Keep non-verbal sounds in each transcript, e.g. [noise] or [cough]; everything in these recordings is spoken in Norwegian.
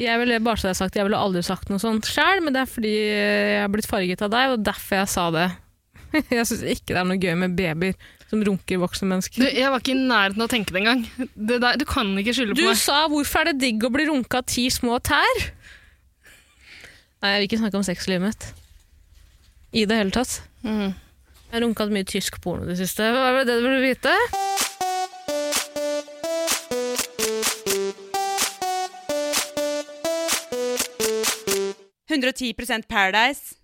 Jeg ville bare så det er sagt, jeg ville aldri sagt noe sånt sjøl, men det er fordi jeg har blitt farget av deg, og derfor jeg sa det. [laughs] Jeg syns ikke det er noe gøy med babyer som runker voksne Du, mennesker. jeg var ikke i nærheten av å tenke det engang. Det der, du kan ikke skylde Du, på meg. sa 'hvorfor er det digg å bli runka av ti små tær'? Nei, jeg vil ikke snakke om sexlivet mitt. I det hele tatt. Mm. Jeg har runka mye tysk porno i det siste. Hva var det du ville vite? Paradise.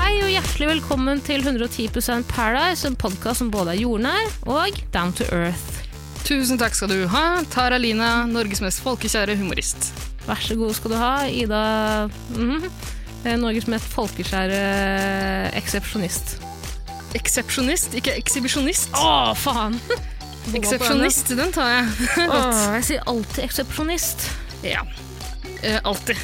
Hei og hjertelig velkommen til 110 Paradise, en podkast som både er jordnær og down to earth. Tusen takk skal du ha, Tara Lina, Norges mest folkekjære humorist. Vær så god skal du ha, Ida mhm, eh, Norges mest folkeskjære eh, eksepsjonist. Eksepsjonist, ikke ekshibisjonist. Å, [laughs] faen! Eksepsjonist, den tar jeg. Åh, jeg sier alltid eksepsjonist. Ja. Eh, alltid.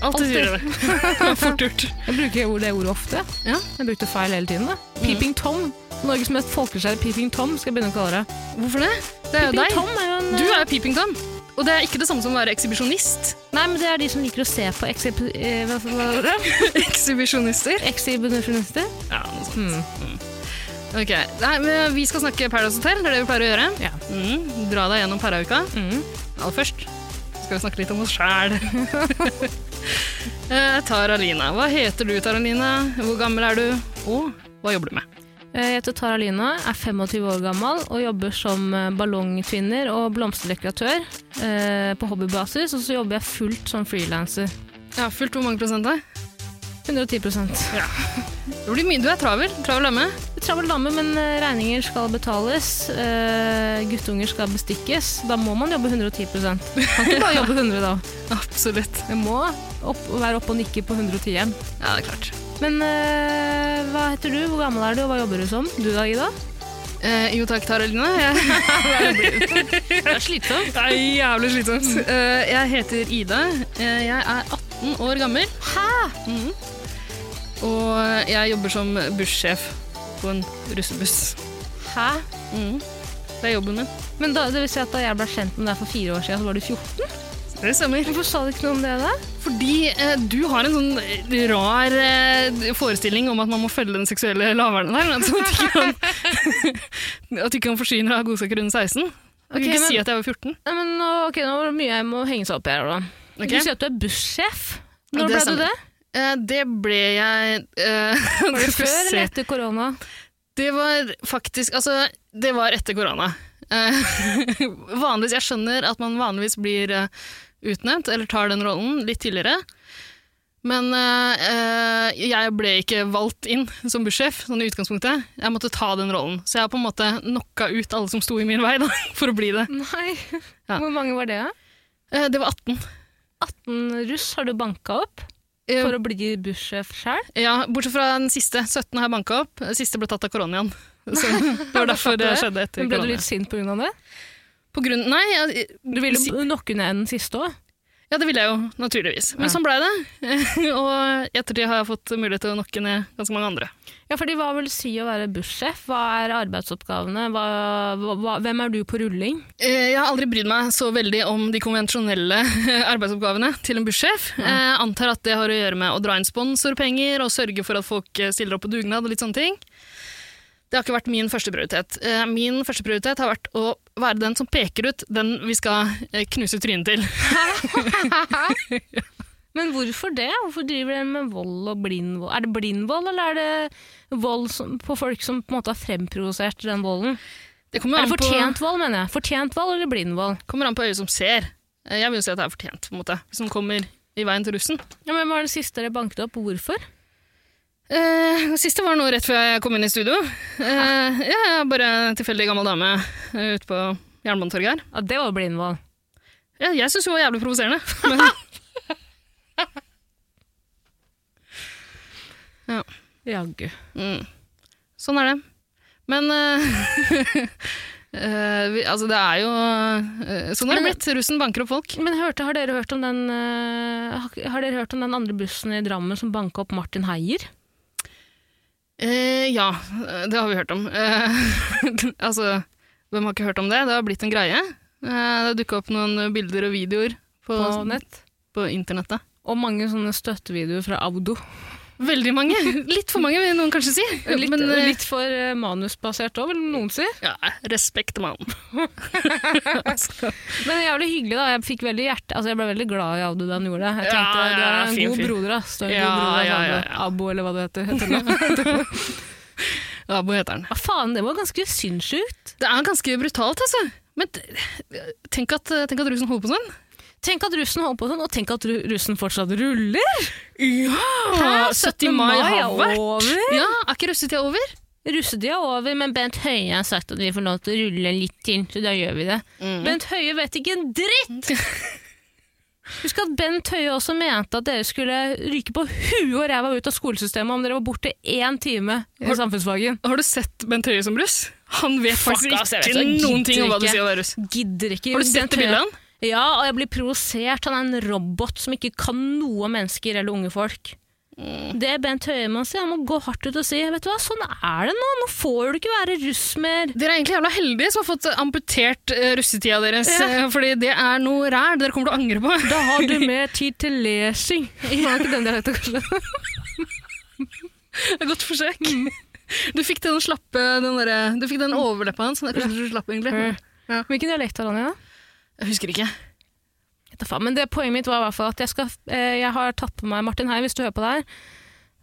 Alltid sier jeg det. [laughs] Fort gjort. Jeg bruker ord- det ordet ofte. Ja. Jeg brukte feil hele tiden. da. Peeping Tom. Norges mest folkeskjære Peeping Tom skal jeg begynne å kalle det. Hvorfor det? Det er jo Peeping deg. Tom er jo en... Du er Peeping Tom. Og det er ikke det samme som å være [laughs] ekshibisjonist. eh, Nei, men det er de som liker å se på eksep... eh, hva- hva- [laughs] hva- Ekshibisjonister. eksibisjonister. Ja, noe sånt. Mm. Ok, Nei, men Vi skal snakke Paradise Hotel, det er det vi pleier å gjøre. Ja. Mm, dra deg gjennom parauka. Mm. Aller først skal vi snakke litt om oss sjæl. [laughs] Eh, Tara Lina. Hva heter du, Tara Lina? Hvor gammel er du? Og hva jobber du med? Eh, Jeg heter Tara Lina, er 25 år gammel og jobber som eh, ballongtvinner og blomsterdekoratør eh, på hobbybasis. Og så jobber jeg fullt som frilanser. Ja, Fullt hvor mange prosent? da? 110 Jeg Det blir mye. Du er travel. Travel dame. er Travel dame, men eh, regninger skal betales. Eh, guttunger skal bestikkes. Da må man jobbe 110 Kan ikke bare jobbe 100 da. Absolutt. Jeg må opp, være oppe og nikke på 110 igjen. Ja, det er klart. Men eh, hva heter du, hvor gammel er du, og hva jobber du som? Du da, Ida? Eh, jo takk, Tara Lina. Jeg Det er slitsomt. det er jævlig slitsomt. Eh, jeg heter Ida. Eh, jeg er 18 år gammel. Hæ? Og jeg jobber som bussjef på en russebuss. Hæ? Mhm. Det er jobben min. Men da, det vil si at da jeg ble kjent med deg for fire år siden, så var du 14? Det stemmer. Hvorfor sa du ikke noe om det, da? Fordi eh, du har en sånn eh, rar eh, forestilling om at man må følge den seksuelle laveren der. Altså at, du ikke kan, [laughs] at du ikke kan forsyne deg av godsaker under 16. Du Ok, kan ikke men- si at jeg var 14. Nei, men nå, ok, nå var det mye jeg må henge seg opp i her, da. Ok? Du sier at du er bussjef. Ja, Når det ble stemmer. du det? Eh, det ble jeg eh, [laughs] Var det skal vi før se. eller etter korona? Det var faktisk Altså, det var etter korona. Eh, [laughs] vanligvis, Jeg skjønner at man vanligvis blir eh, utnevnt, eller tar den rollen, litt tidligere. Men eh, eh, jeg ble ikke valgt inn som bussjef, sånn i utgangspunktet. Jeg måtte ta den rollen. Så jeg har på en måte knocka ut alle som sto i min vei, da, [laughs] for å bli det. Nei. Ja. Hvor mange var det? da? Eh, det var 18. 18 russ har du banka opp Eh, for å bli bussjef sjøl? ja, bortsett fra den siste. 17 har jeg banka opp. Den siste ble tatt av koronaen. [laughs] Så det var derfor det skjedde etter Ble du korona. litt sint pga. det? På grunn Nei, jeg, Du ville nokke ned den siste òg? Ja, det ville jeg jo, naturligvis. Men Ja. sånn blei det. [laughs] og i ettertid har jeg fått mulighet til å nokke ned ganske mange andre. Ja, fordi hva vil det si å være bussjef? Hva er arbeidsoppgavene? Hva, hva, hva, hvem er du på rulling? Eh, Jeg har aldri brydd meg så veldig om de konvensjonelle [laughs] arbeidsoppgavene til en bussjef. Jeg antar at det har å gjøre med å dra inn sponsorpenger og sørge for at folk eh, stiller opp på dugnad og litt sånne ting. Det har ikke vært min førsteprioritet. Eh, Min førsteprioritet har vært å være den som peker ut den vi skal eh, knuse trynet til. Men hvorfor det? Hvorfor driver dere med vold og blind vold? Er det blind vold, eller er det vold som, på folk som på en måte har fremprovosert den volden? Det kommer Er an det på- fortjent vold, mener jeg? Fortjent vold eller blind vold? kommer an på øyet som ser. Eh, Jeg vil jo si at det er fortjent, på en måte. Hvis den kommer i veien til russen. Ja, men Hva er det siste dere banket opp? Hvorfor? Eh, det siste var nå rett før jeg kom inn i studio. Eh, ja, jeg er bare en tilfeldig gammel dame eh, ute på Jernbanetorget her. Ja, Det var blind vold. Ja, jeg syns hun var jævlig provoserende. Men, Jaggu. mm, sånn er det. Men eh, [laughs] Eh, vi, altså, det er jo eh, Sånn har det Men- blitt. Russen banker opp folk. Men hørte, har, dere hørt om den, eh, har- har dere hørt om den andre bussen i Drammen som banka opp Martin Heier? Eh, ja, eh, det har vi hørt om. Eh, [laughs] altså, hvem har ikke hørt om det? Det har blitt en greie. Eh, det dukka opp noen bilder og videoer på, På nett? på internettet. Og mange sånne støttevideoer fra Abdo. Veldig mange. [laughs] Litt for mange, vil noen kanskje si. Litt, Men eh, litt for eh, manusbasert òg, vil noen si. ja, respekt, [laughs] mann. altså, Men jævlig hyggelig, da. Jeg, fikk veldig hjerte, altså, jeg ble veldig glad i Abdo da han gjorde det. Jeg Ja, tenkte, ja, Du er ja, en fin god fyr. broder, ass. Du er en Ja, god broder, ass, ja, ja, Abdo. ja. Abo, eller hva det heter. heter nå. Abo heter han. Hva faen, det var ganske sinnssykt. Det er ganske brutalt, altså. Men t- tenk at, tenk at russen holder på sånn. Tenk at russen holder på sånn, og tenk at ru russen fortsatt ruller! Ja! Hæ? 70 mai har er vært. over! Ja, er ikke russetida over? Russetida er over, men Bent Høie har sagt at vi får lov til å rulle litt til, så da gjør vi det. Mhm. Bent Høie vet ikke en dritt! [laughs] Husk at Bent Høie også mente at dere skulle ryke på huet og ræva ut av skolesystemet om dere var borte én time i Har- samfunnsfagen. Har du sett Bent Høie som russ? Han vet Fuck, faktisk ass, jeg vet ikke det. Jeg noen gidder ting om hva du ikke. sier om det er russ. Gidder ikke. Har du sett Bent det bildet Høie- av han? Ja, og jeg blir provosert. Han er en robot som ikke kan noe om mennesker eller unge folk. Det Bent Høie må si, han må gå hardt ut og si vet du hva, sånn er det nå, nå får du ikke være russ mer. Dere er egentlig jævla heldige som har fått eh, amputert eh, russetida deres, Ja. eh, fordi det er noe ræl dere kommer til å angre på. Da har du mer tid til [laughs] lesing. Var ikke den dialekten, [laughs] kanskje? Det er Godt forsøk. Mm. Du fikk den slappe, den derre- du fikk den overleppa hans, så det er kanskje du slapp egentlig. Ja. Hvilken dialekt har han igjen? da? Jeg husker ikke. Vet da faen, Men det poenget mitt var i hvert fall at jeg, skal, eh, jeg har tatt på meg Martin Hei, hvis du hører på det her.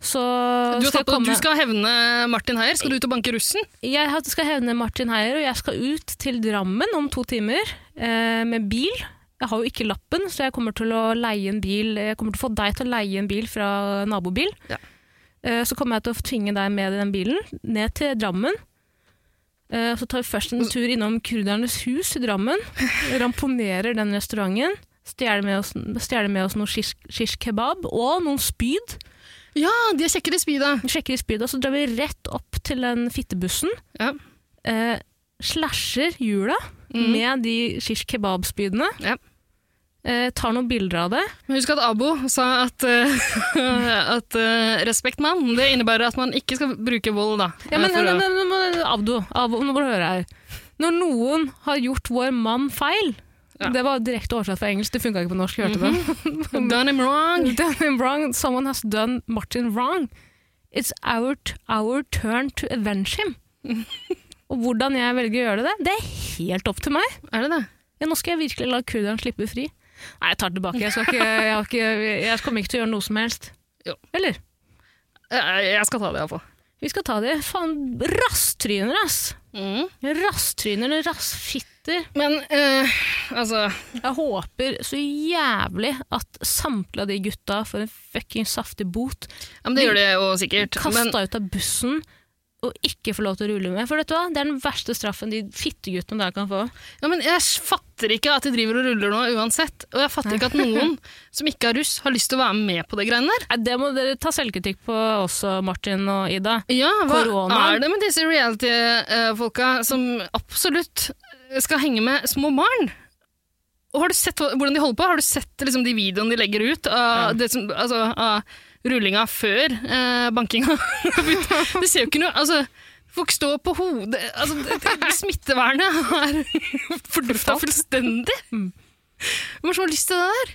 Så Du, skal har tatt jeg, på, du komme, skal hevne Martin Heier. Skal du ut og banke russen? jeg har- skal hevne Martin Heier, og jeg skal ut til Drammen om to timer eh, med bil. Jeg har jo ikke lappen, så jeg kommer til å leie en bil. Jeg kommer til å få deg til å leie en bil fra nabobil. Ja. Eh, så kommer jeg til å tvinge deg med i den bilen ned til Drammen. Eh, så tar vi først en tur innom Kurdernes hus i Drammen. Ramponerer den restauranten. Stjeler med oss, stjeler med oss noe shish, shish kebab og noen spyd. Ja, de er kjekke, de spyda. Vi sjekker i spydet, og så drar vi rett opp til den fittebussen. Ja. Eh, slasher hjula Mm. med de shish kebab-spydene. Ja. Eh, tar noen bilder av det. Men husk at Abo sa at, eh, [laughs] at eh, respekt, mann, det innebærer at man ikke skal bruke vold, da. Ja, men, Eh, for men, å- men, men, men Abdo, Abdo, nå må du høre her. Når noen har gjort vår mann feil Ja. Det var direkte oversatt fra engelsk, det funka ikke på norsk. hørte du det? Done him wrong. [laughs] Done him wrong, someone has done Martin wrong. It's our, t our turn to avenge [laughs] him. Og hvordan jeg velger å gjøre det, det er helt opp til meg. Er det det? Ja, nå skal jeg virkelig la kurderen slippe fri. Nei, jeg tar det tilbake. Jeg, skal ikke, jeg, har ikke, jeg kommer ikke til å gjøre noe som helst. Jo. Eller? Eh, Jeg skal ta det, iallfall. Vi skal ta det. Faen, rasstryner, ass! Mm. Rasstryner, rassfitter. Men eh, altså Jeg håper så jævlig at samtlige av de gutta får en fucking saftig bot. ja, men Det gjør det jo sikkert. Kasta Men ut av bussen og ikke får lov til å rulle med. For vet du hva? Det er den verste straffen de fitteguttene der kan få. Ja, men jeg fatter ikke at de driver og ruller nå uansett. Og jeg fatter ikke at noen som ikke er russ, har lyst til å være med på det greiene der. Nei, Det må dere ta selvkritikk på også, Martin og Ida. Ja, hva Korona. er det med disse reality-folka som absolutt skal henge med små barn? Og har du sett hva- hvordan de holder på? Har du sett liksom, de videoene de legger ut av, det som, altså, av rullinga før eh, bankinga? [laughs] det ser jo ikke noe altså, Folk står på hodet altså, det, det, Smittevernet er [laughs] fordufta fullstendig. Mm. Hvem er det som har lyst til det der?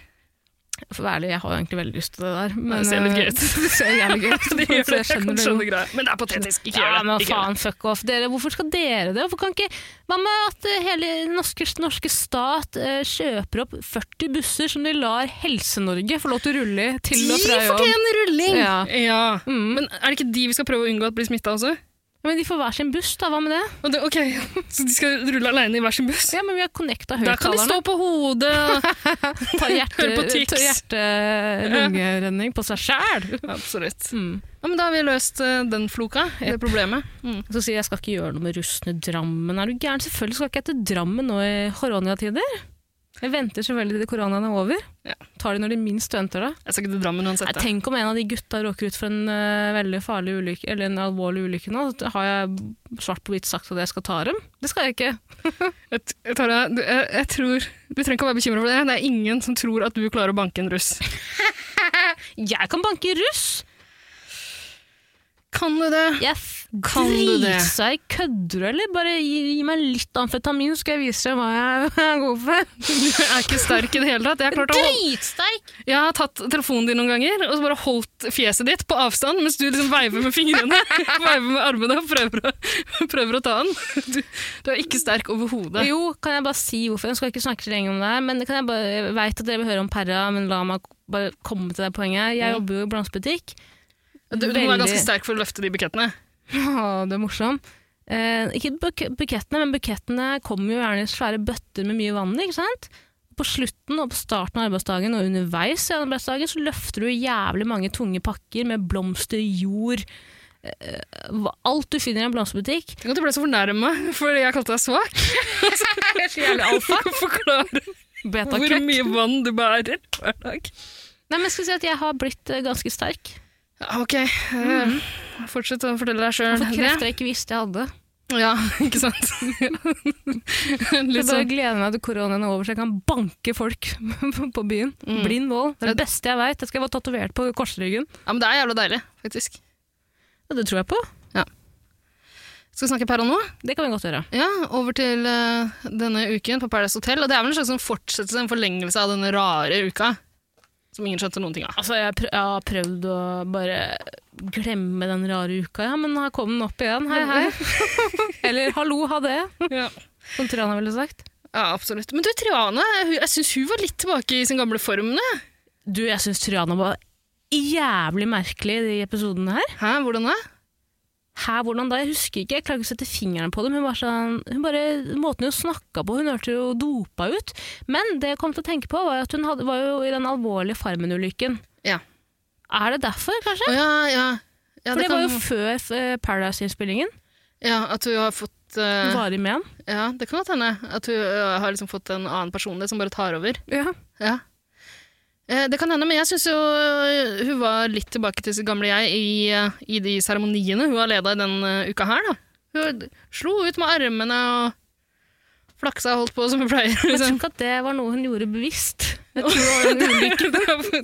For å være ærlig, jeg har jo egentlig veldig lyst til det der. eh, det ser litt gøy ut. det ser jævlig gøy ut. [laughs] Det for gjør jeg det, jeg skjønner kan det jo. skjønne greia. Men det er patetisk. Ikke Ja, gjør det. men Ikke gjør det. faen, fuck off. Dere, hvorfor skal dere det? Hvorfor kan ikke, hva med at eh, hele den norske, norske stat eh, kjøper opp 40 busser som de lar Helse-Norge få lov til å rulle i til og fra De jobb? fortjener rulling! Ja. Mm. Men er det ikke de vi skal prøve å unngå at blir smitta også? Ja, men de får hver sin buss, da. Hva med det? Og det, ok, [laughs] Så de skal rulle aleine i hver sin buss? Ja, men vi har connecta Da kan de høyttalerne. stå på hodet [laughs] Ta hjerte, Hør [laughs] på Tix. ta hjerte-lungerenning på seg sjæl. Absolutt. Mm. Ja, men Da har vi løst eh, den floka, det problemet. Så sier jeg jeg skal ikke gjøre noe med russen i Drammen. Er du gæren? Selvfølgelig skal ikke jeg til Drammen nå i koronatider. Jeg venter selvfølgelig til koronaen er over. Ja. Tar de når de minst venter det. Jeg skal ikke til Drammen uansett. Nei, da. tenk om en av de gutta råker ut for en eh, veldig farlig ulykke, eller en alvorlig ulykke nå. Da har jeg svart på hvitt sagt at jeg skal ta dem? Det skal jeg ikke. Jeg t- jeg tar deg- du, jeg, jeg tror, du trenger ikke å være bekymra for det. Det er ingen som tror at du klarer å banke en russ. Jeg kan banke russ! Kan du det? [laughs] Jeg f- Kan du det? dritseg kødder, du, eller? Bare gi, gi meg litt amfetamin, så skal jeg vise deg hva jeg er god for. Du er ikke sterk i det hele tatt. Jeg har, klart å holde, Dritsterk! jeg har tatt telefonen din noen ganger og så bare holdt fjeset ditt på avstand mens du liksom veiver med fingrene [laughs] veiver med armene og prøver å, [laughs] prøver å ta den. Du, du er ikke sterk overhodet. Jo, kan jeg bare si hvorfor? Jeg skal ikke snakke så lenge om det her, men kan jeg bare, jeg vet at dere vil høre om Perra, men la meg bare komme til det poenget. Jeg Mm. jobber jo i blomsterbutikk. Du, du må være Veldig. ganske [laughs] sterk for å løfte de bukettene. Ja, du er morsom. Eh, ikke buk bukettene, men bukettene kommer jo gjerne i svære bøtter med mye vann i, ikke sant? På slutten og på starten av arbeidsdagen og underveis i arbeidsdagen så løfter du jævlig mange tunge pakker med blomster, jord, eh, hva- alt du finner i en blomsterbutikk. Tenk at du ble så fornærma fordi jeg kalte deg svak. [laughs] Forklare hvor Betakrøkk. mye vann du bærer hver dag. Nei, men jeg skal si at jeg har blitt eh, ganske sterk. Ja, Ok. eh, Fortsett å fortelle deg Jeg sjøl har fått det. krefter jeg ikke visste jeg hadde. Ja, [laughs] ikke sant? Jeg Litt bare sånn. gleder meg til koronaen er over, så jeg kan banke folk [laughs] på byen. Mm. Blind vold. Det er det beste jeg veit. Jeg skal være tatovert på korsryggen. Ja, men det er jævla deilig, faktisk. Ja, det tror jeg på. Skal vi snakke per og nå? Det kan vi godt gjøre. Ja, over til eh, denne uken på Paradise Hotel. Og det er vel en slags sånn fortsettelse, en forlengelse av denne rare uka. Som ingen skjønte noen ting av. Altså, jeg, prø- jeg har prøvd å bare glemme den rare uka, ja, men her kom den opp igjen. Hei, [laughs] hei. Eller hallo, ha det, Ja. som Triana ville sagt. absolutt. Men du, Triane, hun- jeg syns hun var litt tilbake i sin gamle form. nå. Du, jeg syns Triana var jævlig merkelig i de episodene her. Hæ, hvordan det? Her, hvordan da? Jeg husker ikke, jeg klarer ikke å sette fingeren på det, men hun var sånn, hun bare, måten hun snakka på, hun hørte jo dopa ut. Men det jeg kom til å tenke på, var at hun hadde, var jo i den alvorlige Farmen-ulykken. Ja. Er det derfor, kanskje? Å, ja, ja. ja For det, var kan- jo før eh, Paradise-innspillingen. Ja, at hun har fått eh, Varig med han. Ja, det kan godt hende. At hun eh, har liksom fått en annen personlighet som bare tar over. Ja. Ja. Eh, Det kan hende, men jeg syns jo eh, hun var litt tilbake til sitt gamle jeg i, eh, i de seremoniene hun har leda i den eh, uka her, da. Hun slo ut med armene og flaksa og holdt på som hun pleier. [laughs] Jeg tror Liksom. ikke at det var noe hun gjorde bevisst. [laughs] det, er-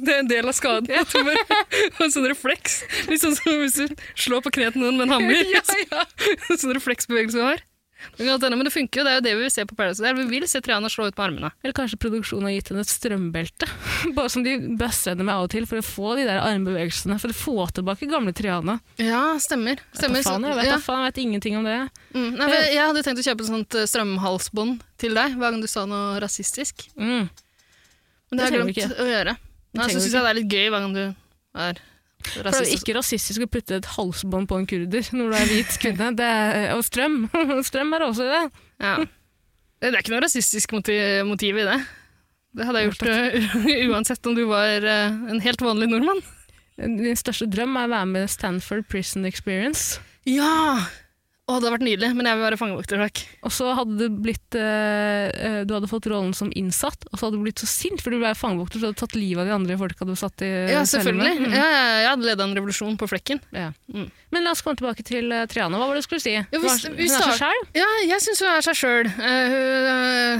det er en del av skaden. Jeg tror bare [laughs] det var en sånn refleks. Litt sånn som hvis du slår på kneet til noen med [laughs] en hammer. En [laughs] sånn refleksbevegelse hun har. Det kan godt hende, Men det funker jo, det er jo det vi vil se på Paradise Hotel. Vi vil se Triana slå ut med armene. Eller kanskje produksjonen har gitt henne et strømbelte. [laughs] Bare som de bøsser henne med av og til for å få de der armbevegelsene. For å få tilbake gamle Triana. Ja, stemmer. Vet da stemmer. faen, jeg vet, da faen, jeg vet ingenting om det. Mm, nei, for jeg jeg hadde tenkt å kjøpe et sånt eh, strømhalsbånd til deg hver gang du sa noe rasistisk. Mm. Men det har jeg trenger du glemt å gjøre. Nei, trenger så du syns jeg det er litt gøy hver gang du er For det er jo rasistisk. ikke rasistisk å putte et halsbånd på en kurder når du er hvit kvinne. Det er, og strøm. [laughs] Strøm er også i det. Ja. Det er ikke noe rasistisk moti- motiv i det. Det hadde jeg gjort eh, [laughs] uansett om du var eh, en helt vanlig nordmann. Din største drøm er å være med i Stanford Prison Experience. Ja! Å, det hadde vært nydelig, men jeg vil være fangevokter, takk. Og så hadde du blitt eh, eh, Du hadde fått rollen som innsatt, og så hadde du blitt så sint, for du ble fangevokter, så du hadde tatt livet av de andre folka du satt i eh, Ja, celle med. selvfølgelig. Ja, ja, jeg hadde leda en revolusjon på flekken. Ja. Mm. Men la oss komme tilbake til eh, Triana. Hva var det du skulle si? vi- Hva- vi hun er seg start- sjæl? Ja, jeg syns hun er seg sjøl. eh,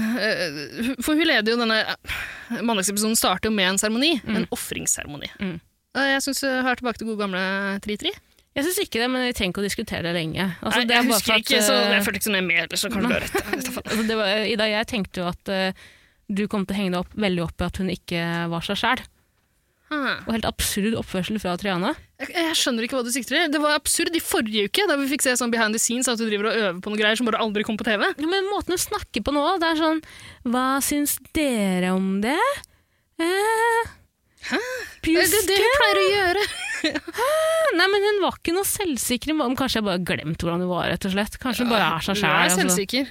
for hun leder jo denne Mandagsepisoden starter jo med en seremoni. En ofringsseremoni. Mm. Eh, jeg syns hun hører tilbake til gode gamle Tri-Tri. Jeg syns ikke det, men vi trenger ikke å diskutere det lenge. Altså, Nei, det er jeg bare husker for at, ikke, så eh, jeg følte ikke så nøye med heller, så kanskje du har rett. Jeg vet da faen. altså, det var, Ida, jeg tenkte jo at eh, du kom til å henge deg opp, veldig opp i at hun ikke var seg sjæl. Ah. Og helt absurd oppførsel fra Triana. Jeg, jeg skjønner ikke hva du sikter til. Det var absurd i forrige uke, da vi fikk se sånn behind the scenes at hun driver og øver på noen greier som bare aldri kom på TV. Ja, men måten hun snakker på nå, det er sånn Hva syns dere om det? Eh, Det er pjuske? det- det hun pleier å gjøre. Nei, men hun var ikke noe selvsikker. Hun- Kanskje jeg bare glemte hvordan hun var, rett og slett. Kanskje hun bare er seg Hun er sjæl. Altså. selvsikker.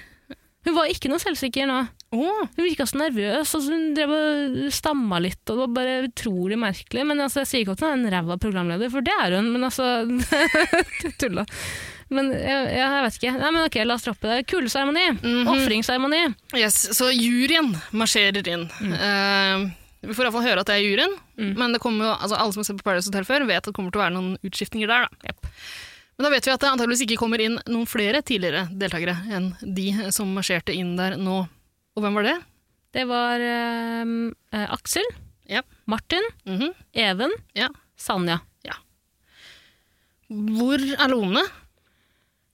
Hun var ikke noe selvsikker nå. Å, Hun virka så nervøs, og så hun drev og stamma litt, og det var bare utrolig merkelig. Men altså, jeg sier ikke at hun er en ræva programleder, for det er hun, men altså [laughs] Tulla. Men ja, ja, jeg vet ikke. Nei, men ok, La oss droppe det. Kuleseremoni. Mhm. Ofringsseremoni. Yes, så juryen marsjerer inn. Mm. Eh, vi får iallfall høre at det er juryen, men det kommer jo, altså, alle som har sett på Paradise Hotel før, vet at det kommer til å være noen utskiftninger der. Da. Jep. Men da vet vi at det antageligvis ikke kommer inn noen flere tidligere deltakere enn de som marsjerte inn der nå. Og hvem var det? Det var ehm, eh, Aksel, Ja. Martin, Mhm, Even, ja. Sanja. Hvor er Lone?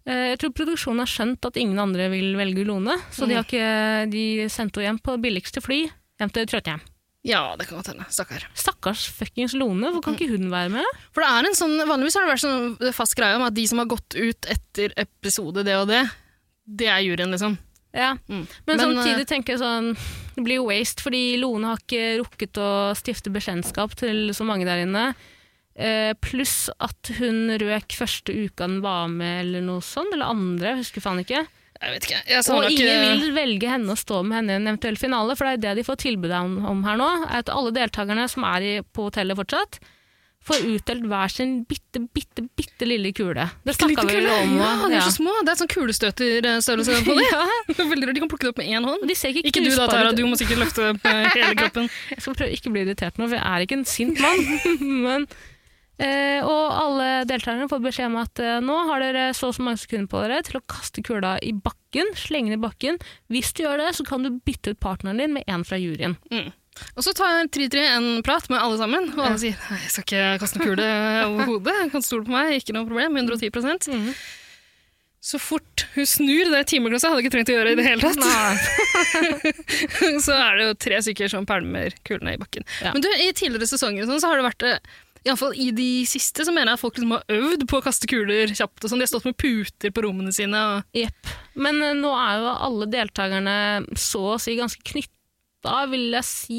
Eh, Jeg tror produksjonen har skjønt at ingen andre vil velge Lone, så Mhm. de, har ikke, de sendte henne hjem på billigste fly hjem til Trøttheim. Ja, det kan godt hende. Stakkar. Stakkars fuckings Lone, hvor kan Mhm. ikke hun være med? For det er en sånn, Vanligvis har det vært sånn fast greie om at de som har gått ut etter episode det og det, det er juryen, liksom. Ja. Mm. Men, Men, samtidig tenker jeg sånn, det blir jo waste, fordi Lone har ikke rukket å stifte bekjentskap til så mange der inne. Eh, Pluss at hun røk første uka hun var med, eller noe sånt, eller andre, jeg husker faen ikke. Jeg vet ikke. Jeg Og savner ikke ingen vil velge henne og stå med henne i en eventuell finale, for det er jo det de får tilbud om, om her nå, er at alle deltakerne som er i, på hotellet fortsatt, får utdelt hver sin bitte, bitte, bitte lille kule. Det snakka vi vel om. Ja, og- de ja. er så små. Det er sånn kulestøterstørrelse [laughs] på dem. Ja, Veldig rart. De kan plukke det opp med én hånd. og de ser ikke, Ikke du da, knusbare Tara. ut. Du må sikkert løfte opp eh, hele kroppen. Jeg skal prøve å ikke bli irritert nå, for jeg er ikke en sint mann. [laughs] Men, eh, og alle deltakerne får beskjed om at eh, nå har dere så og så mange sekunder på dere til å kaste kula i bakken, slenge den i bakken. Hvis du gjør det, så kan du bytte ut partneren din med en fra juryen. Og så tar Tri-Tri en prat med alle sammen, og alle sier «Nei, jeg skal ikke kaste noen kule over hodet. Jeg kan stole på meg, ikke noe problem. 110 Mhm. Så fort hun snur det timeglasset, hadde jeg ikke trengt å gjøre det i det hele tatt. [laughs] så er det jo tre stykker som pælmer kulene i bakken. Ja. Men du, i tidligere sesonger og sånn, så har det vært eh, i alle fall i de siste så mener jeg at folk liksom har øvd på å kaste kuler kjapt. og sånn. De har stått med puter på rommene sine. og Jepp. Men eh, nå er jo alle deltakerne så å si ganske knytta, vil jeg si.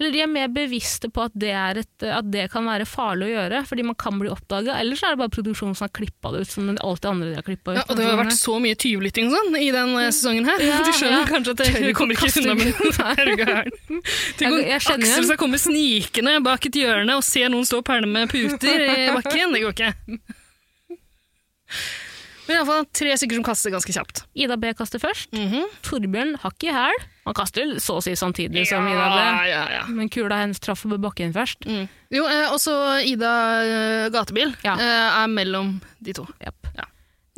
Eller de er mer bevisste på at det, er et, at det kan være farlig å gjøre, fordi man kan bli oppdaga. Ellers er det bare produksjonen som har klippa det ut, som alt det andre de har klippa ut. Ja, og det har jo vært så mye tyvlytting og sånn i den eh, sesongen her. Ja, [laughs] du skjønner ja. kanskje at jeg Tør ikke kommer å kaste ikke unna med kuler. det. Er du gæren? Tenk Jeg- jeg om kjenner Aksel igjen. skal komme snikende bak et hjørne og se noen stå og pælme puter i bakken. Det går ikke. Men iallfall tre stykker som kaster ganske kjapt. Ida B kaster først. Mm -hmm. Torbjørn har ikke i hæl. Han kaster så å si samtidig som Ida B. ja, ja. Men kula hennes traff bakken først. Mm. Jo, eh, også Ida eh, Gatebil Ja. eh, er mellom de to. Jepp. Ja.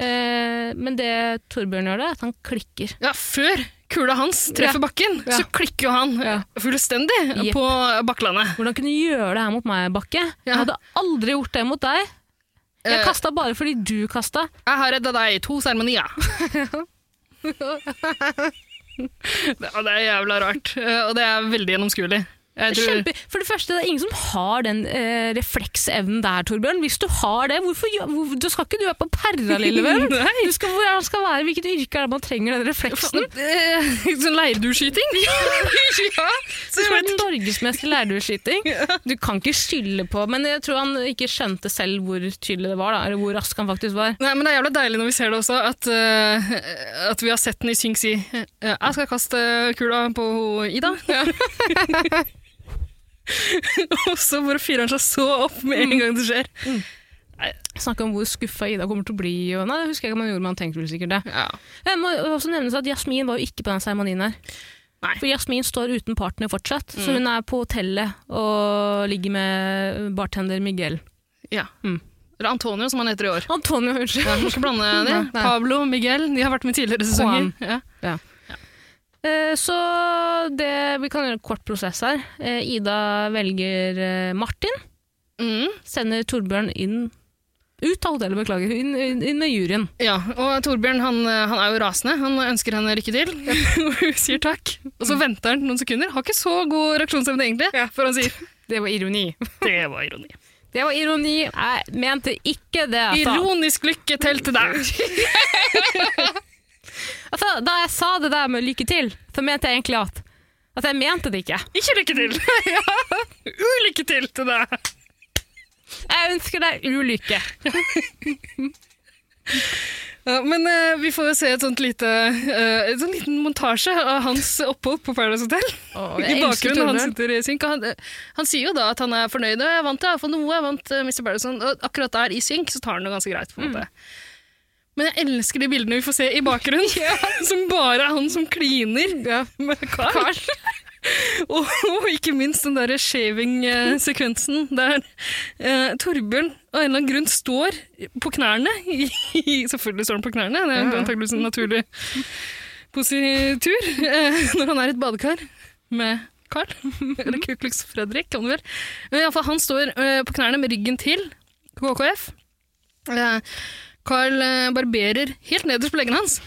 Eh, men det Torbjørn gjør, det, er at han klikker. Ja, før kula hans treffer bakken, Ja. så klikker jo han Ja. fullstendig Jepp. på Bakklandet. Hvordan kunne du gjøre det her mot meg, Bakke? Jeg Ja. hadde aldri gjort det mot deg. Jeg Eh. kasta bare fordi du kasta. Jeg har redda deg i to seremonier. det, og det er jævla rart, eh, og det er veldig gjennomskuelig. Jeg tror- Kjempe... For det første, det er ingen som har den eh, refleksevnen der, Torbjørn. Hvis du har det, hvorfor, gjør- hvor, du skal ikke du være på perra, lille venn? [laughs] Nei. Du skal, hvor er det man skal være, Hvilket yrke er det man trenger den refleksen? Eh, Sånn leirdueskyting? [laughs] ja! Du Så er jeg vet, norgesmester i [laughs] lærdueskyting. Du kan ikke skylde på Men jeg tror han ikke skjønte selv hvor tydelig det var, da, eller hvor rask han faktisk var. Nei, men Det er jævla deilig når vi ser det også, at, eh, at vi har sett den i Synk si eh, 'Jeg skal kaste kula på ho- Ida'. Ja. [laughs] og så bare fyrer han seg så opp med en gang det skjer. Snakke om hvor skuffa Ida kommer til å bli. Og, nei, det husker jeg ikke hva man gjorde, men han tenkte vel sikkert det. Ja. Det må også nevnes at Jasmin var jo ikke på den seremonien her. Nei. Mm. For Jasmin står uten partner fortsatt, så hun er på hotellet og ligger med bartender Miguel. ja. Mm. Eller Antonio, som han heter i år. Antonio, unnskyld. Ja, man skal blande de. Nei, nei. Pablo, Miguel, de har vært med tidligere sesonger. Juan. Ja. Eh, Så det, vi kan gjøre en kort prosess her. Eh, Ida velger eh, Martin, Mm. sender Torbjørn inn ut av hotellet, beklager, inn, inn, inn med juryen. ja. Og Torbjørn han, eh, han er jo rasende. Han ønsker henne lykke til, [laughs] og hun sier takk. Og så venter han noen sekunder. Har ikke så god reaksjonsevne, egentlig, for han sier Det var ironi. [laughs] det var ironi. Det var ironi. Jeg mente ikke det. jeg sa. Ironisk lykke til til deg. Altså, da jeg sa det der med lykke til, så mente jeg egentlig at At jeg mente det ikke. [laughs] Ikke lykke til. [laughs] ja. Ulykke til til deg. Jeg ønsker deg ulykke. Ja, men eh, vi får jo se et sånt lite, eh, et sånn liten montasje av hans opphold på Paradise Hotel. I bakgrunnen, han sitter i synk. Og han, eh, han sier jo da at han er fornøyd. og Jeg vant det, jeg har fått noe, jeg vant eh, Mr. Patterson. Og akkurat der i synk så tar han det ganske greit. på en måte. Men jeg elsker de bildene vi får se i bakgrunnen, [laughs] som bare er han som kliner med Carl. [laughs] og, og ikke minst den derre shaving-sekvensen der eh, Torbjørn av en eller annen grunn står på knærne. I, i, selvfølgelig står han på knærne, det er Ja. antakeligvis en naturlig positur eh, når han er i et badekar med Carl. Eller Ku Klux Fredrik, om du vil. Men i alle fall, han står eh, på knærne med ryggen til KKF. Eh, Carl eh, barberer helt nederst på leggen hans.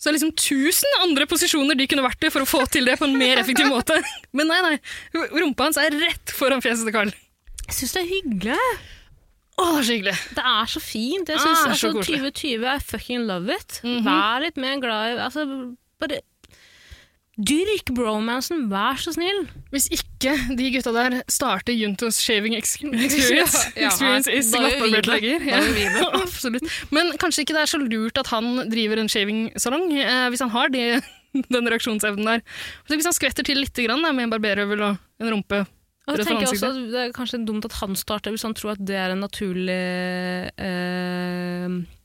Så det er liksom tusen andre posisjoner de kunne vært i for å få til det på en mer effektiv måte. Men nei, nei. Rumpa hans er rett foran fjeset til Carl. Jeg syns det er hyggelig. Å, så hyggelig. Det er så fint. Jeg synes, Ah, så altså, koselig. 2020, I fucking love it. Mhm. Vær litt mer glad i altså, bare, Dyrk bromansen, vær så snill. Hvis ikke de gutta der starter Juntos shaving ex- experience, [laughs] Ja, ja. experience is Da gjør vi det. glattbarbert legger. [laughs] Da gjør vi det. Absolutt. Men kanskje ikke det er så lurt at han driver en shavingsalong, eh, hvis han har de, [laughs] den reaksjonsevnen der. Så hvis han skvetter til litt grann, da, med en barberhøvel og en rumpe Og Rett jeg tenker foran også at Det er kanskje dumt at han starter, hvis han tror at det er en naturlig eh,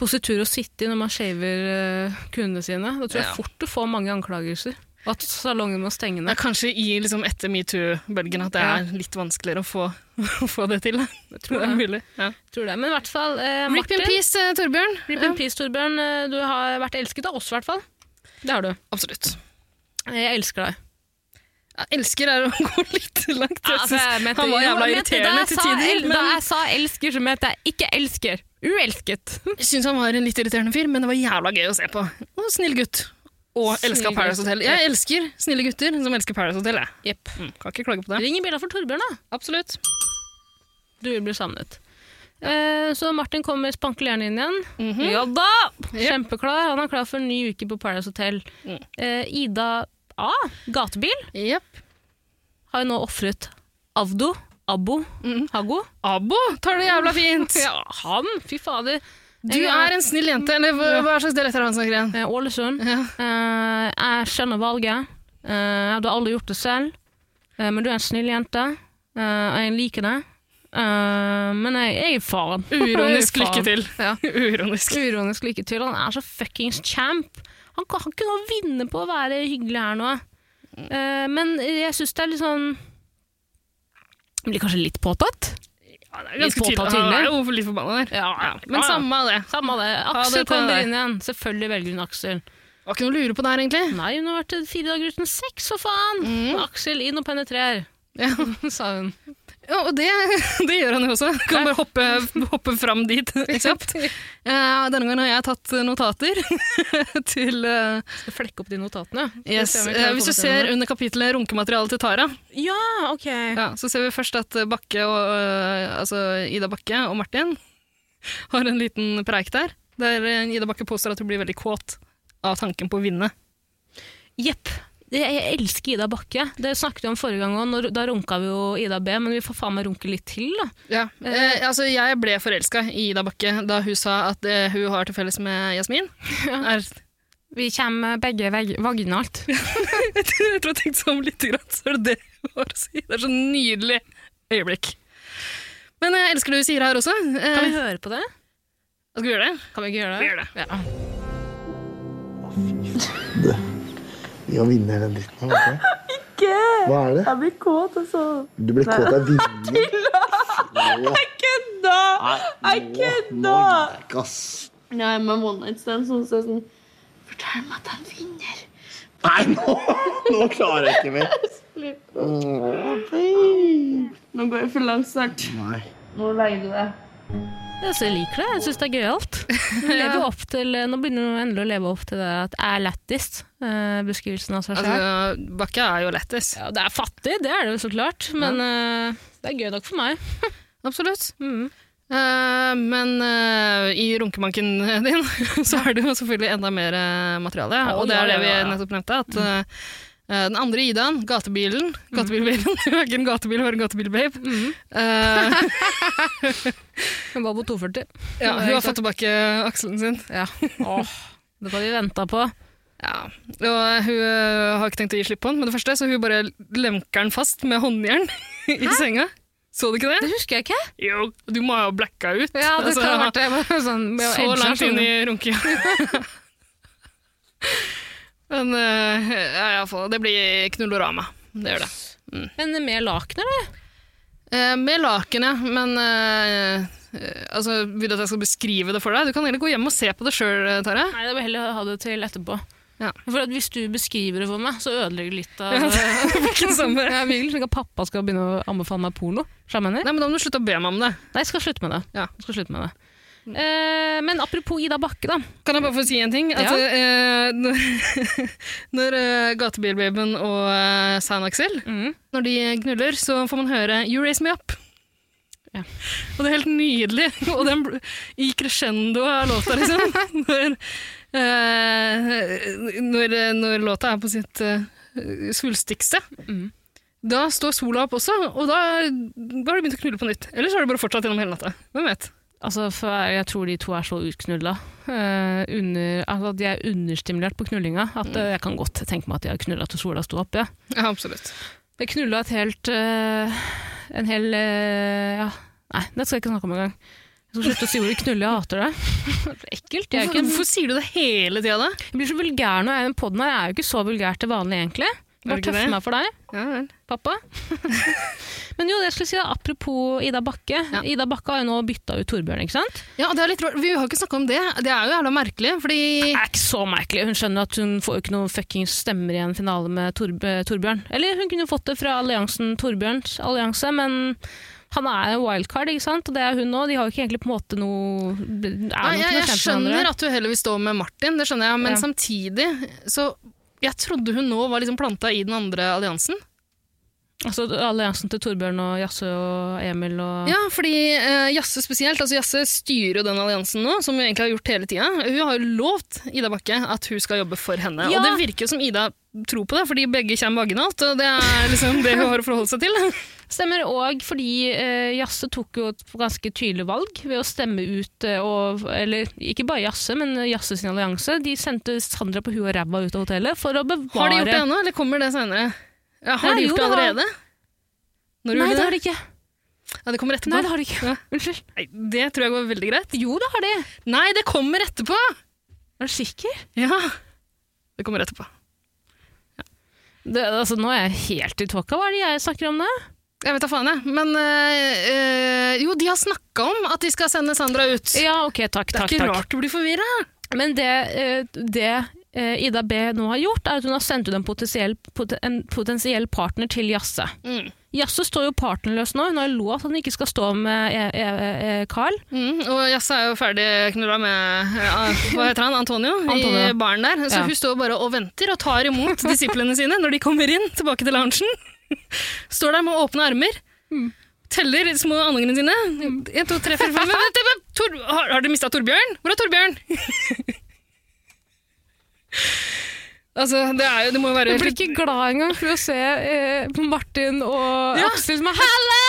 positur å sitte i når man shaver eh, kundene sine. Da tror jeg Ja. fort du får mange anklagelser. Og at salongen må stenge Ja, ned. kanskje i liksom etter metoo-bølgen at det Ja. er litt vanskeligere å få, [laughs] å få det til. Jeg Det tror er det. mulig. Ja. Tror det. Men i hvert fall, eh, Rip Martin in peace, eh, Torbjørn. Rip Ja, in peace, Torbjørn. Eh, Du har vært elsket av oss, i hvert fall. Det har du. absolutt. Jeg elsker deg. Ja, elsker er å [laughs] gå litt langt. Jeg altså, synes han var jævla irriterende til Da tider. Men jeg sa elsker, så mente jeg ikke elsker. Uelsket. jeg syns han var en litt irriterende fyr, men det var jævla gøy å se på. Og snill gutt. Og Snill elska Paradise gutt. Hotel. Jeg elsker snille gutter som elsker Paradise Hotel. Jeg. Jepp. Mm, kan ikke klage på det. Ring i bjella for Torbjørn, da. Absolutt. Du blir savnet. Eh, så Martin kommer spankulerende inn igjen. Mhm. Ja da! Jepp. Kjempeklar. Han er klar for en ny uke på Paradise Hotel. Mm. Eh, Ida A, gatebil, Jepp. har jo nå ofret Avdo, Abo, Mhm. Hago. Abo tar det jævla [laughs] fint! Ja, han! Fy fader. Du er en snill jente. Eller hva hva slags dialekt er det han snakker igjen? Eh, Ålesund. [laughs] Ja. Eh, jeg skjønner valget. Eh, du har aldri gjort det selv. Eh, men du er en snill jente. Eh, og jeg liker deg. Eh, men jeg, jeg er faren. Uironisk Jeg er faren. lykke til. [laughs] Ja. Uironisk. Uironisk lykke til. Han er så fuckings champ. Han, kan- han kunne vinne på å være hyggelig her nå. Eh, men jeg syns det er litt sånn Blir kanskje litt påtatt? Ja, det er Litt ganske påtatt tydelig. Han er jo for litt forbanna der. Ja, Men samme av det. Samme det. Ha Aksel det til kommer deg. inn igjen. Selvfølgelig velger hun Aksel. Var ikke noe å lure på der, egentlig. Nei, hun har vært til fire dager uten sex, for faen! Mm. Aksel, inn og penetrer, [laughs] Ja. sa hun. Ja, og det, [laughs] det gjør han jo også. Kan bare hoppe, hoppe fram [laughs] dit kjapt. Eh, denne gangen har jeg tatt notater [laughs] til eh, Skal flekke opp de notatene. yes. Skal vi se om vi eh, klarer å komme Hvis du til ser noe. under kapitlet runkemateriale til Tara, Ja, ok. ja, så ser vi først at Bakke og, eh, altså Ida Bakke og Martin har en liten preik der. Der eh, Ida Bakke påstår at hun blir veldig kåt av tanken på å vinne. Jepp. Det- Jeg elsker Ida Bakke. Det snakket vi om forrige gang òg. Da runka vi jo Ida B, men vi får faen meg runke litt til, da. Ja. Eh, altså, jeg ble forelska i Ida Bakke da hun sa at det hun har til felles med [laughs] Jasmin, er Vi kommer begge veg [laughs] vaginalt. Jeg tror jeg tenkte sånn litt, grann, så er det det hun har å si. Det er så nydelig øyeblikk. Men jeg elsker det du sier her også. Eh, Kan vi høre på det? skal vi gjøre det? Kan vi ikke gjøre det? Vi gjør det. Ja. Ja, vinner den dritten her, vet du. [laughs] Hva er det? Jeg blir kåt, altså. Du blir kåt av vinner. [laughs] Jeg Kødda! Jeg Nå kødda! gidder jeg ikke, ass. Nei, men one night stand, sånn så er det sånn Fortell meg at jeg vinner. Nei, nå, nå klarer jeg ikke mer. Slutt. Åh, Nå går jeg for langt snart. Nei. Nå legger du deg. Jeg så liker det. Jeg syns det er gøyalt. [laughs] Hun lever jo opp til- Nå begynner hun endelig å leve opp til det at jeg er lættis, eh, beskrivelsen av seg selv. Altså, Bakke er jo lættis. Ja, det er fattig, det er det jo så klart, men eh, det er gøy nok for meg. Absolutt. Mm. Eh, men eh, i runkemanken [laughs] din så er det jo selvfølgelig enda mer eh, materiale. Å, og det ja, er det ja, vi ja. Mm. nettopp nevnte. At, eh, eh, den andre Idaen, gatebilen Gatebilbabyen. [laughs] Hun er ikke en gatebil, hun er [laughs] en gatebilbabe. Mhm. Eh, Hun var på 240. ja, [laughs] hun har fått tilbake akselen sin. Ja. Det var vi venta på. Ja, og hun øh, ø, har ikke tenkt å gi slipp på den med det første, så hun bare lemker den fast med håndjern [laughs] i senga. Så du ikke det? Det husker jeg ikke. Jo, du må ha blacka ut. Ja, det Altså, kan ha vært det. men Sånn, med å Så edge langt den. inn i runkinga. [laughs] Men eh, ja, i alle fall, det blir knullorama. Det gjør det. Men med lakener, da? Eh, med laken, ja. Men eh, eh, altså, vil du at jeg skal beskrive det for deg? Du kan egentlig gå hjem og se på det sjøl, Tarjei. [laughs] Nei, jeg vil heller ha det til etterpå. Ja. For at Hvis du beskriver det for meg, så ødelegger det litt av Ja, det blir ikke det samme. Jeg vil ikke at pappa skal begynne å anbefale meg porno. skjønner du hva jeg mener? Nei, men Da må du slutte å be meg om det. Nei, jeg skal slutte med det. Ja. Jeg skal slutte med det. Eh, men apropos Ida Bakke, da. Kan jeg bare få si en ting? At, Ja. eh, [laughs] når når eh, Gatebilbabyen og eh, San Axel Mhm. når de knuller, så får man høre You raise me up. Ja. Og det er helt nydelig. Og den bl- i crescendo av låta, liksom. Når, eh, når, når låta er på sitt eh, svulstigste. Mhm. Da står sola opp også, og da, da har de begynt å knulle på nytt. Eller så har de bare fortsatt gjennom hele natta. Hvem vet? Altså, for jeg tror de to er så utknulla. Eh, under, altså, de er understimulert på knullinga. At eh, Jeg kan godt tenke meg at de har knulla til sola sto opp. Ja. Ja, absolutt. Jeg knulla et helt eh, En hel eh, ja. Nei, det skal jeg ikke snakke om engang. Jeg skal slutte å si ordet knulle. Jeg hater det. [laughs] Det er ekkelt. Jeg, er Hvorfor, ikke, hvorfor sier du det hele tida, da? jeg blir så vulgær når jeg er i den poden her. Jeg er jo ikke så vulgær til vanlig, egentlig. Er du Bare ikke tøffe det? meg for deg. Ja, vel. [laughs] pappa. Men jo, det jeg skulle si da, apropos Ida Bakke. Ja. Ida Bakke har jo nå bytta ut Torbjørn, ikke sant? Ja, og det er litt rart. Vi har ikke snakka om det. Det er jo jævla merkelig, fordi Det er ikke så merkelig. Hun skjønner at hun får jo ikke noen fuckings stemmer i en finale med Torb eh, Torbjørn. Eller hun kunne jo fått det fra alliansen Torbjørns allianse, men han er jo wildcard, ikke sant? Og det er hun òg. De har jo ikke egentlig på en måte noe er Nei, nok noe jeg, jeg kjent med hverandre. skjønner at du heller vil stå med Martin, det skjønner jeg, men Ja. samtidig så Jeg trodde hun nå var liksom planta i den andre alliansen. Altså alliansen til Torbjørn og Jasse og Emil og Ja, fordi eh, Jasse spesielt, altså Jasse styrer jo den alliansen nå, som hun egentlig har gjort hele tida. Hun har jo lovt Ida Bakke at hun skal jobbe for henne, Ja. og det virker jo som Ida tror på det, fordi begge kommer vaginalt, og det er liksom det hun har å forholde [laughs] seg til. Stemmer òg fordi eh, Jasse tok jo et ganske tydelig valg ved å stemme ut eh, og Eller ikke bare Jasse, men Jasse sin allianse. De sendte Sandra på huet og ræva ut av hotellet for å bevare Har de gjort det ennå, eller kommer det senere? Ja, har Nei, de jo, gjort det det har- allerede? Når Nei, gjorde det de har de ikke. Ja, det kommer [laughs] etterpå. Nei, det har de ikke. Ja. Unnskyld. Nei, det tror jeg går veldig greit. Jo, det har de. Nei, det kommer etterpå! Er du sikker? Ja. Det kommer etterpå. Det, altså, nå er jeg helt i tåka. Hva er det jeg snakker om nå? Jeg vet da faen, jeg. Men øh, øh, jo, de har snakka om at de skal sende Sandra ut. Ja, ok, takk, det er takk. ikke takk. rart du blir forvirra. Men det, eh, det eh, Ida B nå har gjort, er at hun har sendt ut en potensiell, pot- en potensiell partner til Jasse. Mm. Jasse står jo partnerløs nå. Hun har lovt at hun ikke skal stå med eh, eh, eh, Carl. Mm, og Jasse er jo ferdig knulla med ja, hva heter han, Antonio, Antonio. i baren der. Så Ja. hun står bare og venter og tar imot disiplene sine når de kommer inn tilbake til loungen. [laughs] Står der med åpne armer. Mm. Teller de små andungene sine. En, to, tre, fire, fem. Vent, vent, vent. Tor har, har du mista Torbjørn? Hvor er Torbjørn? [laughs] altså, det, er jo, det må jo være Jeg blir ikke glad engang for å se eh, Martin og Ja. Aksel som er Halla!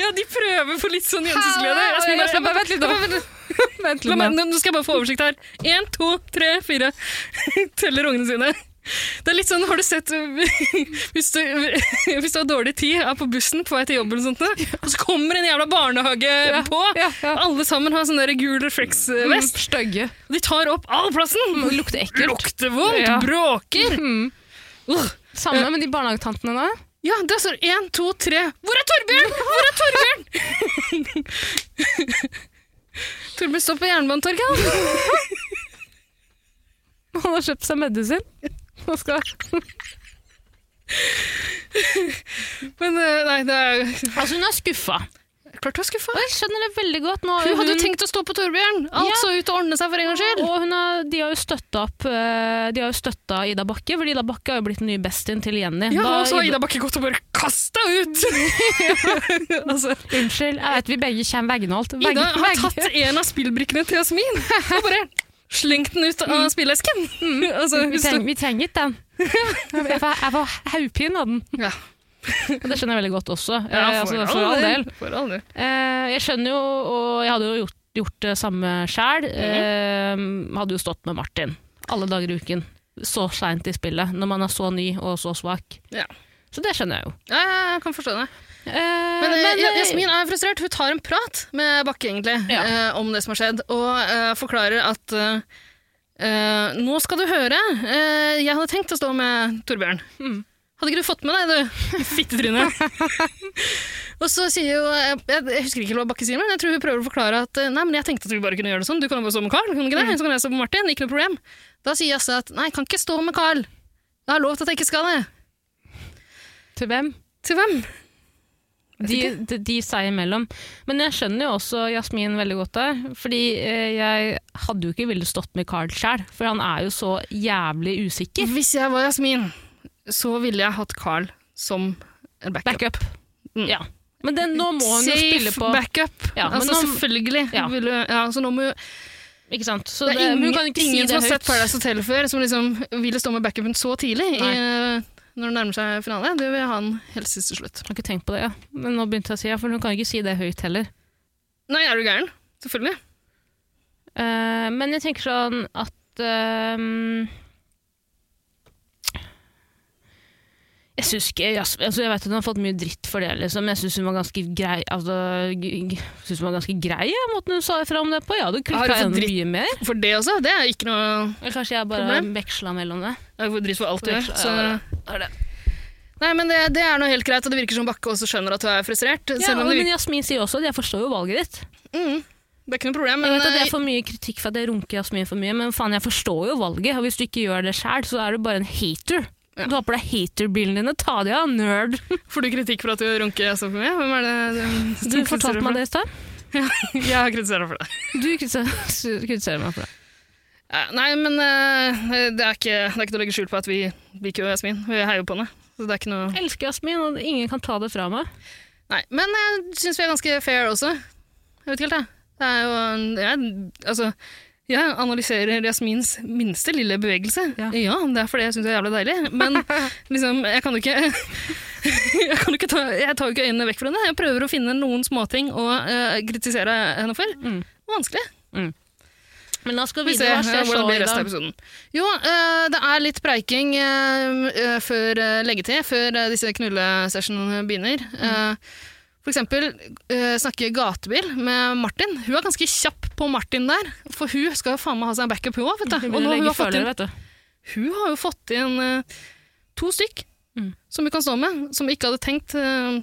Ja, de prøver for litt sånn Halla! Og jentesglede. Espen, jeg- Espen, bare Vent litt nå. Vent La litt meg, nå. nå nå skal jeg bare få oversikt her. Én, to, tre, fire. [laughs] Teller ungene sine. Det er litt sånn, har du sett [laughs] Hvis du, hvis du har dårlig tid, er på bussen på vei til jobb, eller sånt, noe, og så kommer en jævla barnehage Ja, på. ja, ja. Mm, Alle sammen har sånn der gul refleksvest. Stygge. De tar opp all plassen. Det lukter ekkelt. Lukter vondt, Ja. bråker. Mm. Uh. Samme med de barnehagetantene nå. Ja, det står én, to, tre. Hvor er Torbjørn? Hvor er Torbjørn? [laughs] Torbjørn står på Jernbanetorget. han. [laughs] Han har kjøpt seg medisin. Nå skal Men eh, nei, det er jo Altså, hun er skuffa. klart du er skuffa. Og jeg skjønner det veldig godt. Nå, Hun hadde jo tenkt å stå på Torbjørn. Alt Ja. så ut til å ordne seg for en gangs skyld. Og hun har, de har jo støtta opp eh, De har jo støtta Ida Bakke, fordi Ida Bakke har jo blitt den nye bestien til Jenny. Ja, Da- og så har Ida Bakke gått og bare kasta [laughs] ut! [laughs] altså, Unnskyld, jeg vet vi begge kommer veggene alt. Ida Veggen- har veggen. tatt en av spillbrikkene til Jasmin og bare slengt den ut av spillesken. [laughs] altså, Vi, hun treng, sto- vi trenger ikke [laughs] den. Jeg får, jeg får haugpine av den. Ja. Og det skjønner jeg veldig godt også. Eh, Ja, altså, for all del. For all del. Eh, jeg skjønner jo, og jeg hadde jo gjort, gjort det samme sjæl. Mhm. Eh, hadde jo stått med Martin alle dager i uken. Så seint i spillet, når man er så ny og så svak. Ja. Så det skjønner jeg jo. Ja, ja, jeg kan forstå det. Men, eh, men, Ja- eh, Jasmin er frustrert. Hun tar en prat med Bakke egentlig Ja. eh, om det som har skjedd, og eh, forklarer at eh, eh, nå skal du høre. eh, jeg hadde tenkt å stå med Torbjørn. Mm. Hadde ikke du fått med deg, [laughs] du? Fittetryne. og så sier jo jeg, jeg husker ikke hva Bakke sier, men jeg tror hun prøver å forklare at eh, nei, men jeg tenkte at vi bare kunne gjøre det sånn. Du kan jo bare stå med Carl. Kan du ikke Mm. det? Så kan jeg stå med Martin. Ikke noe problem. Da sier Jasse at nei, jeg kan ikke stå med Carl. Jeg har lov til at jeg ikke skal det. til hvem? Til hvem? De, de, de seg imellom. Men jeg skjønner jo også Jasmin veldig godt der. Fordi eh, jeg hadde jo ikke villet stått med Carl sjæl, for han er jo så jævlig usikker. Hvis jeg var Jasmin, så ville jeg hatt Carl som en backup. Backup. Mm. Ja. Men den, nå må hun jo spille på backup. Ja, men altså, nå- selvfølgelig. Ja. Vil du, ja, så nå må jo, Ikke sant? Så det det, er ingen, hun kan ikke si ingen det som har sett høyt. Paradise Hotel før, som liksom ville stå med backupen så tidlig i, når det nærmer seg finale. Det vil han helst sist til slutt. Jeg har ikke tenkt på det, ja. Men nå begynte jeg å si det, for hun kan ikke si det høyt heller. Nei, er du gæren? Selvfølgelig. Eh, men jeg tenker sånn at ehm, Jeg syns ikke Jasmin altså Jeg vet at hun har fått mye dritt for det, liksom. men Jeg syns hun var ganske grei. Altså, g- g- synes hun var ganske grei ja, måten hun sa ifra om det på. Jeg hadde Har klikka hun fått enda dritt? mye mer. For det også. Det er ikke noe Eller kanskje jeg bare Problem? veksla mellom det. Jeg får dritt for alt du gjør. Veksla- Så. ja, det er det. Nei, men det, det er noe helt greit, og det virker som Bakke også skjønner at du er frustrert. Ja, selv om det men virker, Jasmin sier også at jeg forstår jo valget ditt. mm, det er ikke noe problem. Jeg Men, vet at jeg eh, får mye kritikk for at jeg runker Jasmin for mye, men faen, jeg forstår jo valget. Og hvis du ikke gjør det sjæl, så er du bare en hater. Ja. Du har på deg haterbrillene dine. Ta de av, nerd. Får du kritikk for at du runker så for mye? Hvem er det um, [laughs] som Du fortalte meg det i stad. det? Jeg har kritisert deg for det. Du kritiserer kritiserer meg for det. Ja, Nei, men eh, det, er ikke, det er ikke noe å legge skjul på at vi liker jo Jasmin. Vi heier jo på henne. Så det er ikke noe... Jeg elsker Jasmin, og ingen kan ta det fra meg. Nei, men jeg syns vi er ganske fair også. Jeg vet ikke helt, jeg. Det er jo en, jeg, altså, jeg analyserer Jasmins minste lille bevegelse. Ja. Ja, det er fordi jeg syns det er jævlig deilig. [laughs] Men liksom, jeg kan jo ikke [laughs] Jeg, kan jo ikke ta, jeg tar jo ikke øynene vekk fra henne. Jeg prøver å finne noen småting å eh, kritisere henne for. Mm. Vanskelig. Men da skal Vi vi får se videre. Hva eh, skjer så hvordan det blir i resten av dag? episoden. Jo, eh, det er litt preiking eh, eh, før eh, leggetid, før eh, disse knullesessionene begynner. Eh, For eksempel eh, snakker Gatebil med Martin. Hun er ganske kjapp på Martin der, for hun skal jo faen meg ha seg en backup, hun òg. Det blir Og nå har hun, lenge har fått følere, inn, vet du. hun har jo fått inn eh, to stykk Mm. som hun kan stå med, som hun ikke hadde tenkt eh,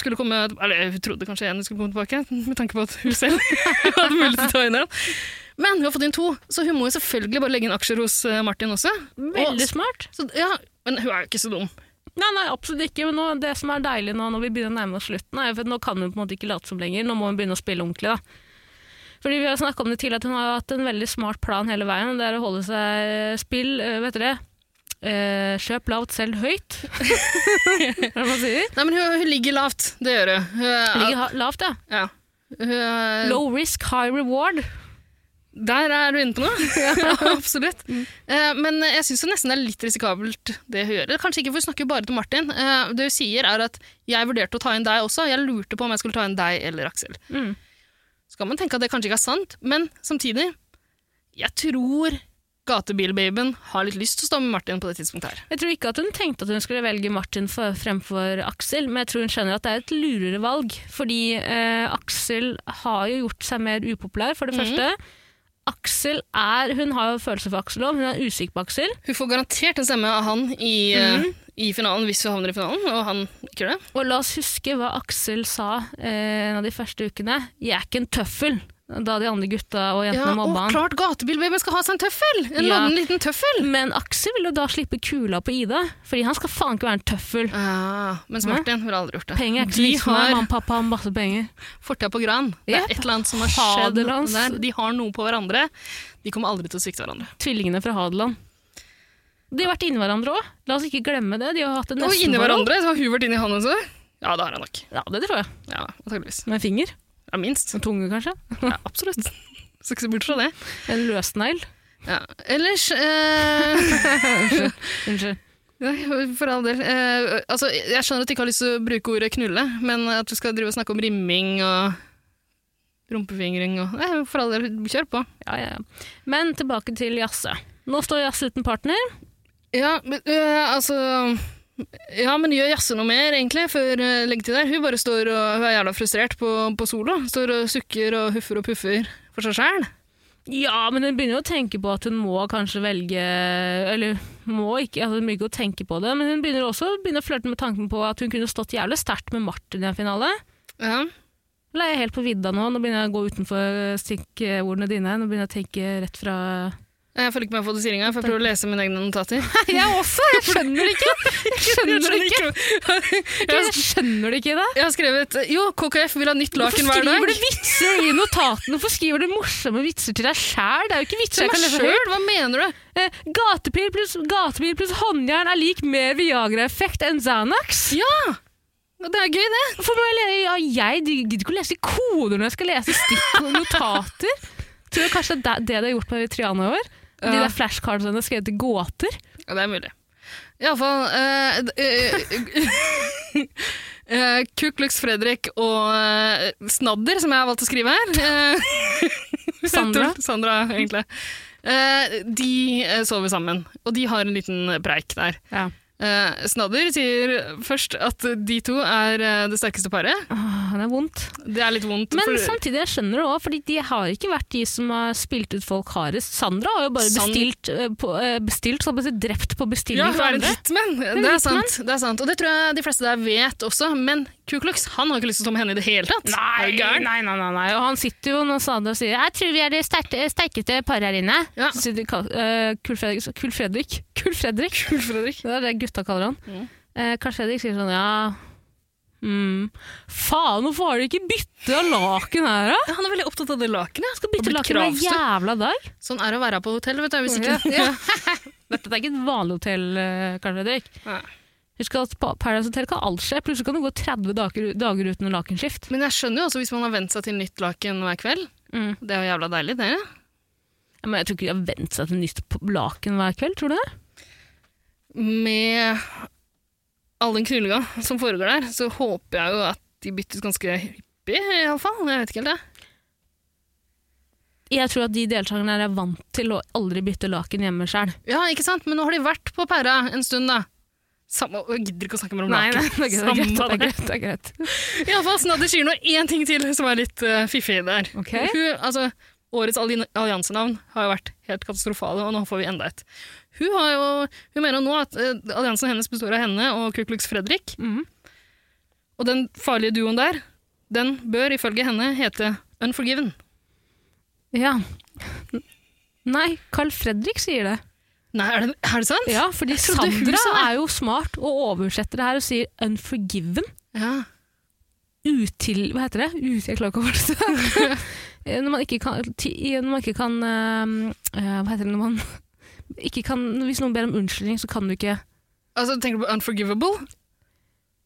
skulle komme, eller Hun trodde kanskje en skulle komme tilbake, [laughs] med tanke på at hun selv [laughs] hadde mulighet til å ta inn en. Men hun har fått inn to, så hun må jo selvfølgelig bare legge inn aksjer hos eh, Martin også. Veldig smart. Så, ja, men hun er jo ikke så dum. Nei, nei, absolutt ikke. Men nå, det som er deilig nå når vi begynner å nærme oss slutten, er jo for at nå kan hun på en måte ikke late som lenger. Nå må hun begynne å spille ordentlig, da. Fordi vi har snakket om det tidligere, at hun har jo hatt en veldig smart plan hele veien. og Det er å holde seg spill, øh, vet dere. Eh, kjøp lavt, selv høyt. [laughs] Hva er det man sier? Nei, men hun, hun ligger lavt, det gjør hun. Hun er- Ligger ha- lavt, ja. Ja. Hun er- Low risk, high reward. Der er du inne på [laughs] noe. [laughs] Ja, Absolutt. Mm. Eh, men jeg syns nesten det er litt risikabelt, det hun gjør. Kanskje ikke, for hun snakker jo bare til Martin. Eh, det hun sier, er at 'jeg vurderte å ta inn deg også'. Jeg lurte på om jeg skulle ta inn deg eller Aksel. Mm. Så kan man tenke at det kanskje ikke er sant, men samtidig Jeg tror gatebilbabyen har litt lyst til å stå med Martin på det tidspunktet her. Jeg tror ikke at hun tenkte at hun skulle velge Martin for, fremfor Aksel, men jeg tror hun skjønner at det er et lurere valg. Fordi eh, Aksel har jo gjort seg mer upopulær, Mhm. for det første. Aksel er, Hun har jo følelser for Aksel òg, hun er usikker på Aksel. Hun får garantert en stemme av han i, eh, Mhm. i finalen hvis hun havner i finalen, og han ikke gjør det. Og la oss huske hva Aksel sa eh, en av de første ukene. 'Jeg er ikke en tøffel', da de andre gutta og jentene Ja, mobba han. og klart gatebilbabyen skal ha seg en tøffel! En Ja. lodden liten tøffel! Men Aksel vil jo da slippe kula på Ida, fordi han skal faen ikke være en tøffel. Ah, mens Hæ? Martin ville aldri gjort det. Penger er ikke så de viktig for meg, har mamma og pappa har masse penger. fortida på gran. Det Ja. er et eller annet som har skjedd Faderlands. der. De har noe på hverandre. De kommer aldri til å svikte hverandre. tvillingene fra Hadeland. De har vært inni hverandre òg. La oss ikke glemme det. De har hatt det Og nesten inni forhold. hverandre? Har hun vært inni han også? Ja, det har han nok. Ja, det tror jeg. Ja, antageligvis. Med en finger. Ja, minst. En tunge, kanskje. Ja, absolutt. [laughs] Skal ikke se bort fra det. En løsnegl. Ja. Ellers eh, [laughs] Unnskyld. nei, For all del. Eh, altså, jeg skjønner at du ikke har lyst til å bruke ordet knulle, men at du skal drive og snakke om rimming og rumpefingring og Nei, for all del, kjør på. Ja, ja. ja. Men tilbake til Jasse. Nå står Jasse uten partner. Ja, men øh, altså Ja, men gjør Jasse noe mer, egentlig, før eh, leggetid der. Hun bare står og hun er jævla frustrert på, på solo. Står og sukker og huffer og puffer for seg sjæl. Ja, men hun begynner jo å tenke på at hun må kanskje velge Eller må ikke, altså hun begynner ikke å tenke på det, men hun begynner også å begynne å flørte med tanken på at hun kunne stått jævlig sterkt med Martin i en finale. Ja. Eller er jeg helt på vidda nå? Nå begynner jeg å gå utenfor stikkordene dine. Nå begynner jeg å tenke rett fra Jeg følger ikke med på fotostillinga, for jeg prøver å lese mine egne [laughs] notater. Jeg også! Jeg skjønner det ikke! Jeg skjønner det ikke! Jeg skjønner det ikke det. Jeg har skrevet Jo, KKF vil ha nytt laken hver dag. Hvorfor skriver du vitser i notatene? Hvorfor skriver du morsomme vitser til deg sjæl? Det er jo ikke vitser Til jeg meg kan lese høyt. sjøl? Hva mener du? Eh, Gatepil pluss gatepil pluss håndjern er lik mer Viagra-effekt enn Xanax. Ja! Det er gøy, det. Hvorfor må jeg, le- ja, jeg gidder ikke å lese koder når jeg skal lese stikk og notater. Tror du kanskje det er det du har gjort på Triana i år? De Ja. der flashcardsene har skrevet i gåter. Ja, det er mulig. Iallfall eh, uh, [laughs] Kuklux eh, Fredrik og eh, Snadder, som jeg har valgt å skrive her. eh, [laughs] Sandra. Sandra, egentlig. Eh, de eh, sover sammen, og de har en liten preik der. Ja. Eh, Snadder sier først at de to er eh, det sterkeste paret. Åh, det er vondt. Det er litt vondt. Men for- samtidig, jeg skjønner det òg, fordi de har ikke vært de som har spilt ut folk hardest. Sandra har jo bare San- bestilt, eh, på, eh, bestilt så å si, drept på bestilling ja, hun fra er en andre. hitman. Det er, en hitman. sant, det er sant. Og det tror jeg de fleste der vet også, men Kuklux han har ikke lyst til å stå med henne i det hele tatt. Er du gæren? nei, nei, nei, nei. Og han sitter jo når Sandra sier Jeg tror vi er det sterke- sterkeste paret her inne. Ja. Så sier de, kall- eh, Kull Fredrik Kull Fredrik. Kull Fredrik. Kul, Mm. Fredrik. Det er det gutta kaller han. Eh, Karl Fredrik sier sånn Ja, mm. faen, hvorfor har de ikke bytta laken her, da? Ja, han er veldig opptatt av det lakenet. Skal bytte blitt laken hver kravstor. jævla dag. Sånn er det å være på hotell, vet du. Hvis ikke Ja. Dette er ikke et vanlig hotell, eh, Karl Fredrik. Nei. Husk at på Paradise Hotel kan alt skje. Plutselig kan det gå 30 dager, dager uten lakenskift. Men jeg skjønner jo også hvis man har vent seg til nytt laken hver kveld. Mm. Det er jo jævla deilig, det. Ja, Men jeg tror ikke de har vent seg til nytt p- laken hver kveld, tror du det? Med all den knullinga som foregår der, så håper jeg jo at de byttes ganske hyppig, iallfall. Jeg vet ikke helt, det. Jeg tror at de deltakerne her er vant til å aldri bytte laken hjemme sjøl. Ja, ikke sant? Men nå har de vært på pæra en stund, da. Samme, jeg gidder ikke å snakke mer om laken. [laughs] det er greit. Det er greit, det er greit. Iallfall Snadder sier nå én ting til som er litt eh, fiffig der. Ok. Hun, altså, årets allin- alliansenavn har jo vært helt katastrofale, og nå får vi enda et. Hun, har jo, hun mener jo nå at eh, alliansen hennes består av henne og Kuklux Fredrik. Mhm. Og den farlige duoen der, den bør ifølge henne hete Unforgiven. Ja. Nei, Carl Fredrik sier det. Nei, er det, er det sant? Ja, fordi Jeg trodde hun Sandra sa det. er jo smart og oversetter det her og sier 'unforgiven'. Ja. Util... Hva heter det? Ut, jeg klarer ikke å [laughs] oversette. Eh, når man ikke kan, ti, når man ikke kan eh, eh, Hva heter det når man [laughs] ikke kan, Hvis noen ber om unnskyldning, så kan du ikke Altså, tenker du på Unforgivable? [laughs]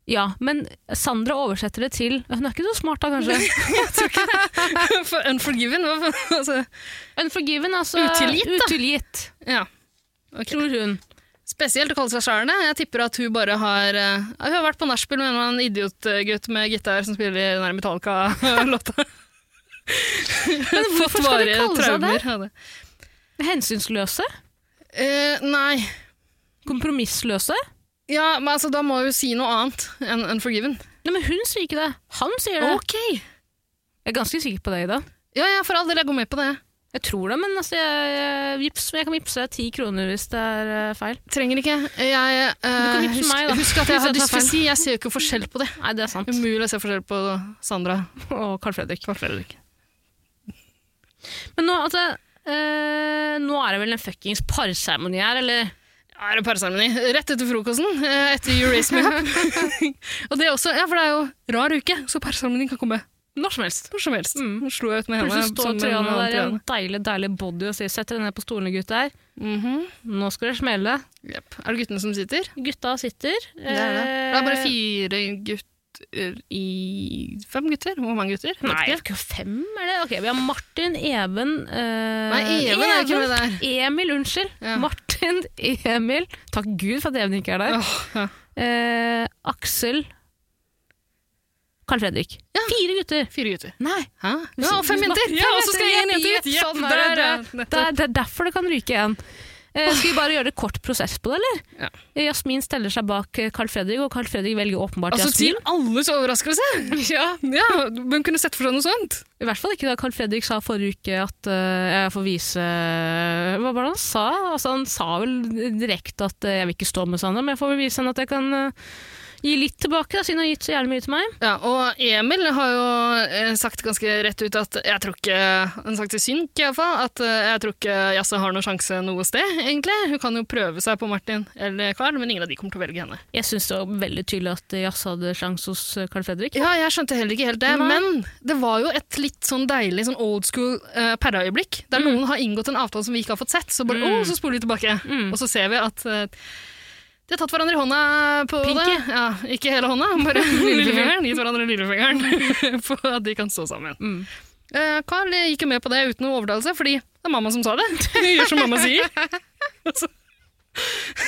Ja, men Sandra oversetter det til Hun er ikke så smart da, [laughs] kanskje. For Unforgiven? Hva, for- altså, Unforgiven, altså. Utilgitt, da. Utilgitt, ja. tror hun. Spesielt å kalle seg sjæl det. Jeg tipper at hun bare har eh, Hun har vært på nachspiel med en eller annen idiotgutt med gitar som spiller den der Metallica-låta. [laughs] Men hvorfor skal de kalle seg det? av det? Hensynsløse. Eh, nei. Kompromissløse. Ja, men altså, da må hun si noe annet enn Unforgiven. Nei, men hun sier ikke det. Han sier det. Jeg er ganske sikker på det, Ida. Ja, ja, for all del, jeg går med på det. Jeg tror det, men altså, jeg, jeg, vips, jeg kan vippse deg ti kroner hvis det er eh, feil. Trenger ikke. Jeg eh, kan vippse husk, meg, da. husk at jeg Hvis jeg tar har feil. dysfesi. Jeg ser jo ikke forskjell på det. Nei, det er sant. Umulig å se forskjell på Sandra. Og Carl Fredrik. Men nå, altså, eh, nå er det vel en fuckings parseremoni her, eller? Ja, det er parseremoni. Rett etter frokosten, eh, etter You Raise Me Up. [laughs] og det er også, ja, for det er jo rar uke, så parseremoni kan komme Når som helst. når som helst. Mm. Nå slo jeg ut med henne. Plutselig står som en Triana annen der i en Triana. deilig, deilig body og sier sett dere ned på stolene, gutter. Mhm. Nå skal det smelle. Jep. Er det guttene som sitter? Gutta sitter. Eh, Det er det. Det er bare fire gutter i Fem gutter? Hvor mange gutter? Jeg vet Nei, ikke. ikke fem er det? Ok, vi har Martin, Even eh, Nei, Even er jo ikke med der. Emil, unnskyld. Ja. Martin, Emil Takk Gud for at Even ikke er der. Åh, ja. Eh, Aksel Carl Fredrik. Ja. Fire gutter! Fire gutter. Nei. Hæ? Ja, og fem Fem jenter! Ja, og så skal jenter. én jente Jepp, ut! jepp, Jepp, sånn der, er ja. Det er, det er derfor det kan ryke en. Eh, skal vi bare gjøre det kort prosess på det, eller? Ja. Eh, Jasmin steller seg bak eh, Carl Fredrik, og Carl Fredrik velger åpenbart Altså Jasmin. til alles [laughs] overraskelse! Ja, ja Hun kunne sett for seg noe sånt. I hvert fall ikke da Carl Fredrik sa forrige uke at eh, jeg får vise eh, Hva var det han sa? Altså, han sa vel direkte at eh, jeg vil ikke stå med Sandra, men jeg får vel vise henne at jeg kan eh, gi litt tilbake, da, siden hun har gitt så jævlig mye til meg. Ja, Og Emil har jo eh, sagt ganske rett ut at jeg tror ikke Han har sagt til Synk iallfall at eh, jeg tror ikke Jazze har noen sjanse noe sted, egentlig. Hun kan jo prøve seg på Martin eller Carl, men ingen av de kommer til å velge henne. Jeg syns det var veldig tydelig at eh, Jazz hadde sjanse hos eh, Carl Fredrik. Ja, jeg skjønte heller ikke helt det, Nei. men det var jo et litt sånn deilig sånn old school uh, perreøyeblikk, der noen har inngått en avtale som vi ikke har fått sett, så bare, Mm. «Å, så spoler vi tilbake. Mm. Og så ser vi at eh, de har tatt hverandre i hånda på Pinky. det. Ja, ikke hele hånda, [laughs] bare lillefingeren. Gitt hverandre lillefingeren [laughs] på at de kan stå sammen. Mm. Eh, Carl gikk jo med på det uten noe overdrivelse, fordi det er mamma som sa det. [laughs] Hun gjør som mamma [laughs] sier. Altså, [laughs]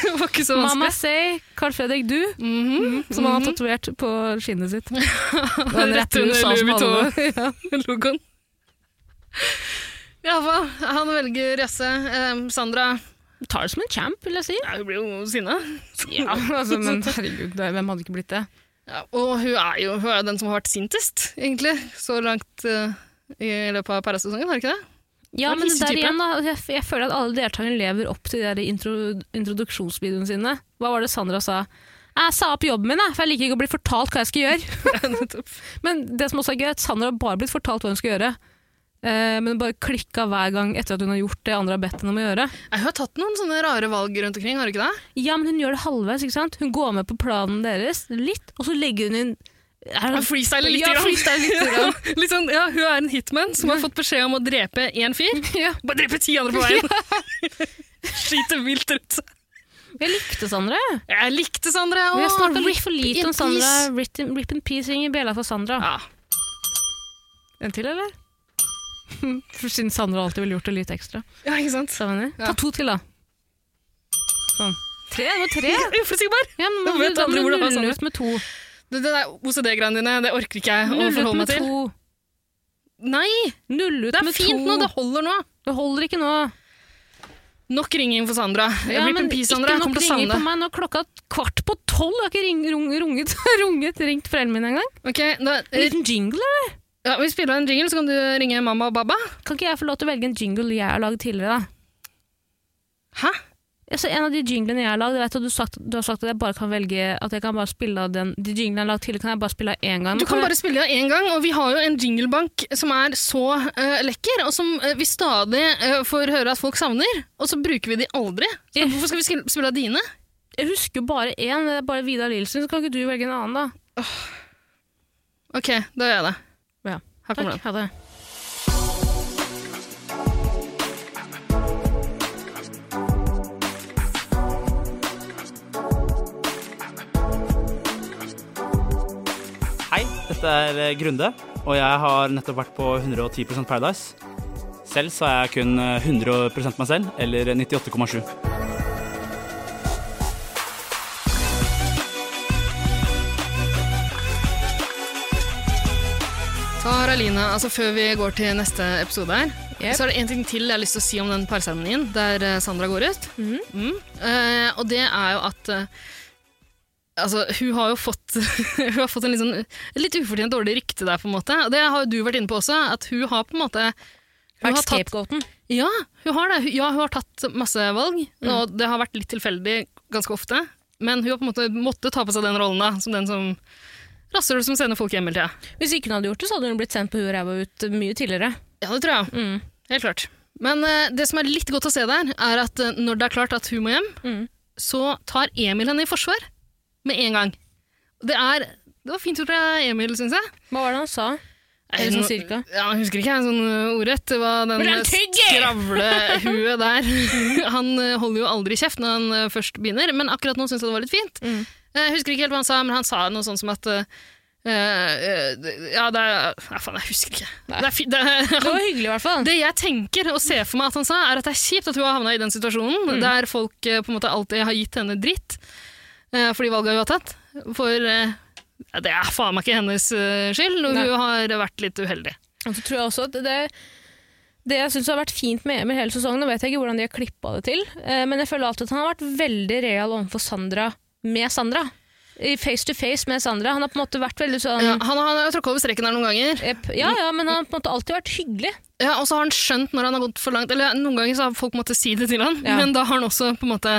det var ikke så vanskelig. Mamma say, Carl Fredrik du, Mhm, som han har mhm. tatovert på skinnet [laughs] sitt. Den rett under Louis Vuitton. ja. logoen. Iallfall, han velger Jasse. Eh, Sandra Tar det som en champ, vil jeg si. ja, hun blir jo sinna. Ja, altså, men herregud, det- hvem hadde ikke blitt det? Ja, og hun er, jo, hun er jo den som har vært sintest, egentlig, så langt eh, i løpet av parasesongen, har hun ikke det? Ja, Det var men det der hissetype. igjen da, jeg, jeg føler at alle deltakerne lever opp til de der intro, introduksjonsvideoene sine. Hva var det Sandra sa? Jeg sa opp jobben min, jeg, for jeg liker ikke å bli fortalt hva jeg skal [laughs] gjøre. Nettopp. Men det som også er gøy, er at Sandra har bare blitt fortalt hva hun skal gjøre. Eh, men bare klikka hver gang etter at hun har gjort det andre har bedt henne om å gjøre. Nei, hun har tatt noen sånne rare valg rundt omkring, har hun ikke det? Ja, men hun gjør det halvveis, ikke sant? Hun går med på planen deres litt, og så legger hun inn er Hun freestyler litt. Ja, grann. freestyler litt [laughs] grann. litt sånn, ja, hun er en hitman som har fått beskjed om å drepe én fyr. Ja. Bare drepe ti andre på veien! [laughs] Skyter vilt rundt seg. Jeg likte Sandra. jeg. Jeg likte Sandra. Vi har og snakka rip litt for lite in om Sandra. peace. Rip in, rip in peace ringer bjella for Sandra. Ja. En til, eller? [laughs] For Siden Sandra alltid ville gjort det litt ekstra. ja, ikke sant? Så mener jeg. Ta Ja. to til, da. Sånn. Tre? Det var [laughs] tre. Uforutsigbar. Ja, men Da da må vet du- da andre må hvor du det var nulle ut med to. Det, det der OCD-greiene dine, det orker ikke jeg å Nulle ut forholde med meg til. to. Nei, Nulle ut det er med fint to. nå, det holder nå. Det holder ikke nå. Nok ringing for Sandra. Ja, Rip men in peace, Sandra. Jeg Ikke kommer nok til å ringer savne på meg nå klokka kvart på tolv. Jeg har ikke ring, rung, runget, [laughs] runget, ringt foreldrene mine engang. det. Ok, da, En liten jingle, eller? ja, Vi spiller av en jingle, så kan du ringe mamma og baba. Kan ikke jeg få lov til å velge en jingle jeg har lagd tidligere, da? Hæ? Altså, en av de jinglene jeg har lagd, jeg vet at du, sagt, du har sagt at jeg bare kan velge at jeg kan bare spille av den, de jinglene jeg har lagd tidligere, kan jeg bare spille av én gang. Du kan bare spille av én gang, og vi har jo en jinglebank som er så eh, lekker, og som eh, vi stadig eh, får høre at folk savner, og så bruker vi de aldri. Så hvorfor skal vi skil- spille av dine? Jeg husker jo bare én, det er bare Vidar Lielsen, så kan ikke du velge en annen, da? Ok, da gjør jeg det. Ja. Her Takk. kommer den. Ha det. Hei, dette er eh, Grunde, og jeg har nettopp vært på 110 Paradise. Selv så er jeg kun eh, 100 meg selv, eller 98,7. Så har Alina, altså Før vi går til neste episode, her, Yep. så er det en ting til jeg har lyst til å si om den parseremonien der eh, Sandra går ut. Mm. Eh, og det er jo at eh, Altså, hun har jo fått, [laughs] hun har fått en litt, sånn, litt ufortjent dårlig rykte der, på en måte. Og det har jo du vært inne på også, at hun har på en måte hun har, tatt, scapegoaten. ja, hun har det. Hun- Ja, hun har tatt masse valg, og det har vært litt tilfeldig ganske ofte. Men hun har på en måte måttet ta på seg den rollen da, som den som rasshøl som sender folk hjem hele tida. Hvis ikke hun hadde gjort det, så hadde hun blitt sendt på huet og ræva ut mye tidligere. Ja, det tror jeg. Mm. Helt klart. Men eh, det som er litt godt å se der, er at eh, når det er klart at hun må hjem, Mm. så tar Emil henne i forsvar med en gang. Det er Det var fint gjort av Emil, syns jeg. Hva var det han sa? Eller sånn cirka. Ja, jeg husker ikke jeg sånn eh, ordrett. Det var den Men han eh, tygger! [laughs] skravlehuet der. [laughs] han eh, holder jo aldri kjeft når han eh, først begynner, men akkurat nå syns jeg det var litt fint. Mm. Jeg husker ikke helt hva han sa, men han sa noe sånn som at eh, eh, ja, det er Ja, faen, jeg husker ikke. Det er, fi- det er, Det var hyggelig, i hvert fall. det jeg tenker og ser for meg at han sa, er at det er kjipt at hun har havna i den situasjonen, der folk eh, på en måte alltid har gitt henne dritt eh, for de valga hun har tatt. For eh, det er faen meg ikke hennes eh, skyld, og Nei. hun har vært litt uheldig. Og så tror jeg også at det, Det jeg syns har vært fint med Emil hele sesongen, nå vet jeg ikke hvordan de har klippa det til, eh, men jeg føler alltid at han har vært veldig real overfor Sandra med Sandra. I face to face med Sandra. Han har på en måte vært veldig sånn Ja, Mm. han, han har tråkka over streken her noen ganger. Jep. Ja, ja, men han har på en måte alltid vært hyggelig. Ja, og så har han skjønt når han har gått for langt. Eller noen ganger så har folk måttet si det til han, Ja. men da har han også på en måte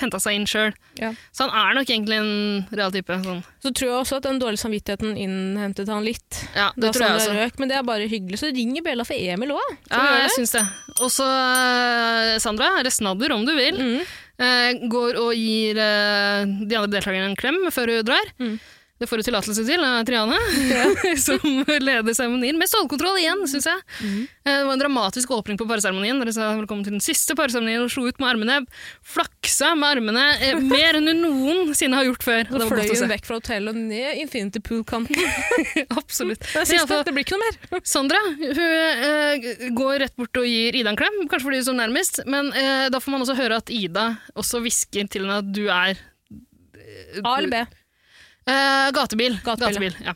henta seg inn sjøl. Ja. Så han er nok egentlig en real type. Sånn. Så tror jeg også at den dårlige samvittigheten innhentet han litt. Ja, Da det tror jeg Sandra også. Røk, men det er bare hyggelig. Så ringer Bella for Emil òg. Ja, jeg syns det. Og så, eh, Sandra, resnadder om du vil, Mm. eh, går og gir eh, de andre deltakerne en klem før hun drar. Mm. Det får hun tillatelse til av Triane, [laughs] som leder seremonien. Med stålkontroll igjen, syns jeg. Mm. Eh, Det var en dramatisk åpning på parseremonien. Dere sa velkommen til den siste parseremonien og slo ut med armene. Flaksa med armene eh, mer enn hun noensinne har gjort før. Og Så det var fløy godt å hun se. vekk fra hotellet og ned Infinity Pool-kanten. [laughs] Absolutt. Det, er Men i siste, alle fall, det blir ikke noe mer. Sandra hun eh, går rett bort og gir Ida en klem, kanskje fordi hun står nærmest. Men eh, da får man også høre at Ida også hvisker til henne at du er A eller B. Eh, gatebil. Gatebil. Gatebil, ja.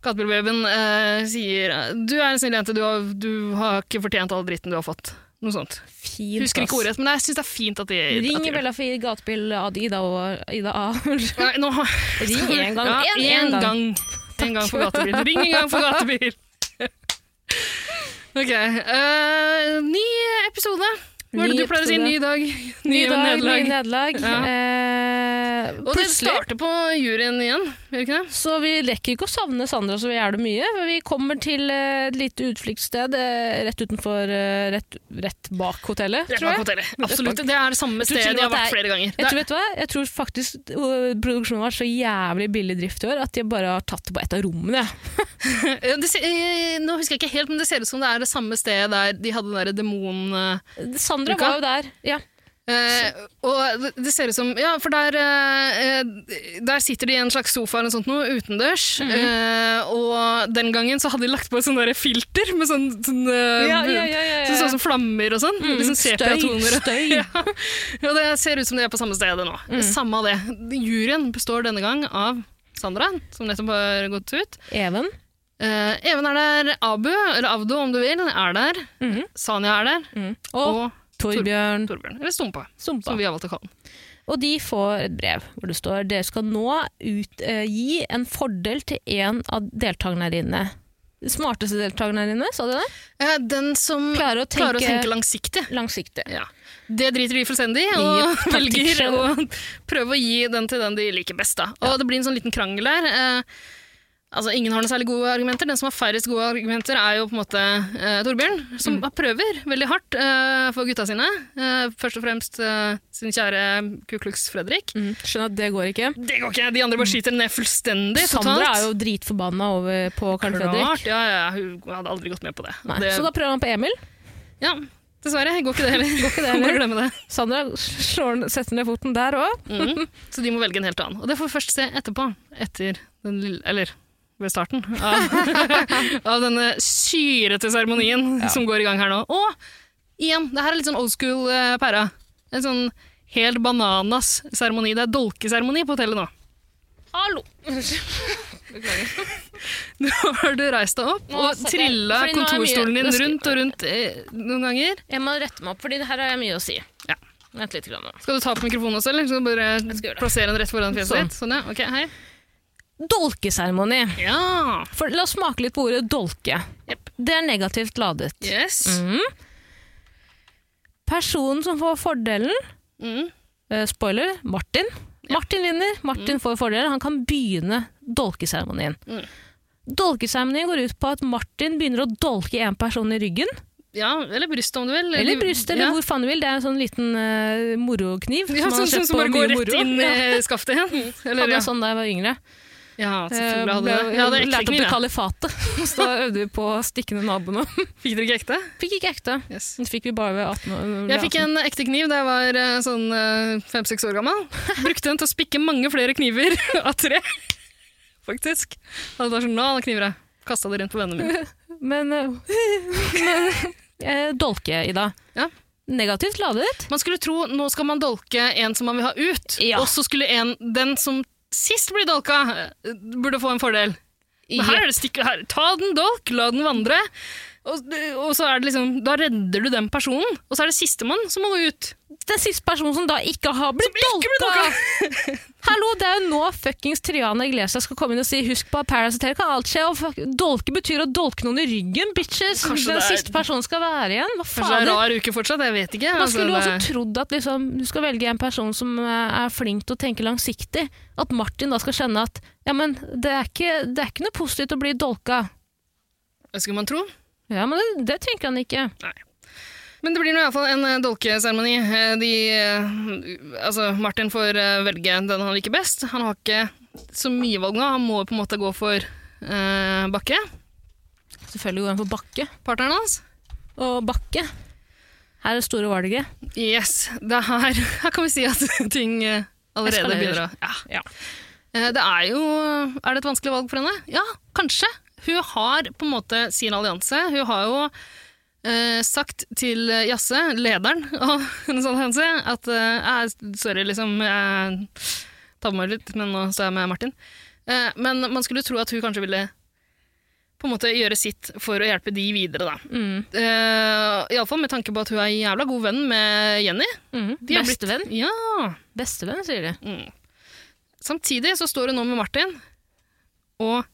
Gatebilbabyen eh, sier du er en snill jente, du har, du har ikke fortjent all dritten du har fått. Noe sånt. Fint, Husker ikke ass. ordrett, men jeg syns det er fint at de at de Ring gjør det. Bella for gatebil Ad Ida og Ida A. [laughs] Nei, nå har... Ring en gang. [laughs] Ja, En, en en gang. gang. [laughs] En gang for gatebil. Ring en gang for gatebil. Ok. eh, ny episode. Hva er det Ny du pleier å si? episode. Ny dag. Ny Nye dag, ny nederlag. nederlag. Ja. Eh, Og det plutselig starter på juryen igjen, gjør det ikke det? så vi rekker ikke å savne Sandra så jævlig mye. for Vi kommer til eh, et lite utfluktssted eh, rett utenfor eh, rett, rett bak hotellet, Rett tror bak jeg. hotellet. Absolutt. Det er det samme Jeg tror til stedet og jeg med at har vært det flere ganger. Jeg Det tror, vet du hva? jeg tror faktisk øh, produksjonen var så jævlig billig drift i år at de bare har tatt det på et av rommene. er- det ser- eh, nå husker jeg ikke helt, men det ser ut som det er det samme stedet der de hadde den derre demon... eh, Sandra Luka? var jo der. Ja. Eh, og det- det ser ut som Ja, for der, eh, eh, der sitter de i en slags sofa eller noe sånt noe, utendørs. Mhm. eh, og den gangen så hadde de lagt på et sånt der filter med sånn, sånn, eh, Ja, ja, ja, ja, ja. sånn, sånn som flammer og sånn. Mm, liksom sepia-toner. støy. [laughs] ja. Og det ser ut som de er på samme sted nå. Mm. Samme av det. Juryen består denne gang av Sandra, som nettopp har gått ut. Even. Eh, Even er der. Abu, eller Avdo om du vil, er der. Mhm. Sanja er der. Mm. Og, Og Torbjørn Torbjørn. Eller Stumpa, som Sumpa. vi har valgt å kalle den. Og de får et brev hvor det står dere skal nå ut, eh, gi en fordel til en av deltakerne her inne. De smarteste deltakerne her inne, sa de det? Eh, Den som Klarer å klarer å tenke tenke langsiktig. langsiktig. Ja. Det driter de fullstendig Yep, i, og taktikk [laughs] velger selv. å prøve å gi den til den de liker best. Da. Og det blir en sånn liten krangel der. Eh, altså, ingen har noe særlig gode argumenter. Den som har færrest gode argumenter, er jo på en måte eh, Torbjørn, som Mm. prøver veldig hardt eh, for gutta sine. Eh, først og fremst eh, sin kjære Ku Klux Fredrik. Mm. Skjønner at det går ikke. Det går ikke! De andre bare skyter den ned fullstendig. Sandra totalt. er jo dritforbanna over på Carl Klart, Fredrik. ja, ja, hun hadde aldri gått med på det. Nei. det Så da prøver han på Emil. ja, dessverre. Går ikke det heller. Går [laughs] det heller. glemme det. Sandra slår, setter ned foten der òg. Mhm. [laughs] Så de må velge en helt annen. Og det får vi først se etterpå. Etter den lille Eller ved starten av, [laughs] av denne syrete seremonien som går i gang her nå. Og igjen, det her er litt sånn old school eh, pæra. En sånn helt bananas seremoni. Det er dolkeseremoni på hotellet nå. [laughs] Hallo! Nå har du reist deg opp Nå og satt jeg- fordi nå trilla er mye- kontorstolen din nå skal- rundt og rundt eh, noen ganger. Jeg må rette meg opp, for her har jeg mye å si. Ja. Vent litt. Grann. Skal du ta på mikrofonen også, eller skal du skal gjøre bare det. plassere den rett foran fjeset Sånn. ditt? Sånn, ja. Ok, hei. Dolkeseremoni. Ja. For, la oss smake litt på ordet dolke. Jep. Det er negativt ladet. Yes. Mhm. Personen som får fordelen Mm. eh, Spoiler Martin. Martin vinner, Martin får fordelen. Han kan begynne dolkeseremonien. Mm. Dolkeseremonien går ut på at Martin begynner å dolke en person i ryggen. Ja, eller brystet om du vil. Eller brystet, eller ja. hvor faen du vil. Det er en sånn liten eh, morokniv. Ja, man har sånn, sånn sett som på bare går mye rett moro. inn i skaftet igjen. Jeg [laughs] Eller, hadde ja. en sånn da jeg var yngre. ja, selvfølgelig Eh, hadde ble- det. Jeg hadde lærte ekte opp til kniv. [laughs] kalifatet, så da øvde vi på å stikke ned naboene. [laughs] jeg. Fikk dere ikke ekte? Fikk ikke ekte. Yes. Det fikk vi bare ved 18 år. Jeg fikk en ekte kniv da jeg var eh, sånn fem-seks år gammel. [laughs] Brukte den til å spikke mange flere kniver [laughs] av tre, faktisk. Hadde bare sånn, nå alle kniver jeg. Kasta det rundt på vennene [laughs] mine. Men, eh, men eh, dolke, Ida. Ja. Negativt ladet. Man skulle tro nå skal man dolke en som man vil ha ut, Ja. og så skulle en, den som sist blir dolka, eh, burde få en fordel. Men her er det stikk, her, ta den dolk, la den vandre, Og, og så er det liksom, da redder du den personen, og så er det sistemann som må gå ut. Den siste personen som da ikke har blitt dolka! [laughs] [laughs] Hallo, det er jo nå fuckings Triana Iglesias skal komme inn og si 'husk på at Paradise Hotel kan alt skje', og fuck, dolke betyr å dolke noen i ryggen, bitches! Kanskje den det er- siste personen skal være igjen. Hva Kanskje det er faen? en rar uke fortsatt, jeg vet ikke. Man Altså, skulle jo det- også trodd at liksom, du skal velge en person som eh, er flink til å tenke langsiktig. At Martin da skal skjønne at ja, men det er ikke, det er ikke noe positivt å bli dolka. det skulle man tro. Ja, men det, det tenker han ikke. Men det blir nå i hvert fall en eh, dolkeseremoni. Eh, De, eh, altså, Martin får eh, velge den han liker best. Han har ikke så mye valg nå. Han må på en måte gå for eh, Bakke, Selvfølgelig går han for Bakke. partneren hans. Og Bakke Her er det store valget. Yes, det er her, [laughs] her kan vi si at [laughs] ting eh, allerede Eskalerer. begynner å ja. Eh, Det er jo Er det et vanskelig valg for henne? Ja, kanskje. Hun har på en måte sin allianse. Hun har jo eh, sagt til eh, Jasse, lederen [laughs] av hennes allianse, at eh, «Jeg- sorry, liksom Jeg tar på meg litt, men nå står jeg med Martin. Eh, men man skulle tro at hun kanskje ville på en måte gjøre sitt for å hjelpe de videre, da. Mm. Uh, Iallfall med tanke på at hun er en jævla god venn med Jenny. Mm. De har blitt- Bestevenn. Ja. Bestevenn, sier de. Samtidig så står hun nå med Martin, og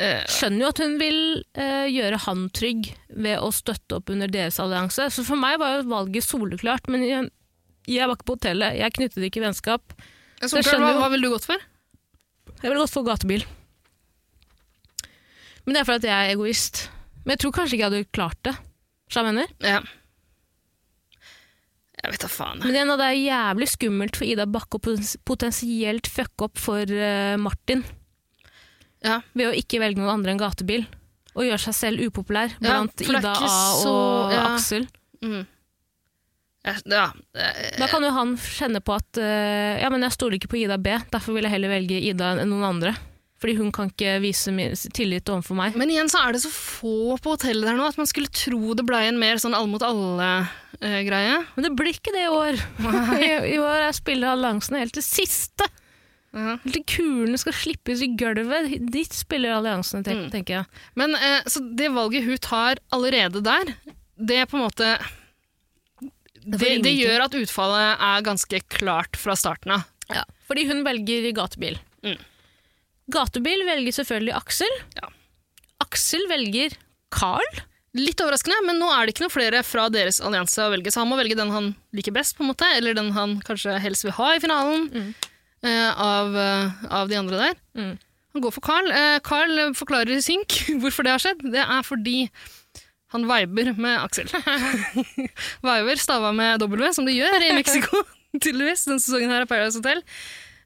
eh, Skjønner jo at hun vil eh, gjøre han trygg ved å støtte opp under deres allianse. Så for meg var jo valget soleklart, men jeg, jeg var ikke på hotellet. Jeg knyttet ikke vennskap. Solklar, skjønner hva, jo- hva ville du gått for? Jeg ville gått for gatebil. Men det er fordi at jeg er egoist. Men jeg tror kanskje ikke jeg hadde klart det. skjønner du hva jeg mener? Ja. Jeg vet da faen. Men igjen, da, det er jævlig skummelt for Ida Bakke å potens- potensielt fucke opp for eh, Martin Ja. ved å ikke velge noen andre enn gatebil. Og gjøre seg selv upopulær Ja, blant for det er Ida ikke A så- og ja. Aksel. Jeg, ja. eh, Da kan jo han kjenne på at eh, ja, men jeg stoler ikke på Ida B, derfor vil jeg heller velge Ida enn noen andre. Fordi hun kan ikke vise mi- tillit overfor meg. Men igjen så er det så få på hotellet der nå at man skulle tro det blei en mer sånn alle eh, mot alle-greie. Men det blir ikke det i år. [laughs] I, I år er spillealliansen helt til siste. Ja. Helt til kulene skal slippes i gulvet. Dit spiller alliansene, tenk, Mm. tenker jeg. Men eh, så det valget hun tar allerede der, det er på en måte det, det ingenting. gjør at utfallet er ganske klart fra starten av. Ja, fordi hun velger gatebil. Mm. Gatebil velger selvfølgelig Aksel. Ja. Aksel velger Carl. Litt overraskende, men nå er det ikke noen flere fra deres allianse å velge, så han må velge den han liker best, på en måte, eller den han kanskje helst vil ha i finalen eh, av, eh, av de andre der. Mm. Han går for Carl. Eh, Carl forklarer i synk [laughs] hvorfor det har skjedd. Det er fordi han viber med Aksel. viber stava med W, som de gjør i Mexico, [laughs] tydeligvis, denne sesongen her av Paradise Hotel.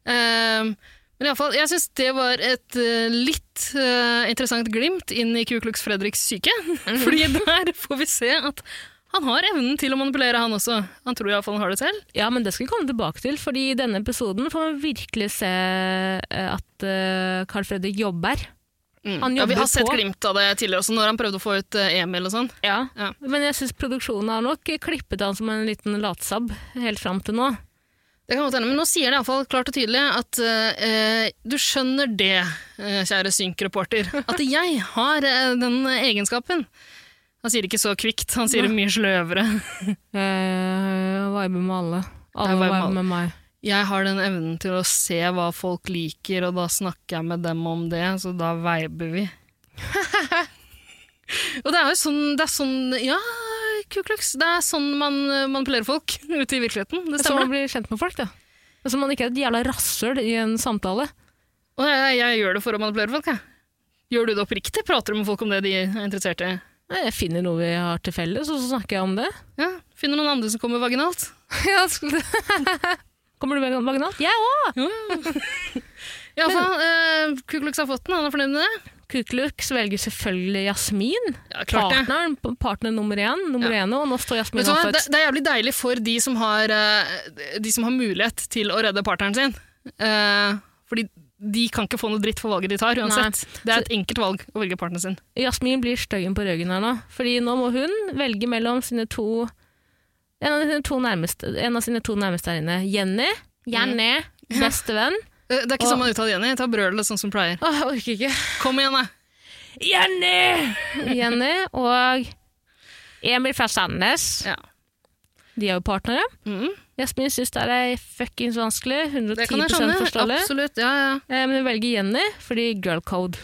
Um, men i alle fall, jeg syns det var et eh, litt eh, interessant glimt inn i Ku Klux Fredriks syke. [laughs] Fordi der får vi se at han har evnen til å manipulere, han også. Han tror iallfall han har det selv. Ja, men det skal vi komme tilbake til, fordi i denne episoden får man virkelig se eh, at eh, Carl Fredrik jobber. Han ja, vi har jobber sett på. glimt av det tidligere også, når han prøvde å få ut eh, Emil og sånn. Ja. Ja. Men jeg syns produksjonen har nok klippet han som en liten latsabb helt fram til nå. Det kan godt hende, Men nå sier det iallfall klart og tydelig at eh, du skjønner det, eh, kjære synkreporter, at jeg har eh, den egenskapen. Han sier det ikke så kvikt, han sier det mye sløvere. Jeg Eh, viber med alle. Alle Jeg viber med viber alle. med meg. jeg har den evnen til å se hva folk liker, og da snakker jeg med dem om det, så da veiber vi. [laughs] og det er jo sånn, det er sånn ja, kuklux, det er sånn man eh, manipulerer folk [laughs] ute i virkeligheten, det Så man sånn. stemmer det. blir kjent med folk, da. Og Så man ikke er et jævla rasshøl i en samtale. Og jeg, jeg gjør det for å manipulere folk, jeg. Gjør du det oppriktig? Prater du med folk om det de er interessert i? Nei, Jeg finner noe vi har til felles, og så snakker jeg om det. Ja, finner noen andre som kommer vaginalt? [laughs] Ja, skulle- Kommer du med vaginalt? Jeg òg! Iallfall, eh, Kuklux har fått den, han er fornøyd med det? Kuklux velger selvfølgelig Jasmin. Ja, Partneren, p- partner nummer én, nummer én, og nå står Jasmin Vet du hva? overfor Det, et det er jævlig deilig for de som har, eh, de som har mulighet til å redde partneren sin. Eh, fordi de kan ikke få noe dritt for valget de tar, uansett. Det er et enkelt valg å velge partneren sin. Jasmin blir støyen på ryggen her nå, fordi nå må hun velge mellom sine to en av sine to nærmeste, en av sine to nærmeste her inne. Jenny. Jenny. Bestevenn. Eh, det er ikke Og- sånn man uttaler Jenny. Ta brølet sånn som pleier. Åh, jeg orker ikke. Kom igjen, da! Jenny! Jenny og Emil fra Sandnes. Ja. De er jo partnere. Mm. Jasmin syns det er fuckings vanskelig. Det 110 kan jeg skjønne. forståelig. Absolutt. Ja, ja. Eh, Men hun velger Jenny fordi girl code.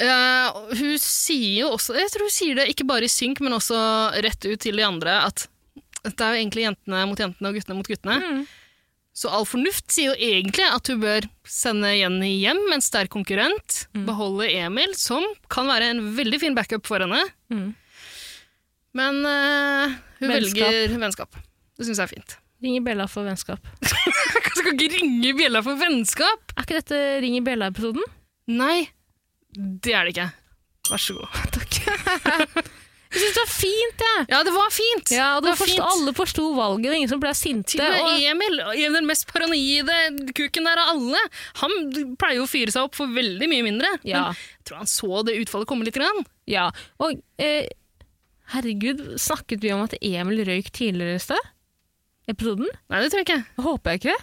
Eh, hun sier jo også Jeg tror hun sier det ikke bare i synk, men også rett ut til de andre, at det er jo egentlig jentene mot jentene og guttene mot guttene. Mm. Så all fornuft sier jo egentlig at hun bør sende Jenny hjem med en sterk konkurrent, beholde Emil, som kan være en veldig fin backup for henne, Mm. men eh, hun Vennskap. velger vennskap. Det syns jeg er [laughs] fint. Ringer Bella for vennskap. Jeg skal ikke ringe bjella for vennskap! Er ikke dette Ringer Bella-episoden? Nei, det er det ikke. Vær så god. [laughs] Takk. Jeg syns det var fint, jeg! Ja, det var fint! Ja, og det var forst, fint. Alle forsto valget, og ingen som ble Til sinte. og Og med Emil, Emil, den mest paranoide kuken der av alle, han pleier jo å fyre seg opp for veldig mye mindre. Ja. Men jeg tror han så det utfallet komme litt. Grann. Ja, og eh, herregud, snakket vi om at Emil røyk tidligere i sted? Episoden? Nei, det tror jeg ikke. Håper jeg ikke.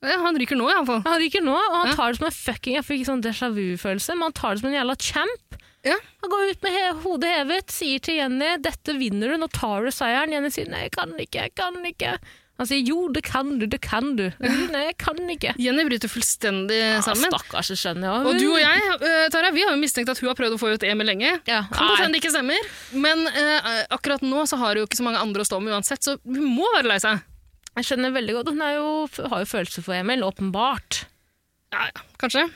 Ja, han ryker nå, iallfall. Han ryker nå, og han Ja. tar det som en fucking Jeg fikk sånn déjà vu-følelse, men han tar det som en jævla champ. Ja. Han går ut med he hodet hevet, sier til Jenny 'dette vinner du, nå tar du seieren'. Jenny sier 'nei, jeg kan ikke, jeg kan ikke'. Han sier 'jo, det kan du, det kan du'. Hun sier, 'Nei, jeg kan ikke'. Jenny bryter fullstendig sammen. stakkars, det skjønner jeg. Og hun- du og jeg eh, Tara, vi har jo mistenkt at hun har prøvd å få ut Emil lenge. ja, Kan godt nei. hende det ikke stemmer, men eh, akkurat nå så har hun jo ikke så mange andre å stå med uansett, så hun må være lei seg. Jeg skjønner veldig godt. Hun er jo, har jo følelser for Emil, åpenbart. Ja, ja, kanskje.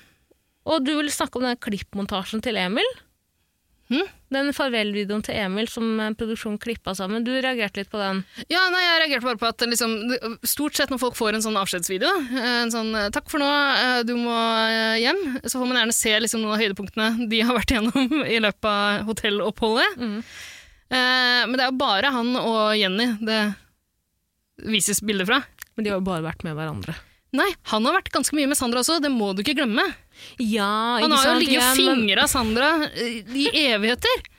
Og du vil snakke om den klippmontasjen til Emil? Hm? Den farvelvideoen til Emil som eh, produksjonen klippa sammen. Du reagerte litt på den. Ja, nei, jeg reagerte bare på at liksom, det- stort sett når folk får en sånn avskjedsvideo, en sånn 'takk for nå, eh, du må eh, hjem', så får man gjerne se liksom, noen av høydepunktene de har vært igjennom [laughs] i løpet av hotelloppholdet. Mm. Eh, men det er jo bare han og Jenny det vises bilder fra. Men de har jo bare vært med hverandre. Nei, han har vært ganske mye med Sandra også, det må du ikke glemme. Ja, Han har jo ligget igjen, og men- fingra Sandra eh, i evigheter.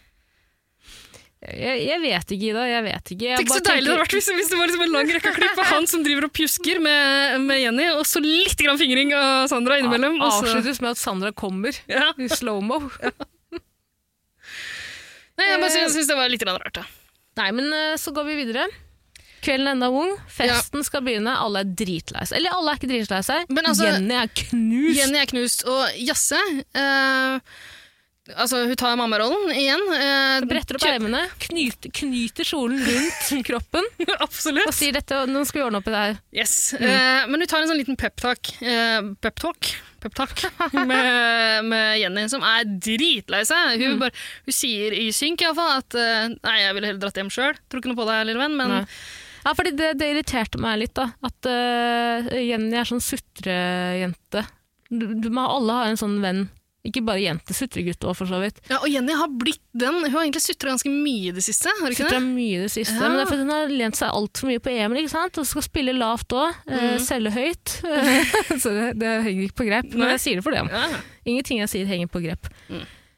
Jeg, jeg vet ikke, Ida. Jeg vet ikke. Jeg Tenk så bare deilig det hadde tenker- vært hvis, hvis det var liksom en lang rekke klipp av han som driver og pjusker med, med Jenny, og så litt grann fingring av Sandra innimellom. og så- Avsluttes med at Sandra kommer altså. [laughs] Ja. i slow-mo. Nei, jeg bare synes, synes det var litt grann rart. Da. Nei, men eh, så går vi videre. Kvelden er enda ung, festen skal begynne, alle er dritlei seg. Eller alle er ikke dritlei seg. Men altså- Jenny er knust. Jenny er knust, og Jasse eh, Altså, hun tar mammarollen igjen. eh, Bretter opp kjø- ermene, knyter, knyter kjolen rundt kroppen og [laughs] Absolutt. sier dette, nå skal vi ordne opp i det her. Yes. Eh, men hun tar en sånn liten peptalk eh, pep talk, pep talk [laughs] med, med Jenny, som er dritlei seg. Hun, bare, hun sier i synk iallfall at eh, Nei, jeg ville heller dratt hjem sjøl. Tror ikke noe på deg, lille venn, men Nei. Ja, fordi det, det irriterte meg litt, da. At eh, Jenny er sånn sutrejente. Du, du, må- alle har en sånn venn. Ikke bare jente, sutregutt òg, for så vidt. Ja, og Jenny har blitt den. Hun har egentlig sutra ganske mye i det siste. har hun ikke Sutra det? mye i det siste. Ja. Men det er fordi hun har lent seg altfor mye på Emil, ikke sant? og skal spille lavt òg. selge høyt. Mm. [laughs] så det, det henger ikke på greip. Men Nei. jeg sier det for det. Ja. Ingenting jeg sier henger på grep.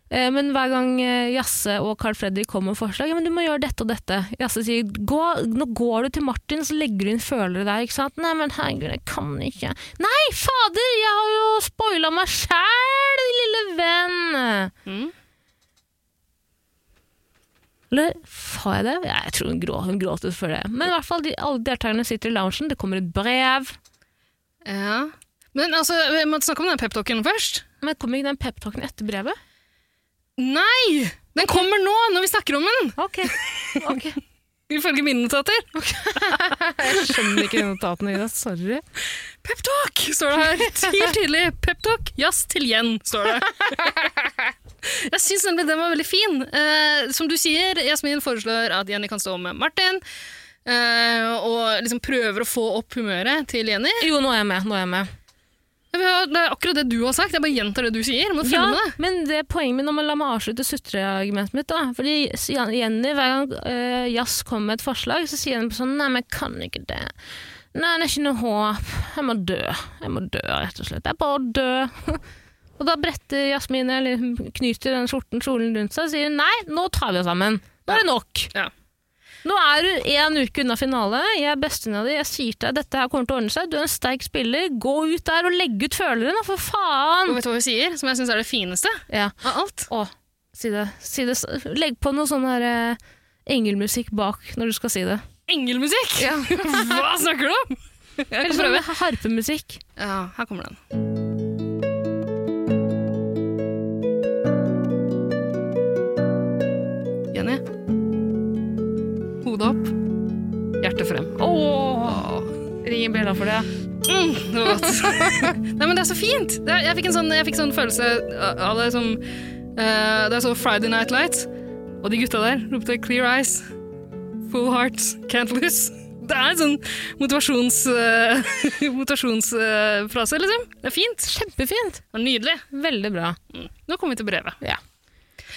Eh, Men hver gang eh, Jasse og Carl Fredrik kommer med forslag, ja, men du må gjøre dette og dette. Jasse sier Gå, nå går du til Martin, så legger du inn følere der. Ikke sant? Nei, men herregud, jeg kan ikke. Nei, fader, jeg har jo spoila meg sjæl, lille venn! Mm. Eller sa jeg det? Ja, Jeg tror hun, grå, hun gråt ut for det. Men i hvert fall, de, alle deltakerne sitter i loungen, det kommer et brev. Ja. Men altså, vi må snakke om den peptalken først. Men kommer ikke den peptalken etter brevet? Nei! Den kommer nå, når vi snakker om den! Ok, [laughs] ok. Ifølge mine notater. Jeg skjønner ikke notatene dine, sorry. Peptalk, står det her. [laughs] Helt tydelig. Peptalk, jazz til Jen, står [laughs] det. Jeg syns nemlig den var veldig fin. Eh, som du sier, Jasmin foreslår at Jenny kan stå med Martin. eh, og liksom prøver å få opp humøret til Jenny. Jo, nå er jeg med. Nå er jeg med. Det er akkurat det du har sagt. Jeg bare gjentar det du sier. Må følge med det. men det er poenget mitt, nå må- la meg avslutte sutreargumentet mitt. da. Fordi s- Jan- Jenny, hver gang eh, Jazz kommer med et forslag, så sier hun sånn Nei, men jeg kan ikke det. Nei, det er ikke noe håp. Jeg må dø. Jeg må dø, rett og slett. Jeg bare dø. [laughs] Og da bretter Jasmin, eller hun knyter den skjorten kjolen rundt seg og sier nei, nå tar vi oss sammen. Nå er det nok. Ja. Nå er du én uke unna finale. Jeg er bestevenninna di. Jeg sier til deg dette her kommer til å ordne seg. Du er en sterk spiller. Gå ut der og legg ut følere, da, for Og faen! vet du hva hun sier, som jeg syns er det fineste Ja. av alt? Å, si det. Si det. Legg på noe sånn her eh, engelmusikk bak når du skal si det. Engelmusikk! [laughs] Hva snakker du om? Jeg kan Eller prøve. sånn harpemusikk. Ja, her kommer den. Jenny. Hodet opp. Hjertet frem. Åh. Ring bjella for det. ja. Mm, det var godt. [laughs] Nei, men det er så fint! Det er, jeg fikk en sånn, jeg fikk sånn følelse av det som eh, Det er så Friday Night Lights, og de gutta der ropte 'Clear Eyes', 'Full Hearts', 'Can't Lose'. Det er en sånn motivasjons, eh, [laughs] motivasjonsfrase, liksom. Det er fint. Kjempefint. Det var nydelig. Veldig bra. Nå kommer vi til brevet.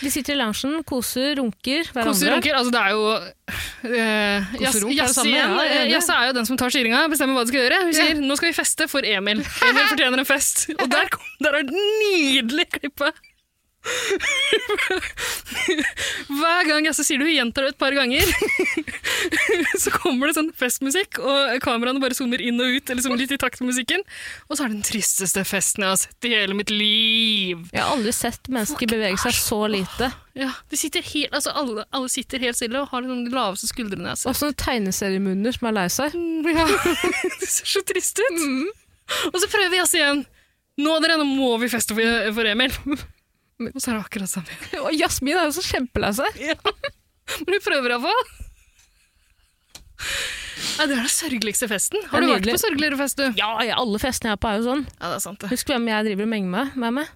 De sitter i loungen, koser, runker hverandre. Koser runker, altså det er jo uh, Koser og runk er det Jasse samme, igjen. ja, jeg er enig. eh, Jasse er jo den som tar styringa, bestemmer hva de skal gjøre. Hun sier 'nå skal vi feste for Emil'. Emil fortjener en fest. Og der, kom, der er det nydelig klippet. Hver gang Jasse sier det, hun gjentar det et par ganger, så kommer det sånn festmusikk, og kameraene bare zoomer inn og ut, eller liksom litt i takt med musikken. Og så er det den tristeste festen jeg har sett i hele mitt liv. Jeg har aldri sett mennesker bevege seg så lite. Ja, de sitter helt, altså alle, alle sitter helt stille og har liksom de laveste skuldrene jeg har sett. Og sånne tegneseriemunner som er lei seg. [laughs] Ja. det ser så trist ut. Og så prøver Jazz igjen. Nå dere, nå må vi feste for, for [laughs] Emil. Og så er det akkurat samme. igjen. [laughs] Og Jasmin er jo så kjempelei seg. Men vi prøver iallfall. Ja, det er den sørgeligste festen. Har Det du er vært nydelig. på sørgeligere fest, du? Ja, ja, alle festene jeg er på er jo sånn. Ja, det er sant det. Husk hvem jeg driver og menger med. med, meg.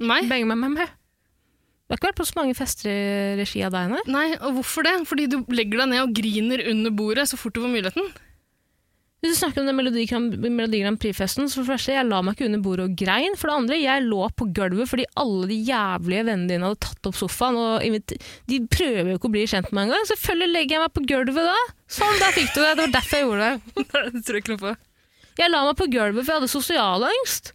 Nei. Menger med, med, med. Du har ikke vært på så mange fester i regi av deg, nei? Nei, og hvorfor det? Fordi du legger deg ned og griner under bordet så fort du får muligheten. Hvis du snakker om den Melodi Grand, Melodi Grand Prix-festen, så for det første, jeg la meg ikke under bordet og grein. For det andre, jeg lå på gulvet fordi alle de jævlige vennene dine hadde tatt opp sofaen. og invit- De prøver jo ikke å bli kjent med meg engang. Selvfølgelig legger jeg meg på gulvet da. Sånn, der fikk du det. Det var derfor jeg gjorde det. Nei, [laughs] det tror jeg ikke noe på. Jeg la meg på gulvet for jeg hadde sosialangst.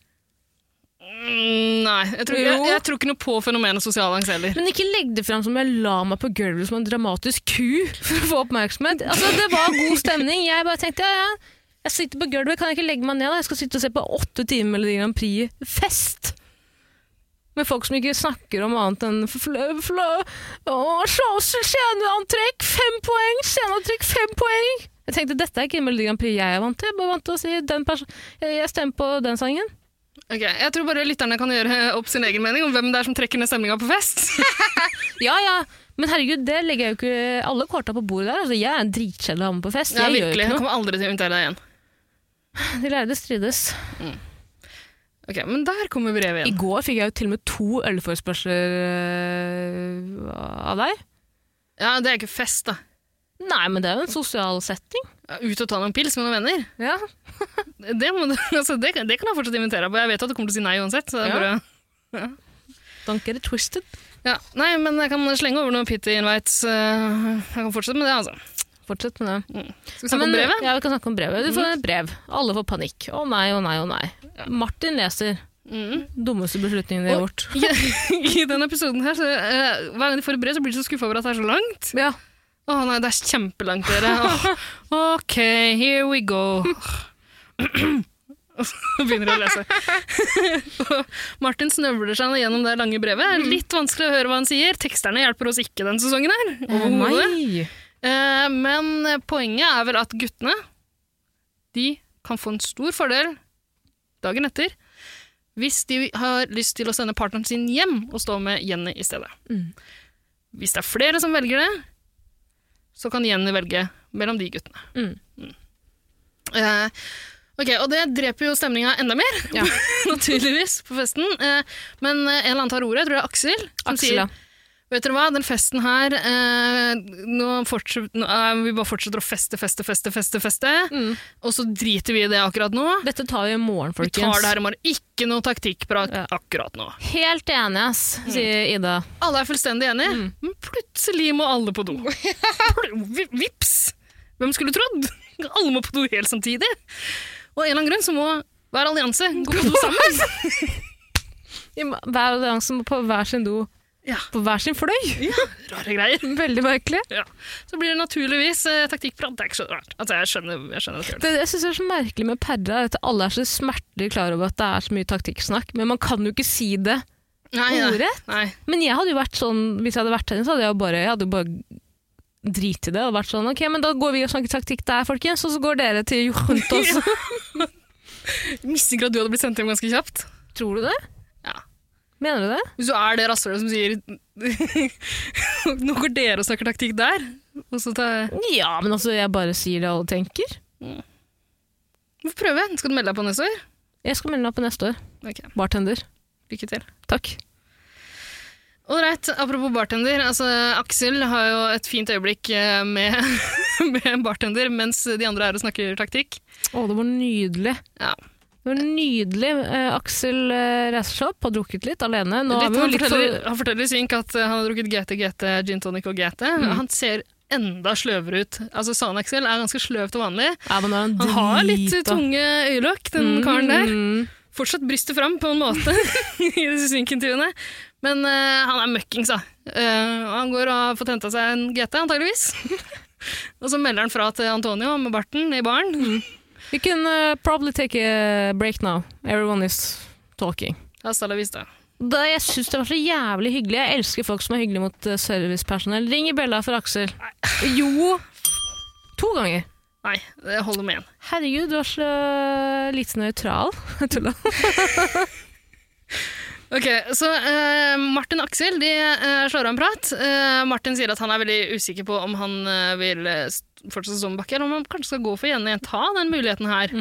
Mm, Nei, jeg tror, jeg, Jo. jeg tror ikke noe på fenomenet sosial angst heller. Men ikke legg det fram som jeg la meg på gulvet som en dramatisk ku for å få oppmerksomhet. Altså, Det var god stemning. Jeg bare tenkte ja, ja, jeg sitter på gulvet, kan jeg ikke legge meg ned? da? Jeg skal sitte og se på åtte timer Melodi Grand Prix-fest. Med folk som ikke snakker om annet enn flø, flø, å, slåssel, sceneantrekk, fem poeng, sceneantrekk, fem poeng. Jeg tenkte dette er ikke Melodi Grand Prix jeg er vant til. Jeg er bare vant til å si den perso- jeg jeg stemmer på den sangen. Ok, Jeg tror bare lytterne kan gjøre opp sin egen mening om hvem det er som trekker ned stemninga på fest. Ja, ja. Men herregud, det legger jeg jo ikke alle korta på bordet der. Altså, jeg er en dritkjedelig dame på fest. Ja, jeg gjør virkelig. Jeg jo ikke kommer aldri til å invitere deg igjen. noe. De lærde strides. Ok, Men der kommer brevet I igjen. går fikk jeg jo til og med to ølforespørsler øh, av deg. Ja, Det er ikke fest, da. Nei, men det er jo en sosial setting. Ja, Ut og ta noen pils med noen venner. Ja. Det, må du, [laughs] altså, det, kan- det kan jeg fortsatt invitere deg på. Jeg vet at du kommer til å si nei uansett. Så det er Ja. bare... Don't get it twisted. ja. Nei, men jeg kan slenge over noen pitty invites. eh, Jeg kan fortsette med det, altså. Fortsett med det. Skal vi snakke Men- om brevet? Ja, vi kan snakke om Mhm. brevet. Du får et brev. Alle får panikk. Å nei, å nei, å nei. Martin leser. Mhm. Mm. Dummeste beslutningen de har gjort. [laughs] I denne episoden her, så, eh, Hver gang de får et brev, så blir de så skuffa over at det er så langt. Ja. Å nei, det er kjempelangt, dere. Åh, ok, here we go. Og så [clears throat] begynner de å lese. Og [laughs] Martin snøvler seg nå gjennom det lange brevet. Det er Litt vanskelig å høre hva han sier. Teksterne hjelper oss ikke denne sesongen her. overhodet. Eh, nei. Eh, men poenget er vel at guttene de kan få en stor fordel dagen etter hvis de har lyst til å sende partneren sin hjem og stå med Jenny i stedet. Mm. Hvis det er flere som velger det, så kan Jenny velge mellom de guttene. Mm. Mm. Eh, ok, Og det dreper jo stemninga enda mer, Ja. [laughs] naturligvis, på festen. Eh, men eh, en eller annen tar ordet, jeg tror det er Aksel, som Aksel, sier ja. Vet dere hva, den festen her eh, Nå, fortsetter, nå eh, Vi bare fortsetter å feste, feste, feste, feste, feste. Mm. Og så driter vi i det akkurat nå. Dette tar vi i morgen, Vi folkens. tar det her i morgen. Ikke noe taktikkprat Ja. akkurat nå. Helt enig, ass, sier Ida. Alle er fullstendig enige, Mm. men plutselig må alle [laughs] på do. Pl- vi- Vips! Hvem skulle trodd? Alle må på do helt samtidig. Og av en eller annen grunn så må [laughs] hver allianse gå på do sammen. I- Hver allianse må på hver sin do Ja. på hver sin fløy. Rare greier. Veldig merkelig. Så blir det naturligvis eh, taktikkprat. Det er ikke så rart. Altså, jeg skjønner, jeg skjønner det. Det jeg synes er så merkelig med Perra, er at alle er så smertelig klar over at det er så mye taktikksnakk, men man kan jo ikke si det Nei, nei. ordrett. nei. Men jeg hadde jo vært sånn, hvis jeg hadde vært henne, så hadde jeg jo bare, jeg hadde jo bare drit i det og vært sånn, ok, men da går vi og snakker taktikk der, folkens, og så går dere til [laughs] Juntos. Mistenker at du hadde blitt sendt hjem ganske kjapt. Tror du det? Ja. Mener du det? Hvis du er det rasshølet som sier [laughs] Nå går dere og snakker taktikk der. Og så tar Ja, men altså, jeg bare sier det alle tenker. Vi får prøve. Skal du melde deg på neste år? Jeg skal melde meg på neste år. Ok, Bartender. Lykke til. Takk. Ålreit, apropos bartender. Altså, Aksel har jo et fint øyeblikk eh, med, [laughs] med en bartender mens de andre er og snakker taktikk. Å, det var nydelig. Ja. Det var nydelig. Eh, Aksel eh, reiser seg opp, har drukket litt alene. Nå Litt, er vi jo han, litt forteller, for... han forteller i synk at eh, han har drukket GT, GT, gin tonic og GT. Mm. Han ser enda sløvere ut. Altså, San Aksel er ganske sløv til vanlig. Ja, men nå er han Han har litt drita. tunge øyelokk, den karen der. Mm. Fortsatt brystet fram på en måte [laughs] i disse synkintervjuene. Men eh, han er møkkings, da. Eh, og han går og har fått henta seg en GT, antageligvis. [laughs] og så melder han fra til Antonio med barten i baren. We can eh, probably take a break now. Everyone is talking. Hasta la vista. Da, jeg syns det var så jævlig hyggelig. Jeg elsker folk som er hyggelige mot eh, servicepersonell. Ring i bjella for Aksel. Jo. To ganger. Nei, det holder med én. Herregud, du er så lite nøytral. [laughs] Jeg tulla. Ok, Så eh, Martin og Aksel de eh, slår av en prat. Eh, Martin sier at han er veldig usikker på om han eh, vil eh, fortsette som bakker, eller om han kanskje skal gå for Jenny. Ta den muligheten her.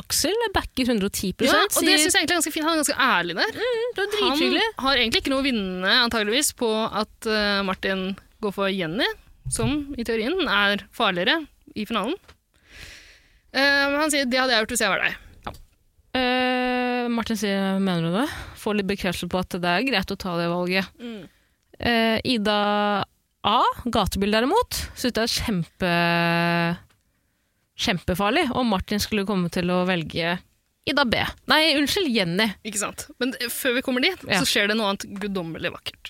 Aksel backer 110 Ja, og det sier- synes jeg egentlig er ganske fint. Han er ganske ærlig der. Det var Han drithyggelig. har egentlig ikke noe å vinne antageligvis på at eh, Martin går for Jenny, som i teorien er farligere i finalen. Eh, men han sier det hadde jeg gjort hvis jeg var deg. Eh, Martin sier mener du det? Får litt bekreftelse på at det er greit å ta det valget. Eh, Ida A, gatebil derimot, synes det er kjempe, kjempefarlig om Martin skulle komme til å velge Ida B. Nei, unnskyld, Jenny. Ikke sant? Men eh, før vi kommer dit, Ja. så skjer det noe annet guddommelig vakkert.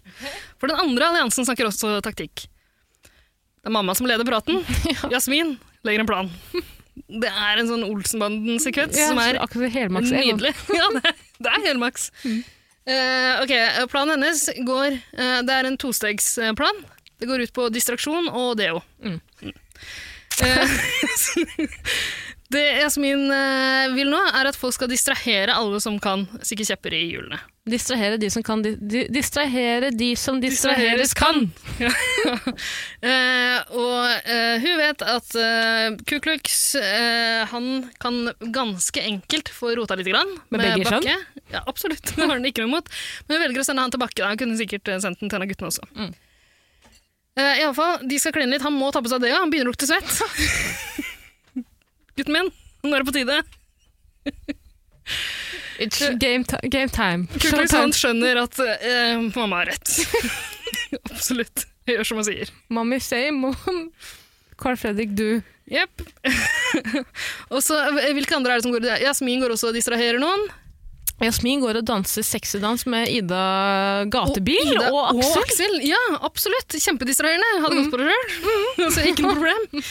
For den andre alliansen snakker også taktikk. Det er mamma som leder [laughs] praten. Jasmin legger en plan. Det er en sånn Olsenbanden-sekvens Ja, som er så akkurat helmaks Egon. Nydelig. [laughs] Ja, det, det er helmaks. Eh, ok, planen hennes går eh, Det er en tostegsplan. Det går ut på distraksjon og deo. Mm. Eh, [laughs] det Jasmin eh, vil nå, er at folk skal distrahere alle som kan stikke kjepper i hjulene. Distrahere de som kan di di distrahere de som distraheres kan. Ja. [laughs] Eh, og eh, hun vet at eh, Ku Klux eh, han kan ganske enkelt få rota litt grann Med begge kjønn? Bakke. Ja, absolutt. Det har hun ikke noe imot. Men hun velger å sende han til Bakke. da. Hun kunne sikkert eh, sendt den til en av guttene også. Mm. Eh, i alle fall, de skal kline litt. Han må ta på seg det, ja. Han begynner å [laughs] lukte svett. Gutten min, nå er det på tide. It's game, ti- game time. Ku Klux Showtime. han skjønner at eh, mamma har rett. [laughs] absolutt. Jeg gjør som han sier. Mommy say mom. Carl Fredrik, du. Jepp. [laughs] og så, eh, hvilke andre er det som går Jasmin går også og distraherer noen. Jasmin går og danser sexydans med Ida Gatebil Ida og, Aksel. Mm. Ja, absolutt. Kjempedistraherende. Hadde gått på det [laughs] sjøl. [laughs] altså, ikke noe problem.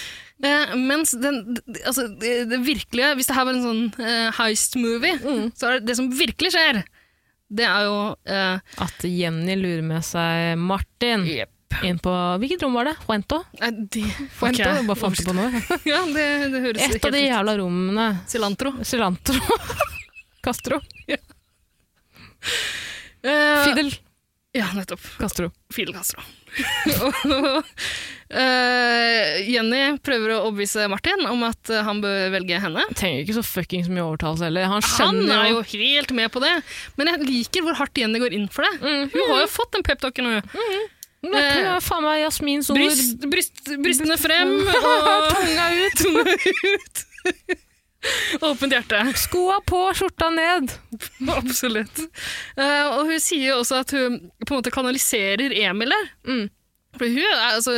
Eh, mens den, d- altså, det, det virkelige Hvis det her var en sånn eh, heist-movie, Mm. så er det det som virkelig skjer, det er jo eh, At Jenny lurer med seg Martin inn på Hvilket rom var det? Huento? Nei, det Huento? Ok. Jeg Bare fant på noe. [laughs] Ja, det, det høres Et helt av de ut. jævla rommene. Cilantro. Cilantro. [laughs] Castro. Eh, Fidel Ja, nettopp. Castro. Fidel Castro. Og, [laughs] eh, Jenny prøver å overbevise Martin om at eh, han bør velge henne. Trenger ikke så fuckings mye overtalelse heller. Han Han skjønner er jo helt med på det, Mm. men jeg liker hvor hardt Jenny går inn for det. Hun har jo fått den peptalken nå. Men det kan jo Mhm. faen meg Jasmins ord. Bryst, bryst, brystene frem og [laughs] tunga ut. [laughs] tunga ut. [laughs] Åpent hjerte. Skoa på, skjorta ned. [laughs] Absolutt. Eh, og hun sier jo også at hun på en måte kanaliserer Emil der. Mm. For hun er, altså,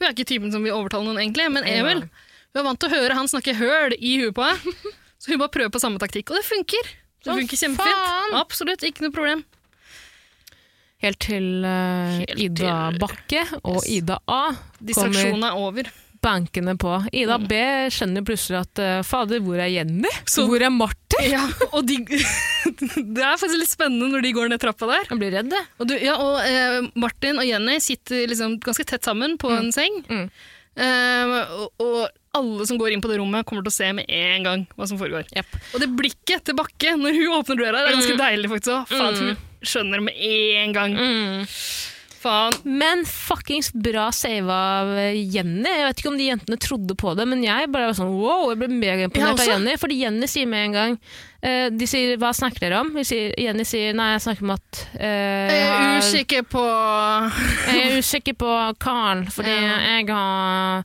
hun er ikke typen som vil overtale noen, egentlig, men Emil Hun er vant til å høre han snakke høl i huet på henne. Så hun bare prøver på samme taktikk, og det funker. Det Å, funker kjempefint. faen! Absolutt, ikke noe problem. Helt til eh, Helt til- Ida Bakke og Yes. Ida A kommer Distraksjonen er over. bankende på. Ida B skjønner plutselig at eh, fader, hvor er Jenny? Så- hvor er Martin? Ja, og de, [laughs] det er faktisk litt spennende når de går ned trappa der. Jeg blir redd, jeg. Og, du, ja, og eh, Martin og Jenny sitter liksom ganske tett sammen på en seng. Mm. Eh, og, og alle som går inn på det rommet, kommer til å se med en gang hva som foregår. Jep. Mm. Og det blikket til Bakke når hun åpner døra, det er ganske deilig. faktisk også. Faen, Hun skjønner med en gang. Mm. Faen. Men fuckings bra save av eh, Jenny. Jeg vet ikke om de jentene trodde på det, men jeg bare var sånn wow, jeg ble Jeg megaimponert også. av Jenny. Fordi Jenny sier med en gang eh, De sier 'hva snakker dere om?' Vi sier, Jenny sier 'nei, jeg snakker om at eh, jeg, Jeg er har, usikker på jeg er usikker på Carl, fordi jeg har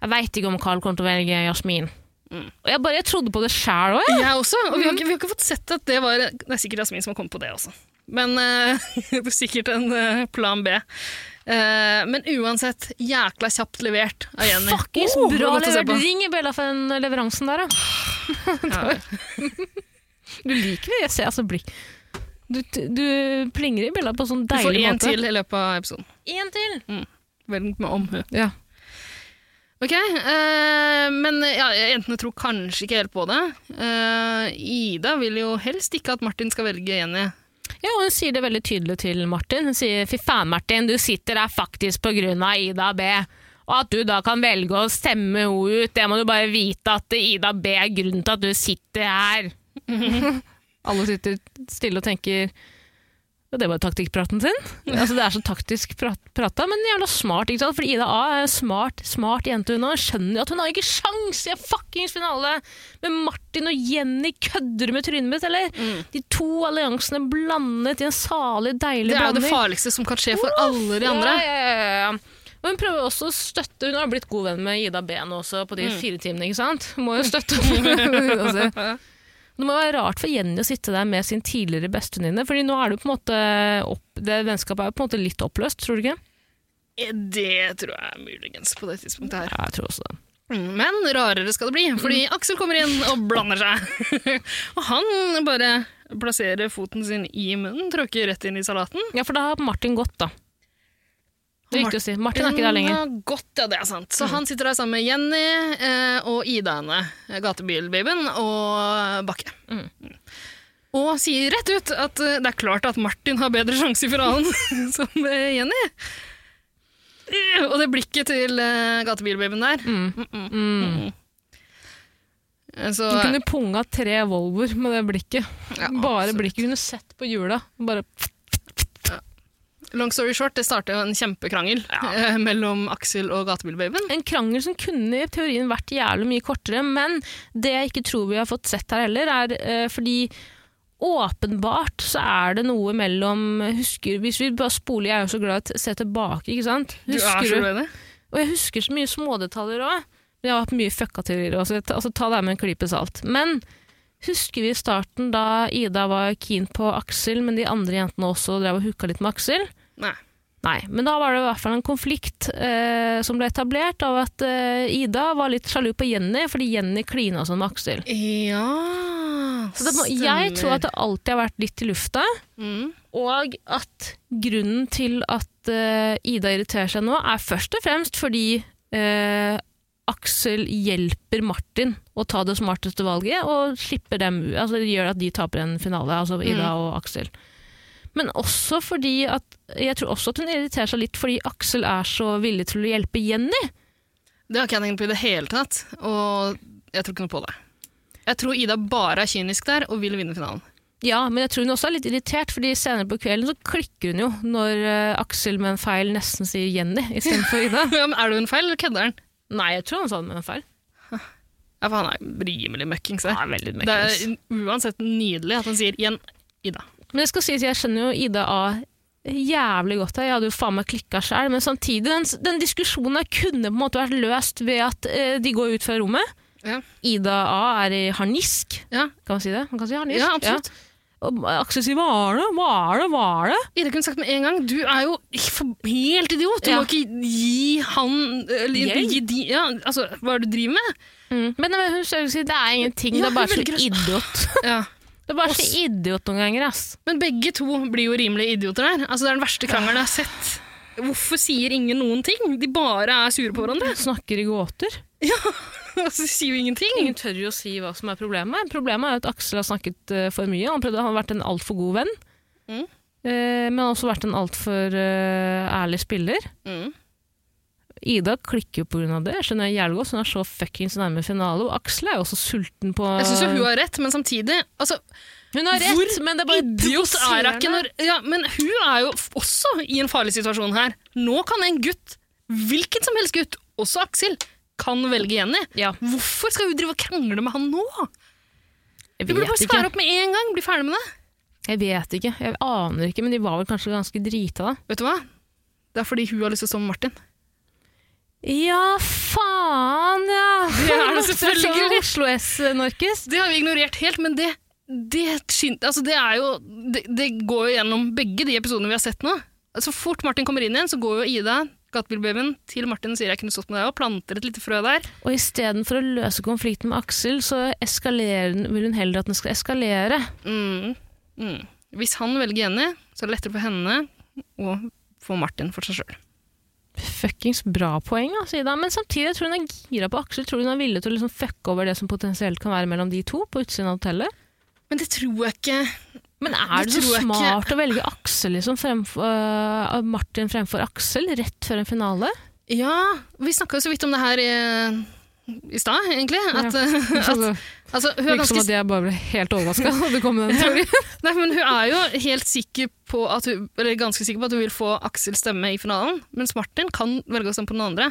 Jeg veit ikke om Carl kommer til å velge Jasmin. Og jeg bare jeg trodde på det sjæl òg, jeg. Jeg også. Og vi har, ikke, vi har ikke fått sett at det var Det er sikkert Jasmin som har kommet på det også. Men eh, [laughs] det er sikkert en eh, plan B. Eh, men uansett, jækla kjapt levert av Jenny. Fuckings Oh, det bra var godt å se levert. på. Ring Bella for den leveransen [laughs] der, da. Ja. Du liker det, jeg ser altså blikk. Du, du plinger i Bella på sånn Du får deilig én måte. til i løpet av episoden. Én til! Velg med omhu. Ja. Ok, eh, men ja, jentene tror kanskje ikke helt på det. Eh, Ida vil jo helst ikke at Martin skal velge Jenny. og hun sier det veldig tydelig til Martin. Hun sier 'fy faen, Martin, du sitter der faktisk på grunn av Ida B'. Og at du da kan velge å stemme henne ut, det må du bare vite at Ida B er grunnen til at du sitter her. Alle sitter stille og tenker ja, det var jo taktikkpraten sin. Altså, det er så taktisk prat, prata, men jævla smart. ikke sant? For Ida A er en smart, smart jente. Hun og skjønner jo at hun har ikke sjans i en fuckings finale. Men Martin og Jenny kødder med trynet mitt, eller? Mm. De to alliansene blandet i en salig, deilig Det er jo det blanding. farligste som kan skje for alle de andre. Ja, ja, ja, ja. Og hun prøver også å støtte Hun har blitt god venn med Ida B nå også, på de Mm. fire timene, ikke sant? Hun må jo støtte [laughs] altså. Det må være rart for Jenny å sitte der med sin tidligere bestevenninne, Fordi nå er det jo på en måte opp, det vennskapet er jo på en måte litt oppløst, tror du ikke? Eh, Det tror jeg er muligens på det tidspunktet her. Ja, jeg tror også det. Mm, Men rarere skal det bli, fordi Mm. Aksel kommer inn og blander seg. [laughs] og han bare plasserer foten sin i munnen, tråkker rett inn i salaten. Ja, for da har Martin gått, da. Det er viktig å si. Martin er ikke der lenger. Mm, Mm. Ja, godt, ja, det er sant. Så han sitter der sammen med Jenny eh, og Ida henne, eh, gatebilbabyen, og Bakke. Mm. Og sier rett ut at eh, det er klart at Martin har bedre sjanse i finalen [laughs] som eh, Jenny. Eh, Og det blikket til eh, gatebilbabyen der. Mm. Eh, Så, Hun kunne punga tre Volvoer med det blikket. Ja, Bare absolutt. blikket. Hun kunne sett på hjula. Bare Long story short, det starta jo en kjempekrangel [laughs] eh, mellom Aksel og gatebilbabyen. en krangel som kunne i teorien vært jævlig mye kortere, men det jeg ikke tror vi har fått sett her heller, er eh, fordi åpenbart så er det noe mellom husker, Hvis vi bare spoler, jeg er jo så glad i å se tilbake, ikke sant? Du er så Husker du? uenig. Og jeg husker så mye smådetaljer òg. Jeg har hatt mye fucka teorier også, altså ta det her med en klype salt. Men husker vi i starten da Ida var keen på Aksel, men de andre jentene også drev og hooka litt med Aksel? Nei. Nei, men da var det i hvert fall en konflikt eh, som ble etablert av at eh, Ida var litt sjalu på Jenny, fordi Jenny klina sånn med Aksel. Ja Så det må, jeg tror at det alltid har vært litt i lufta, Mm. og at grunnen til at eh, Ida irriterer seg nå, er først og fremst fordi eh, Aksel hjelper Martin å ta det smarteste valget, og slipper dem, altså det gjør at de taper en finale, altså Mm. Ida og Aksel. Men også fordi at jeg tror også at hun irriterer seg litt fordi Aksel er så villig til å hjelpe Jenny. Det har ikke jeg tenkt på i det hele tatt, og jeg tror ikke noe på det. Jeg tror Ida bare er kynisk der og vil vinne finalen. [laughs] Ja, men jeg tror hun også er litt irritert, fordi senere på kvelden så klikker hun jo når eh, Aksel med en feil nesten sier Jenny istedenfor [laughs] Ida. Ja, men er det hun feil, eller kødder han? Nei, jeg tror han sa det med en feil. Ja, for han er rimelig møkkings der. Ja, veldig Det møkkings. er uansett nydelig at han sier igjen Ida. Men jeg skal si at jeg skjønner jo Ida A jævlig godt her. Jeg hadde jo faen meg klikka sjøl. Men samtidig, den, den diskusjonen her kunne på en måte vært løst ved at eh, de går ut fra rommet. Ja. Ida A er i harnisk. Ja, Kan man si det? Man kan si harnisk. ja absolutt. Og Aksel sier 'hva er det', 'hva er det', 'hva er det'? Ida kunne sagt med en gang du er jo ikke for- helt idiot. Du Ja. må ikke gi han eller, Hjelp? gi de, ja, altså, [laughs] Hva er det du driver med? Men, men hun sier det er ingenting, Mm. Ja, det er bare hun velger slik idiot. [laughs] Ja. Det er bare så idiot noen ganger, ass. Men begge to blir jo rimelige idioter der. Altså, det er den verste krangelen Ah. jeg har sett. Hvorfor sier ingen noen ting? De bare er sure på hverandre. [laughs] Snakker i gåter. Altså, de sier jo ingenting. Ingen tør jo å si hva som er problemet. Problemet er jo at Aksel har snakket eh, for mye. Han prøvde, han har vært en altfor god venn. Mm. Eh, men også vært en altfor uh, ærlig spiller. Mm. Ida klikker jo pga. det. Jeg skjønner jævlig godt, så Hun er så fuckings nærme finale. Og Aksel er jo også sulten på Jeg syns jo hun har rett, men samtidig altså, Hun har rett, Hvor men det er bare Idiot er hun ikke provoserende. når ja, Men hun er jo f- også i en farlig situasjon her. Nå kan en gutt, hvilken som helst gutt, også Aksel, kan velge Jenny. Ja, Hvorfor skal hun drive og krangle med han nå? jeg Du burde vet bare ikke. skære opp med en gang. Bli ferdig med det. Jeg vet ikke. Jeg aner ikke, men de var vel kanskje ganske drita da. Vet du hva? Det er fordi hun har lyst til å stå med Martin. Ja, faen, ja! Det er det selvfølgelig. Oslo eh, S-Norkis. Det har vi ignorert helt, men det, det, skyn- altså det, er jo, det, det går jo gjennom begge de episodene vi har sett nå. Så fort Martin kommer inn igjen, så går jo Ida, gatebilbabyen, til Martin og sier jeg kunne stått med deg og planter et lite frø der. Og istedenfor å løse konflikten med Aksel, så eskalerer, den- vil hun heller at den skal eskalere. Mm. Mm. Hvis han velger Jenny, så er det lettere for henne å få Martin for seg sjøl. Fuckings bra poeng, altså, Ida. Men samtidig jeg tror hun er gira på Aksel. Tror hun er villig til å liksom fucke over det som potensielt kan være mellom de to på utsiden av hotellet. Men det tror jeg ikke Men er Det det, tror så jeg ikke. smart å velge Aksel liksom, fremfor, øh, Martin fremfor Aksel rett før en [laughs] finale? Ja, vi snakka jo så vidt om det her i, i stad, egentlig. At, [laughs] at, altså, hun Virker er som ganske at jeg bare ble helt overraska da du kom med [laughs] den teorien. Nei, men hun er jo helt sikker på at hun, eller ganske sikker på at hun vil få Aksels stemme i finalen, mens Martin kan velge å stemme på den andre.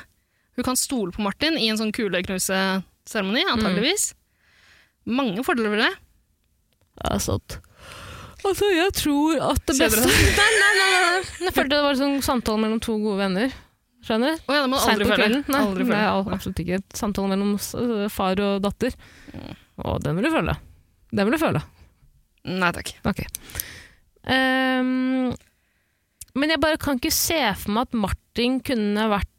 Hun kan stole på Martin i en sånn kuleknuseseremoni, Mm. antageligvis. Mange fordeler ved det. Altså, at- altså, jeg tror at det Ser dere beste [laughs] Nei, nei, nei, nei. Jeg følte det var en sånn samtale mellom to gode venner. Skjønner? Å ja, det må du Sent aldri på føle. kvelden. Nei, Aldri føle. nei al- absolutt ikke. Samtale mellom s- øh, far og datter. Mm. Å, den vil du føle. Den vil du føle. Nei takk. Ok. Ehm, men jeg bare kan ikke se for meg at Martin kunne vært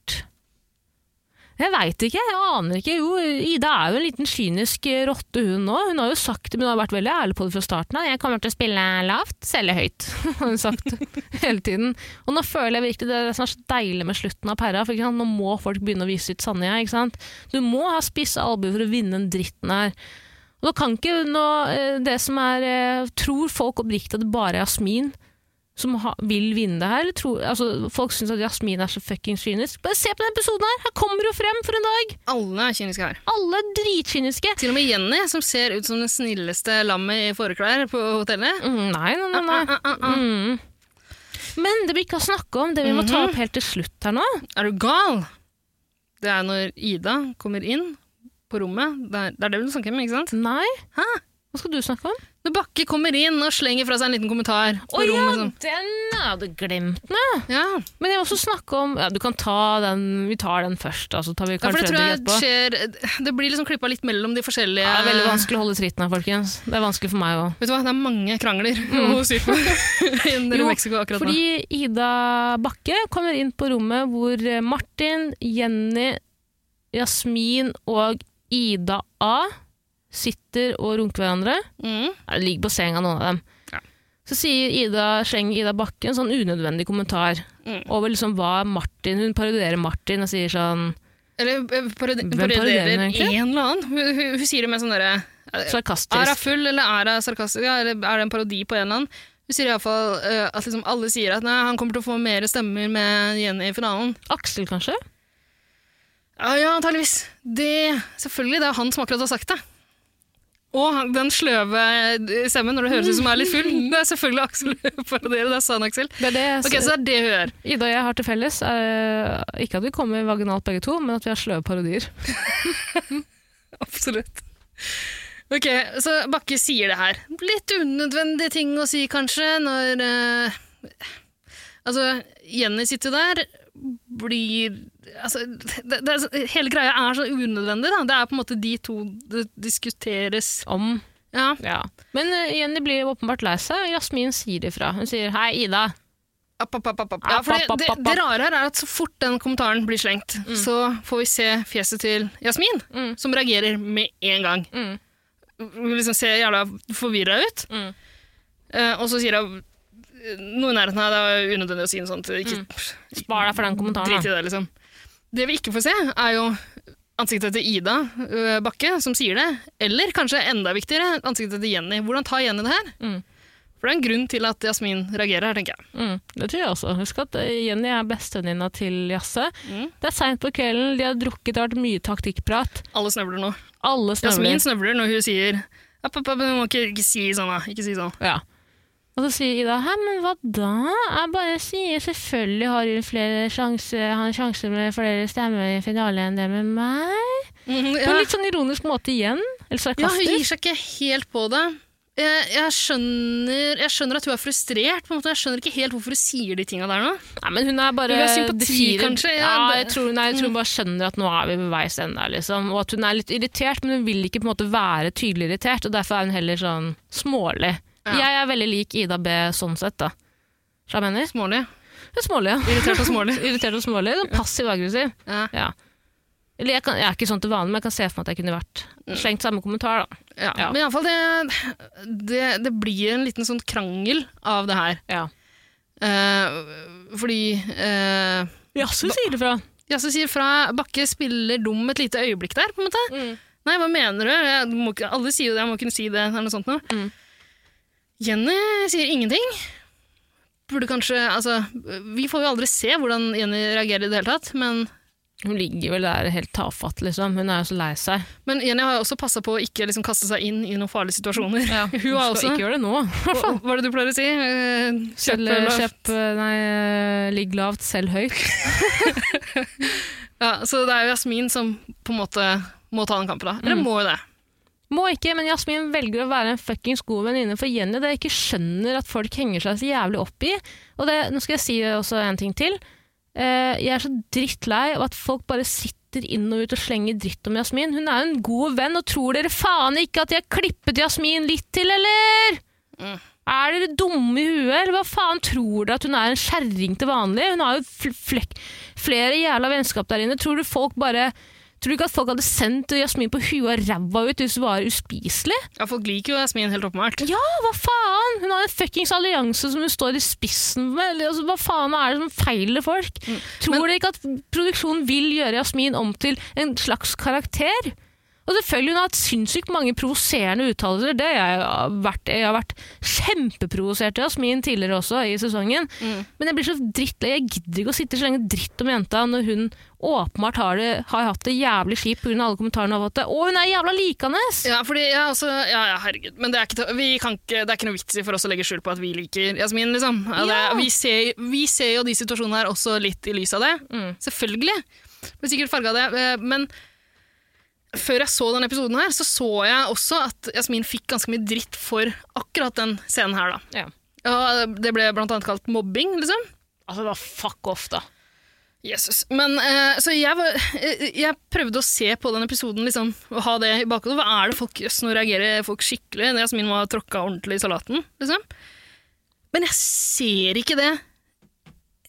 Jeg veit ikke, jeg aner ikke. Jo, Ida er jo en liten kynisk eh, rotte, hun òg. Hun har jo sagt det, men hun har vært veldig ærlig på det fra starten av. 'Jeg kommer til å spille lavt, selge høyt', [laughs] har hun sagt hele tiden. Og nå føler jeg virkelig det er det som er så deilig med slutten av perra. For ikke sant? Nå må folk begynne å vise sitt sanne jeg. Ikke sant? Du må ha spisse albuer for å vinne den dritten her. Og da kan ikke nå, eh, det som er eh, Tror folk oppriktig at det bare er Jasmin som ha, vil vinne det her? Eller tror, altså, folk syns at Jasmin er så fuckings kynisk. Bare se på denne episoden her! Her kommer hun frem for en dag! Alle er kyniske her. Alle er dritkyniske! Til og med Jenny, som ser ut som det snilleste lammet i fåreklær på hotellet. Mm, Nei, nei, nei. [laughs] nei. Ah, ah, ah, ah. Mm. Men det vi ikke har snakka om, det vi må Mhm. ta opp helt til slutt her nå Er du gal? Det er når Ida kommer inn på rommet. Det er det, er det du snakker om, ikke sant? Nei? Hæ? Hva skal du snakke om? Når Bakke kommer inn og slenger fra seg en liten kommentar. på Å ja, rommet, sånn. den jeg hadde glemt den, jeg. Ja, Men jeg vil også snakke om ja, Du kan ta den, vi tar den først. Altså, tar vi ja kanskje for det tror Fredrik jeg etterpå. Ah. skjer Det blir liksom klippa litt mellom de forskjellige Det er veldig vanskelig å holde tritten her, folkens. Det er vanskelig for meg òg. Vet du hva, det er mange krangler [laughs] å sy på [laughs] i Mm. Jo, Mexico akkurat nå. Fordi Ida Bakke kommer inn på rommet hvor eh, Martin, Jenny, Jasmin og Ida A sitter og runker hverandre. Mm. Ja, Det ligger på senga, noen av dem. Ja. Så sier Ida, slenger Ida Bakke en sånn unødvendig kommentar Mm. over liksom hva Martin Hun parodierer Martin og sier sånn Eller eh, parodi- Hvem parodierer parodierer hun en egentlig? eller annen. Hun, hun, hun sier det med sånn derre Eh, Er hun sarkastisk. full, eller er hun sarkastisk? Ja, eller er det en parodi på en eller annen? Hun sier iallfall uh, at liksom alle sier at nei, han kommer til å få mer stemmer med Jenny i finalen. Aksel, kanskje? Ja, ja, antageligvis. Det, selvfølgelig, det er han som akkurat har sagt det. Og han- den sløve eh, stemmen når det høres ut som han er litt full. Det er selvfølgelig Aksel [laughs] parodierer. Det er sann Aksel. Det er det jeg Ok, så det er det hun gjør. Ida og jeg har til felles er ikke at vi kommer vaginalt begge to, men at vi har sløve parodier. Absolutt. Ok, så Bakke sier det her. Litt unødvendige ting å si, kanskje, når eh, Altså, Jenny sitter der, blir Altså, det, det, er så- hele greia er så unødvendig, da. Det er på en måte de to det diskuteres Om, Ja. ja. Men eh, Jenny blir jo åpenbart lei seg. Jasmin sier ifra. Hun sier 'hei, Ida'. App, app, app, app, app. App, Ja, for det, app, app, det, app, det app. rare her er at så fort den kommentaren blir slengt, så får vi se fjeset til Jasmin, Mm. som reagerer med en gang. Mm. liksom ser jævla forvirra ut. Mm. Eh, og så sier hun eh, noe i nærheten av det er unødvendig å si noe sånt. Ikke, Mm. Spar deg for den kommentaren. Drit da. i det, liksom. Det vi ikke får se, er jo ansiktet til Ida ø, Bakke, som sier det. Eller kanskje enda viktigere, ansiktet til Jenny. Hvordan tar Jenny det her? Mm. For det er en grunn til at Jasmin reagerer her, tenker jeg. Mm, det tror jeg også. Husk at eh, Jenny er bestevenninna til Jasse. Mm. Det er seint på kvelden, de har drukket, det har vært mye taktikkprat. Alle snøvler nå. Alle snøvler. Jasmin snøvler når hun sier «App, app, app, du må ikke, ikke si sånn, da. Ikke si sånn. Ja. Og så sier Ida 'hæ, men hva da?' Jeg bare sier selvfølgelig har hun flere sjanser, har en sjanse med flere stemmer i finalen enn det med meg. Mhm, På en ja. litt sånn ironisk måte igjen. Eller ja, hun gir sarkastisk. seg ikke helt på det. Jeg, jeg, skjønner, jeg skjønner at hun er frustrert, på en måte. Jeg skjønner ikke helt hvorfor hun sier de tinga der nå. Nei, men hun er bare Hun har sympati, kanskje, Ja, ja, jeg det- tror, nei, jeg tror hun bare skjønner at nå er vi ved veis ende, liksom. Og at hun er litt irritert, men hun vil ikke på en måte være tydelig irritert, og derfor er hun heller sånn smålig. Ja. Jeg er veldig lik Ida B sånn sett, da. Skjønner du hva jeg mener? Smålig. Hun er Smålig, ja. Irritert og smålig. [laughs] [laughs] Irritert og smålig. sånn Passiv aggressiv. Ja. Ja. Eller jeg, kan, jeg er ikke sånn til vanlig, men jeg kan se for meg at jeg kunne vært Mm. slengt samme kommentar, da. Ja, Ja. men iallfall det, det, det blir en liten sånn krangel av det her. Ja. Eh, fordi eh, Jaså, sier du fra. Jasse sier fra Bakke spiller dum et lite øyeblikk der, på en måte. Mm. Nei, hva mener du? Jeg må, ikke- alle sier jo det, jeg må kunne si det, eller noe sånt noe. Mm. Jenny sier ingenting. Burde kanskje Altså, vi får jo aldri se hvordan Jenny reagerer i det hele tatt, men, Hun ligger vel der helt tafatt, liksom. Hun er jo så lei seg. men Jenny har jo også passa på å ikke liksom kaste seg inn i noen farlige situasjoner. Hun [laughs] Hun skal har også ikke gjøre det nå. Hva [laughs] hva er det du pleier å si? Eh, Kjøp, Selv, eller- kjøp, nei, eh, ligg lavt, selv høyt. Ja, så det er jo Jasmin som på en måte må ta den kampen, da. Mm. Eller må jo det. Må ikke, men Jasmin velger å være en fuckings god venninne for Jenny. Det jeg ikke skjønner at folk henger seg så jævlig opp i. Og det, nå skal jeg si også en ting til. Eh, jeg er så drittlei av at folk bare sitter inn og ut og slenger dritt om Jasmin. Hun er jo en god venn, og tror dere faen ikke at de har klippet Jasmin litt til, eller? Er dere dumme i huet, eller hva faen tror dere at hun er en skjæring til vanlig? Hun har jo fl flekk, flere jævla vennskap der inne. Tror du folk bare Tror du ikke at folk hadde sendt Jasmin på huet og ræva ut hvis hun var uspiselig? Ja, folk liker jo Jasmin helt åpenbart. Ja, hva faen? Hun har en fuckings allianse som hun står i spissen med. Eller, Altså, hva faen er det som feiler folk? Tror dere ikke at produksjonen vil gjøre Jasmin om til en slags karakter? Og selvfølgelig, hun har hatt sinnssykt mange provoserende uttalelser. Det har jeg har vært, jeg har vært kjempeprovosert til Jasmin tidligere også i sesongen. Men jeg blir så drittlei. Jeg gidder ikke å sitte så lenge dritt om jenta når hun åpenbart har, det, har hatt det jævlig kjipt pga. alle kommentarene hun har fått. det. Og hun er jævla likandes! Ja, fordi jeg også, ja, ja, herregud. Men det er, ikke, til- vi kan ikke, det er ikke noe vits i for oss å legge skjul på at vi liker Jasmin, liksom. Ja, det, Ja. vi, ser, vi ser jo de situasjonene her også litt i lys av det. Mm. Selvfølgelig. Blir sikkert farga av det. eh, Men før jeg så denne episoden her, så så jeg også at Jasmin fikk ganske mye dritt for akkurat den scenen her, da. Ja. Og det ble blant annet kalt mobbing, liksom. Altså, da fuck off, da. Jesus. Men eh, så jeg, var, eh, jeg prøvde å se på den episoden liksom, og ha det i bakhodet. Hva er det folk jøss, Nå reagerer folk skikkelig. når Jasmin må ha tråkka ordentlig i salaten. Liksom. Men jeg ser ikke det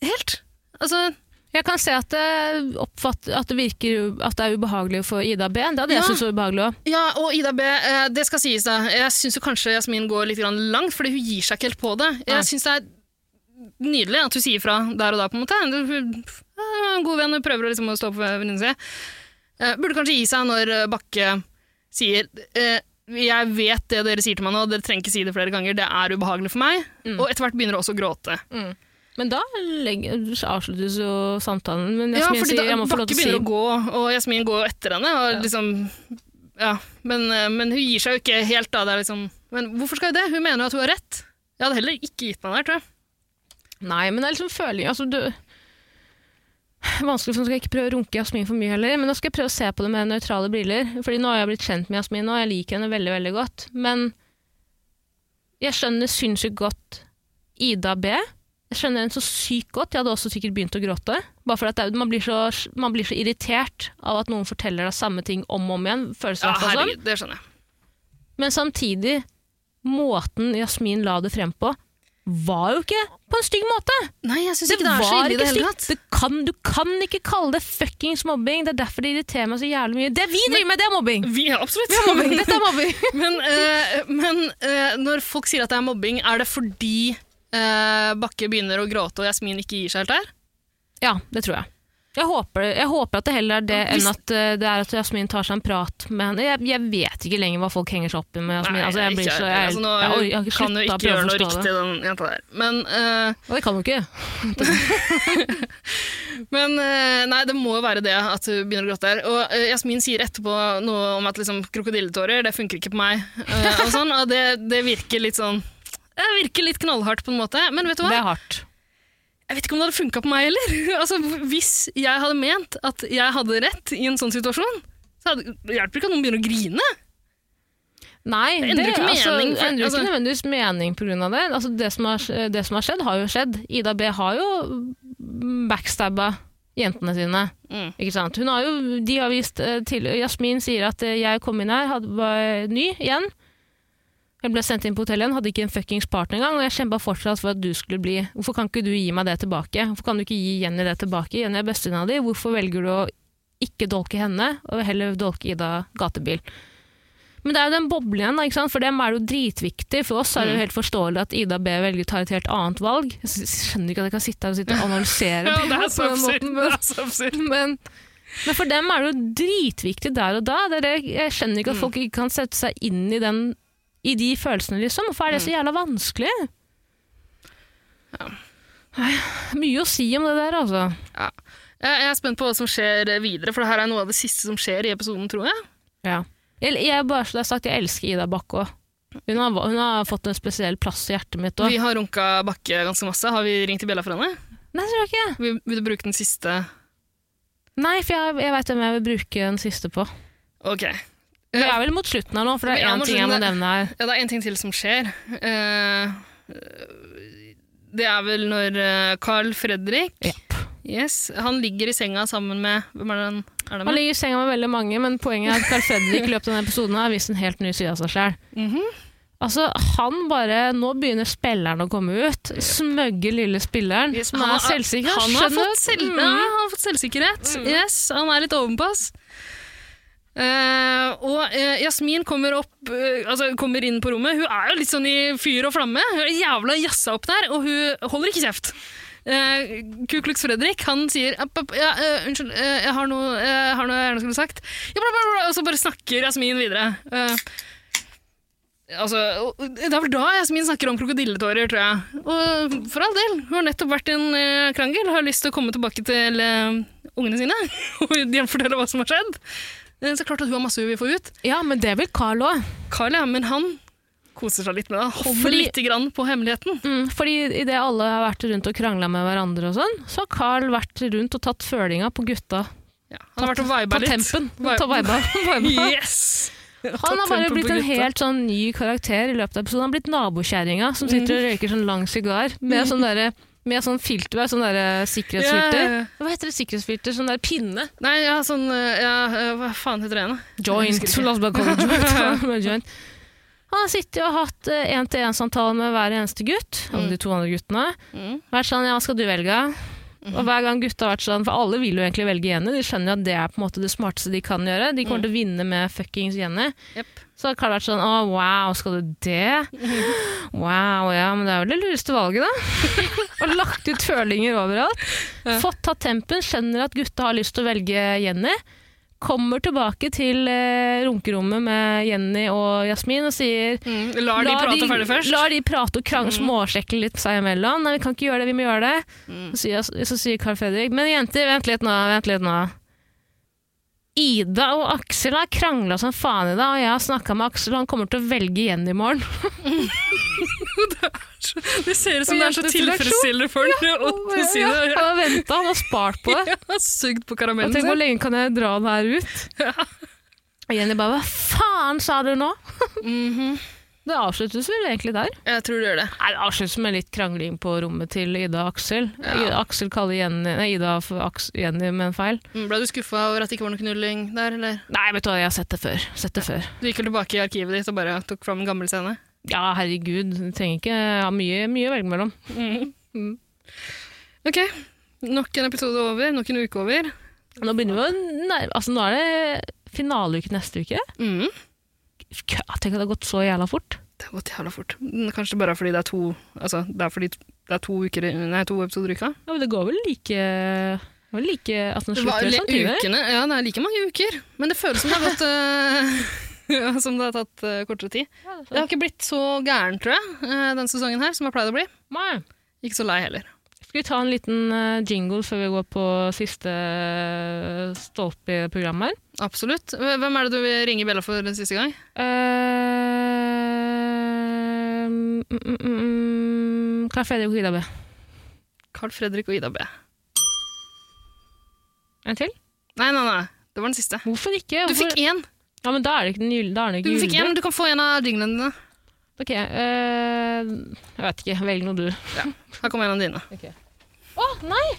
helt. Altså, Jeg kan se at det, oppfatt, at det virker u- at det er ubehagelig for Ida B. Det hadde Ja. jeg syntes var ubehagelig òg. ja, og Ida B, eh, det skal sies, da. Jeg syns kanskje Jasmin går litt grann langt, fordi hun gir seg ikke helt på det. Nei. Jeg syns det er nydelig at hun sier fra der og da, på en måte. Hun er en god venn, hun prøver å liksom å stå på venninnen sin. Eh, Burde kanskje gi seg når eh, Bakke sier eh, Jeg vet det dere sier til meg nå, dere trenger ikke si det flere ganger, det er ubehagelig for meg. Og etter hvert begynner hun også å gråte. Men da legger, avsluttes jo samtalen. Men Ja, Jasmin fordi sier da, jeg må få lov til Bakke å si begynner å gå, og Jasmin går jo etter henne. Og liksom, ja. men, eh, men hun gir seg jo ikke helt. Da. Det er liksom, men hvorfor skal hun det? Hun mener jo at hun har rett. Jeg hadde heller ikke gitt meg der, tror jeg. Nei, men det er liksom føling altså, du... Vanskelig, for nå skal jeg ikke prøve å runke Jasmin for mye heller. Men nå skal jeg prøve å se på det med nøytrale briller. Fordi nå har jeg blitt kjent med Jasmin, og jeg liker henne veldig veldig godt. Men jeg skjønner sinnssykt godt Ida B. Jeg skjønner henne så sykt godt. Jeg hadde også sikkert begynt å gråte. Bare fordi at det, man, blir så, man blir så irritert av at noen forteller deg samme ting om og om igjen. Føles det i Ja, hvert fall sånn. herregud, det skjønner jeg. Men samtidig, måten Jasmin la det frem på, var jo ikke på en stygg måte. Nei, jeg syns ikke det er så ille i det hele tatt. Det kan, du kan ikke kalle det fuckings mobbing. Det er derfor det irriterer meg så jævlig mye. Det vi driver med, det er [laughs] mobbing! Vi er absolutt Det er mobbing. Dette er mobbing. [laughs] Men, eh, men eh, når folk sier at det er mobbing, er det fordi eh, Bakke begynner å gråte og Jasmin ikke gir seg helt der? Ja, det tror jeg. Jeg håper, jeg håper at det heller er det enn Hvis- at eh, det er at Jasmin tar seg en prat med henne. Jeg, jeg vet ikke lenger hva folk henger seg opp i med Jasmin. Altså, jeg, blir så, jeg, altså, jeg, nå or- jeg har ikke kan jo sluttet å ikke prøve gjøre å noe forstå riktig, det. den jenta der. Men, eh, Og det kan hun ikke. men eh, nei, det må jo være det at hun begynner å gråte der. Og eh, Jasmin sier etterpå noe om at liksom, krokodilletårer, det funker ikke på meg. eh, og sånn, og det, det virker litt sånn Det virker litt knallhardt på en måte, men vet du hva? Det er hardt. Jeg vet ikke om det hadde funka på meg heller. [laughs] Altså, hvis jeg hadde ment at jeg hadde rett i en sånn situasjon, så hadde, det hjelper ikke at noen begynner å grine. Nei, Det endrer jo ikke altså, mening, for- det endrer jo altså- ikke nødvendigvis mening pga. det. Altså, det, som har, det som har skjedd, har jo skjedd. Ida B har jo backstabba jentene sine. Mm. Ikke sant? Hun har jo, de har vist eh, til, Jasmin sier at eh, jeg kom inn her, hadde, var ny igjen. Jeg ble sendt inn på hotellet igjen, hadde ikke en fuckings partner engang, og jeg kjempa fortsatt for at du skulle bli Hvorfor kan ikke du gi meg det tilbake? Hvorfor kan du ikke gi Jenny det tilbake? Jenny er bestevenninna di, hvorfor velger du å ikke dolke henne, og heller dolke Ida gatebil? Men det er jo den boblen igjen, da, ikke sant? for dem er det jo dritviktig. For oss Mm. er det jo helt forståelig at Ida B velger tar et helt annet valg. Jeg s- skjønner ikke at jeg kan sitte her og [laughs] sitte og analysere Ja, det [laughs] på er så den absurd. måten, men- Det er så absurd. men, men for dem er det jo dritviktig der og da. Det er det, jeg skjønner Mm. ikke at folk ikke kan sette seg inn i, den, i de følelsene, liksom. Hvorfor er det så Mm. jævla vanskelig? Nei, mye å si om det der, altså. Ja. Jeg jeg er spent på hva som skjer videre, for det her er noe av det siste som skjer i episoden, tror jeg. Ja. Jeg, jeg, bare så det er sagt, jeg elsker Ida Bakke òg. Hun, har- hun har fått en spesiell plass i hjertet mitt òg. Vi har runka Bakke ganske masse. Har vi ringt til Bella for henne? Nei, tror jeg ikke. Vil vil du bruke den siste? Nei, for jeg, jeg veit hvem jeg vil bruke den siste på. Ok. Vi er vel mot slutten her nå, for det Vi er er én mot ting jeg må slutten. nevne her. Ja, det er en ting til som skjer. Eh, det er vel når eh, Carl Fredrik yes, Han ligger i senga sammen med Hvem er det han er det Han med? ligger i senga med veldig mange, men poenget er at Carl Fredrik i løpet av denne episoden har vist en helt ny side av seg sjøl. Mhm. Altså, han bare, Nå begynner spilleren å komme ut. Smøgge lille spilleren, Yes, som er selvsikker. Han har, skjønner fått selv, du? Mm. ja, han har fått selvsikkerhet. Yes, han er litt ovenpass. Eh, og eh, Jasmin kommer, opp, eh, altså, kommer inn på rommet. Hun er jo litt sånn i fyr og flamme. Hun er jævla jazza opp der, og hun holder ikke kjeft. Eh, Ku Klux Fredrik han sier «App, app, ja, eh, 'Unnskyld, eh, jeg har noe, eh, jeg har noe jeg gjerne skulle sagt.' Ja, bla, bla, bla, og så bare snakker Jasmin videre. Eh, Altså, og- det er vel da Jasmin snakker om krokodilletårer, tror jeg. Og for all del, hun har nettopp vært i en eh, krangel, har lyst til å komme tilbake til eh, ungene sine [laughs] og gjenfortelle hva som har skjedd. Eh, Så klart at hun har masse hun vil få ut. Ja, men det vil Carl òg. Carl, ja, men han koser seg litt med det. Han Holder Fordi- lite grann på hemmeligheten. Mm, fordi idet alle har vært rundt og krangla med hverandre, og sånn, så har Carl vært rundt og tatt følinga på gutta. Ja, han har vært og viba På litt. tempen. Vi- Ta viba. viba. Yes! [laughs] Han har bare blitt en hel helt sånn ny karakter i løpet av episoden. Han har blitt nabokjerringa som sitter og røyker sånn lang sigar med sånn derre med sånn filter, sånn der sikkerhetsfilter. Mm. Ja, ja, ja. Hva heter det sikkerhetsfilter? Sånn der pinne? Nei, ja, sånn eh, ja, eh, Hva faen heter det igjen? da? Joint. Jeg husker ikke. La oss bare kalle [laughs] det joint. Bare joint. Han har sittet og hatt én-til-én-samtale med hver eneste gutt, altså de to andre guttene. Mm. Vært sånn 'ja, skal du velge?' Og hver gang gutta har vært sånn, for alle vil jo egentlig velge Jenny, de skjønner jo at det er på en måte det smarteste de kan gjøre. De Mm. kommer til å vinne med fuckings Jenny. Jepp. Så har Karl vært sånn 'Å, wow, skal du [laughs] det?' Wow, ja, men det er vel det lureste valget, da. [laughs] og lagt ut følinger overalt. Fått tatt tempen, skjønner at gutta har lyst til å velge Jenny. Kommer tilbake til eh, runkerommet med Jenny og Jasmin og sier Mm, lar de prate ferdig først. Mm. Lar de prate og krang, småsjekke litt seg imellom. Nei, vi kan ikke gjøre det, vi må gjøre det. Mm. Så, sier, så sier Carl Fredrik Men jenter, vent litt nå, vent litt nå. Ida og Aksel har krangla som faen i dag, og jeg har snakka med Aksel, og han kommer til å velge Jenny i morgen. [laughs] Det ser ut som det er så Jentes reaksjon. tilfredsstillende for henne å å si Ja, det. [laughs] han har venta, han har spart på det. Jeg har sugd på Og karamellen tenk hvor sin. lenge kan jeg dra den her [laughs] ut? Og Jenny bare 'hva faen sa du nå?' [laughs] Det avsluttes vel egentlig der. Jeg tror du gjør det. Mhm. Nei, Det avsluttes med litt krangling på rommet til Ida og Aksel. Ida- Aksel kaller Jenny, nei, Ida for Aks, Jenny med en feil. Mm, Ble du skuffa over at det ikke var noe knulling der, eller? Nei, vet du hva, jeg har sett det før. Sett det før. Du gikk vel tilbake i arkivet ditt og bare tok fram en gammel scene? Ja, herregud. Du trenger ikke ha mye, mye å velge mellom. Ok, nok en episode over, nok en uke over. Nå begynner vi å nærme Altså, nå er det finaleuke neste uke. Mm. Kø, Tenk at det har gått så jævla fort. Det har gått jævla fort. Mm, Kanskje det bare er fordi det er to, altså, det er fordi det er to, uker, i- nei, to episoder i uka. Ja, men det går vel like det var like, altså, nå Det slutter var det li- samtidig. ukene, ja, det er like mange uker, men det føles som det har gått eh, [laughs] Som det har tatt eh, kortere tid. Ja, det Det er har ikke blitt så gæren, tror jeg, eh, denne sesongen her, som jeg pleide å bli. sant. Nei. Ikke så lei heller. Skal vi ta en liten eh, jingle før vi går på siste eh, stolpe i programmet her? Absolutt. Hvem er det du vil ringe Bella for den siste gang? Eh, mm, mm, mm, Carl Fredrik og Ida B. Carl Fredrik og Ida B. En til? Nei, nei, nei. Det var den siste. Hvorfor ikke? Du Hvorfor? fikk én! Ja, men da er det ikke den gyll- da er det Du ikke fikk gyldig. én, men du kan få en av jinglene dine. Ok, eh, jeg vet ikke. Velg noe du. Å, Her kommer en av dine. nei!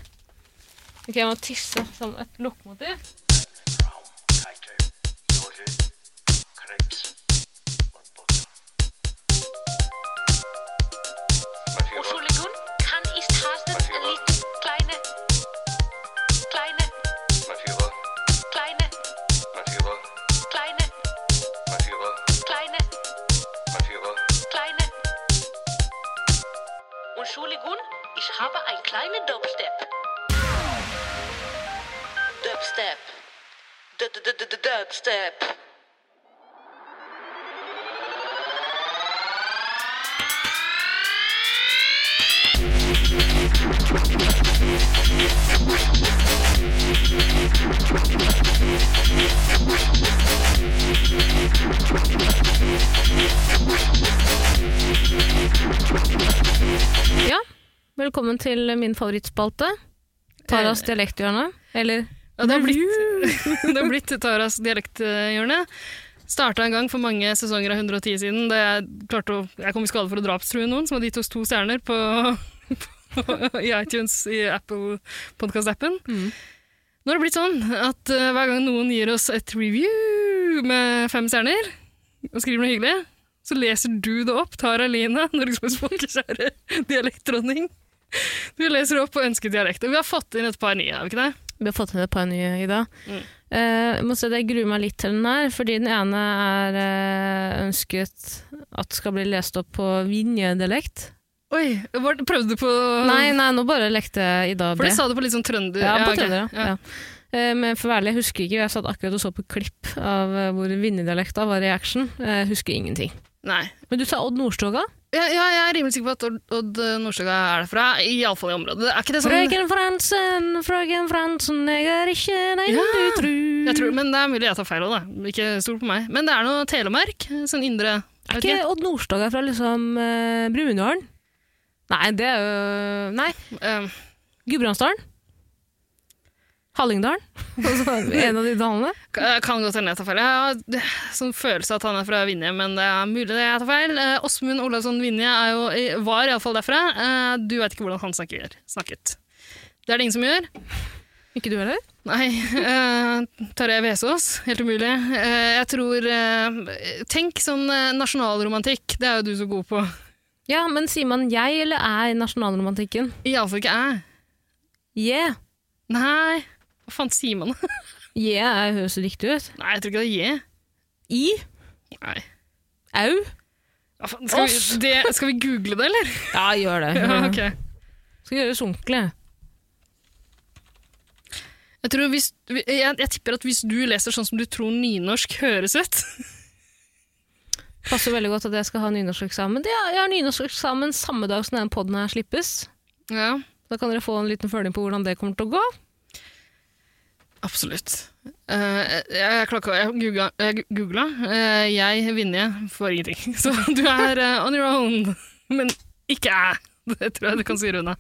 Ok, jeg må tisse som et lokomotiv. Entschuldigung, ich habe einen kleinen Dubstep. Dubstep. Du- du- du- du- du- Dubstep. Ja, velkommen til min favorittspalte. Taras Eh. dialekthjørne. Eller Ja, det har blitt, [laughs] det har blitt Taras dialekthjørne. Starta en gang for mange sesonger av 110 siden da jeg, klarte å, jeg kom i skade for å drapstrue noen som hadde gitt oss to stjerner på, på, i iTunes i Apple podcast-appen. Mm. Nå har det blitt sånn at eh, hver gang noen gir oss et review med fem stjerner og skriver noe hyggelig, så leser du det opp, Tara Line, Norges mest folkekjære dialektdronning. Du leser opp og ønsker dialekter. Vi har fått inn et par nye, har vi ikke det? Vi har fått inn et par nye i dag. Mm. Eh, jeg må si at jeg gruer meg litt til den her, fordi den ene er eh, ønsket at skal bli lest opp på Vinje-dialekt. Oi, var, prøvde du på Nei, nei, nå bare lekte jeg Ida B. For du sa det på litt sånn trønder. Ja, på ok. trønder, ja. Ja. ja. Eh, Men for å være ærlig, jeg husker ikke. Jeg satt akkurat og så på klipp av eh, hvor vinnerdialekta var i action. Jeg husker ingenting. Nei. Men du sa Odd Nordstoga? Ja, ja, jeg er rimelig sikker på at Odd, Odd eh, Nordstoga er derfra, iallfall i området. Er ikke det sånn Frøken Fransen, frøken Fransen, jeg er ikke den Ja, du tror. jeg tror, Men det er mulig jeg tar feil òg, da. Ikke stol på meg. Men det er noe Telemark. Sånn indre Er ikke Odd Nordstoga fra liksom uh, Brumunddalen? Nei, det er jo Nei, eh, Gudbrandsdalen? [laughs] Hallingdalen? Altså, en av de dalene? kan- kan godt hende jeg tar feil. Jeg har det- sånn følelse at han er fra Vinje, men det er mulig det jeg tar feil. Eh, Åsmund Olavsson Vinje er jo, i- var iallfall derfra. Eh, Du veit ikke hvordan han snakker, snakket. Det er det ingen som gjør. Ikke du heller? Nei. eh, Tarjei Vesaas. Helt umulig. Eh, jeg tror eh, Tenk sånn eh, nasjonalromantikk. Det er jo du så god på. Ja, men sier man jeg eller er i nasjonalromantikken? Iallfall ikke jeg. Yeah. Nei. Hva faen sier man? [laughs] Yeah er- høres riktig ut. Nei, jeg tror ikke det er je. I? Nei. Au? Hva faen, skal, vi, Oss. det, skal vi google det, eller? [laughs] Ja, gjør det. Ja, ok. Skal gjøres ordentlig. Jeg, tror hvis, jeg, jeg tipper at hvis du leser sånn som du tror nynorsk høres ut [laughs] Passer veldig godt at jeg skal ha nynorskeksamen. Det er- Jeg har nynorskeksamen samme dag som denne podden her slippes. Ja, Da kan dere få en liten føling på hvordan det kommer til å gå. absolutt. Eh, jeg jeg, klokka, jeg googla, jeg, googla. Eh, jeg Vinje, får ingenting. [laughs] Så du er eh, on your own. Men ikke jeg. Det tror jeg du kan si, Rune.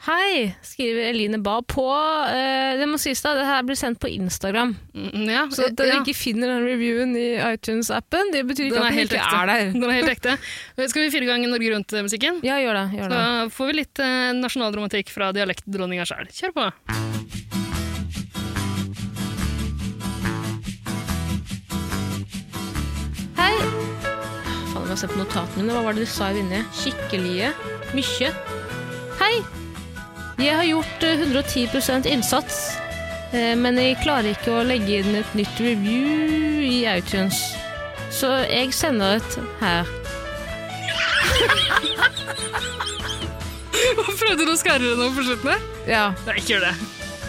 Hei, skriver Eline Ba på eh, Det må sies da, det her blir sendt på Instagram. Mm, Ja, Så at dere ja. ikke finner den reviewen i iTunes-appen, det betyr Den ikke er at den helt ikke ekte. er der. Den er helt ekte. Skal vi fire ganger Norge Rundt-musikken? Ja, gjør det. Gjør Da det. får vi litt eh, nasjonalromantikk fra dialektdronninga sjæl. Kjør på. [laughs] Hei. Faen, meg og se på notatene mine. Hva var det du sa jeg vinner? Skikkelige. Mykje. Hei! Jeg har gjort eh, 110 innsats, eh, men jeg klarer ikke å legge inn et nytt review i iTunes. Så jeg sender et her. Prøvde du å skarre noe på slutten der? Ja. Nei, ikke gjør det.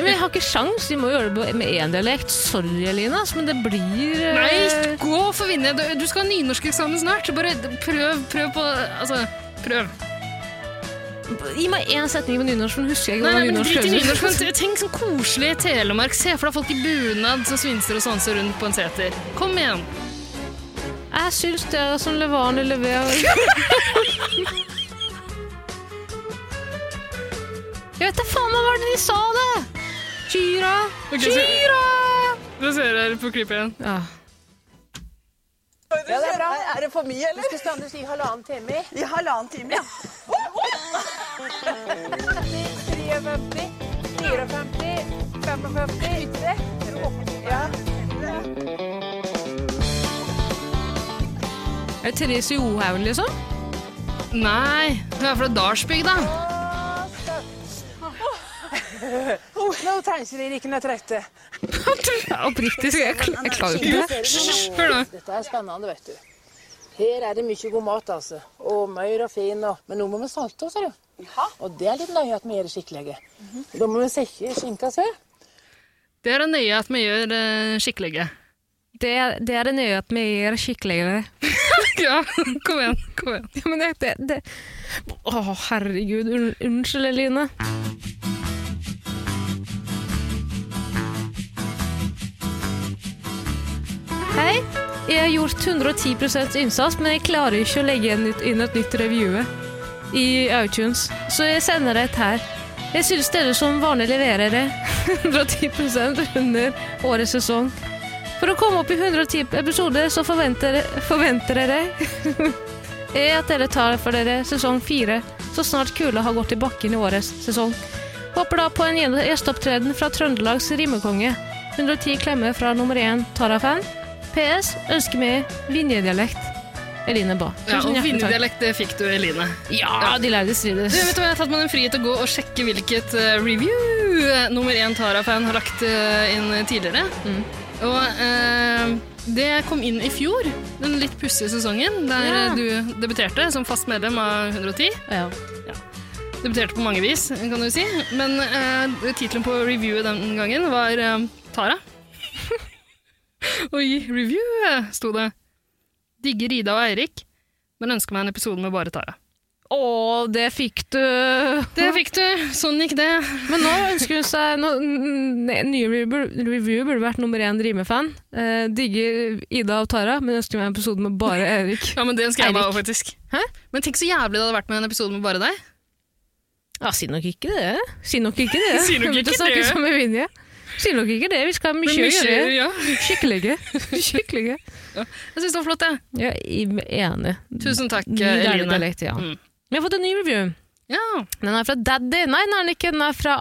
Men jeg har ikke sjans, vi må gjøre det med én dialekt. Sorry, Elinas, men det blir eh, Nei, gå for vinne. Du, du skal ha nynorskeksamen snart. Bare prøv, prøv på Altså, prøv. Gi meg én setning på nynorsk, men husker jeg ikke Nei, nei, hvordan men nynorsk Drit i høres ut. nynorsk. men Tenk sånn koselig Telemark. Se for deg folk i bunad som svinser og sanser rundt på en seter. Kom igjen. [laughs] Jeg syns dere som sånn Levane [laughs] leverer Jeg vet da faen hva var det de sa, det! Kyra. Ok, så- Kyra! Da ser jeg på klippet igjen. Ja. I halvannen time, ja. 53, 54, 55, 60. Ja. Er det Therese Johaugen, liksom? Nei, hun er fra Dalsbygd, da. Oh, nå trenger dere ikke noe trøtte. Oppriktig, jeg, kl jeg klarer jo ikke det. Hør nå. Dette er spennende, vet du. Her er det mye god mat, altså. Og møyr og fin. Og... Men nå må vi salte oss, ser du. Og det er litt nøye at vi gjør det skikkelig. Da må vi sekke skinka se. Det er nøye at vi gjør uh, skikkelige. Det, det er det nøye at vi er skikkeligere. [laughs] Ja, kom igjen. kom igjen. Ja, men det, det, det. Å, herregud. Un unnskyld, Eline. Hei. Jeg har gjort 110 innsats, men jeg klarer ikke å legge inn et- inn et nytt review i iTunes, så jeg sender det et her. Jeg syns dere som vanlig leverer det [laughs] 110 under årets sesong. For å komme opp i 110 episoder, så forventer, forventer dere [laughs] er at dere tar for dere sesong fire, så snart kula har gått i bakken i årets sesong. Håper da på en gjen- gjesteopptreden fra Trøndelags rimekonge. 110 klemmer fra nummer én Tara-fan. PS ønsker meg linjedialekt. Eline Bae. Ja, Tusen hjertelig og takk. Vinnerdialekt, det fikk du, Eline. Ja, de lærde Du, strides. vet du hva, Jeg har tatt meg den frihet til å gå og sjekke hvilket eh, review eh, nummer én Tara-fan har lagt eh, inn tidligere. Og eh, det kom inn i fjor, den litt pussige sesongen der Ja. eh, du debuterte som fast medlem av 110. Ja. Debuterte på mange vis, kan du si. Men eh, tittelen på reviewet den gangen var eh, Tara. [laughs] og i reviewet sto det 'Digger Ida og Eirik, men ønsker meg en episode med bare Tara'. Å, det fikk du. Det fikk du. Sånn gikk det. Men nå ønsker hun seg no, n- n- Nye review, review burde vært nummer én rimefan. Eh, digger Ida og Tara, men ønsker meg en episode med bare Erik. Ja, men det ønsker jeg meg Eirik. også, faktisk. Hæ? Men tenk så jævlig det hadde vært med en episode med bare deg. Ja, si nok ikke det. Si nok ikke det. Si nok Vi ikke vet å snakke det. som vi vil, ja. Si nok ikke det. Vi skal ha mye å gjøre. ja. Skikkelige. Skikkelige. Jeg syns det var flott, jeg. Ja, jeg er enig. Tusen takk, eh, Ny deilig Eline. dialekt, ja. Mm. Vi har fått en ny review. Ja. Den er fra Daddy. Nei, den er den ikke. Den er fra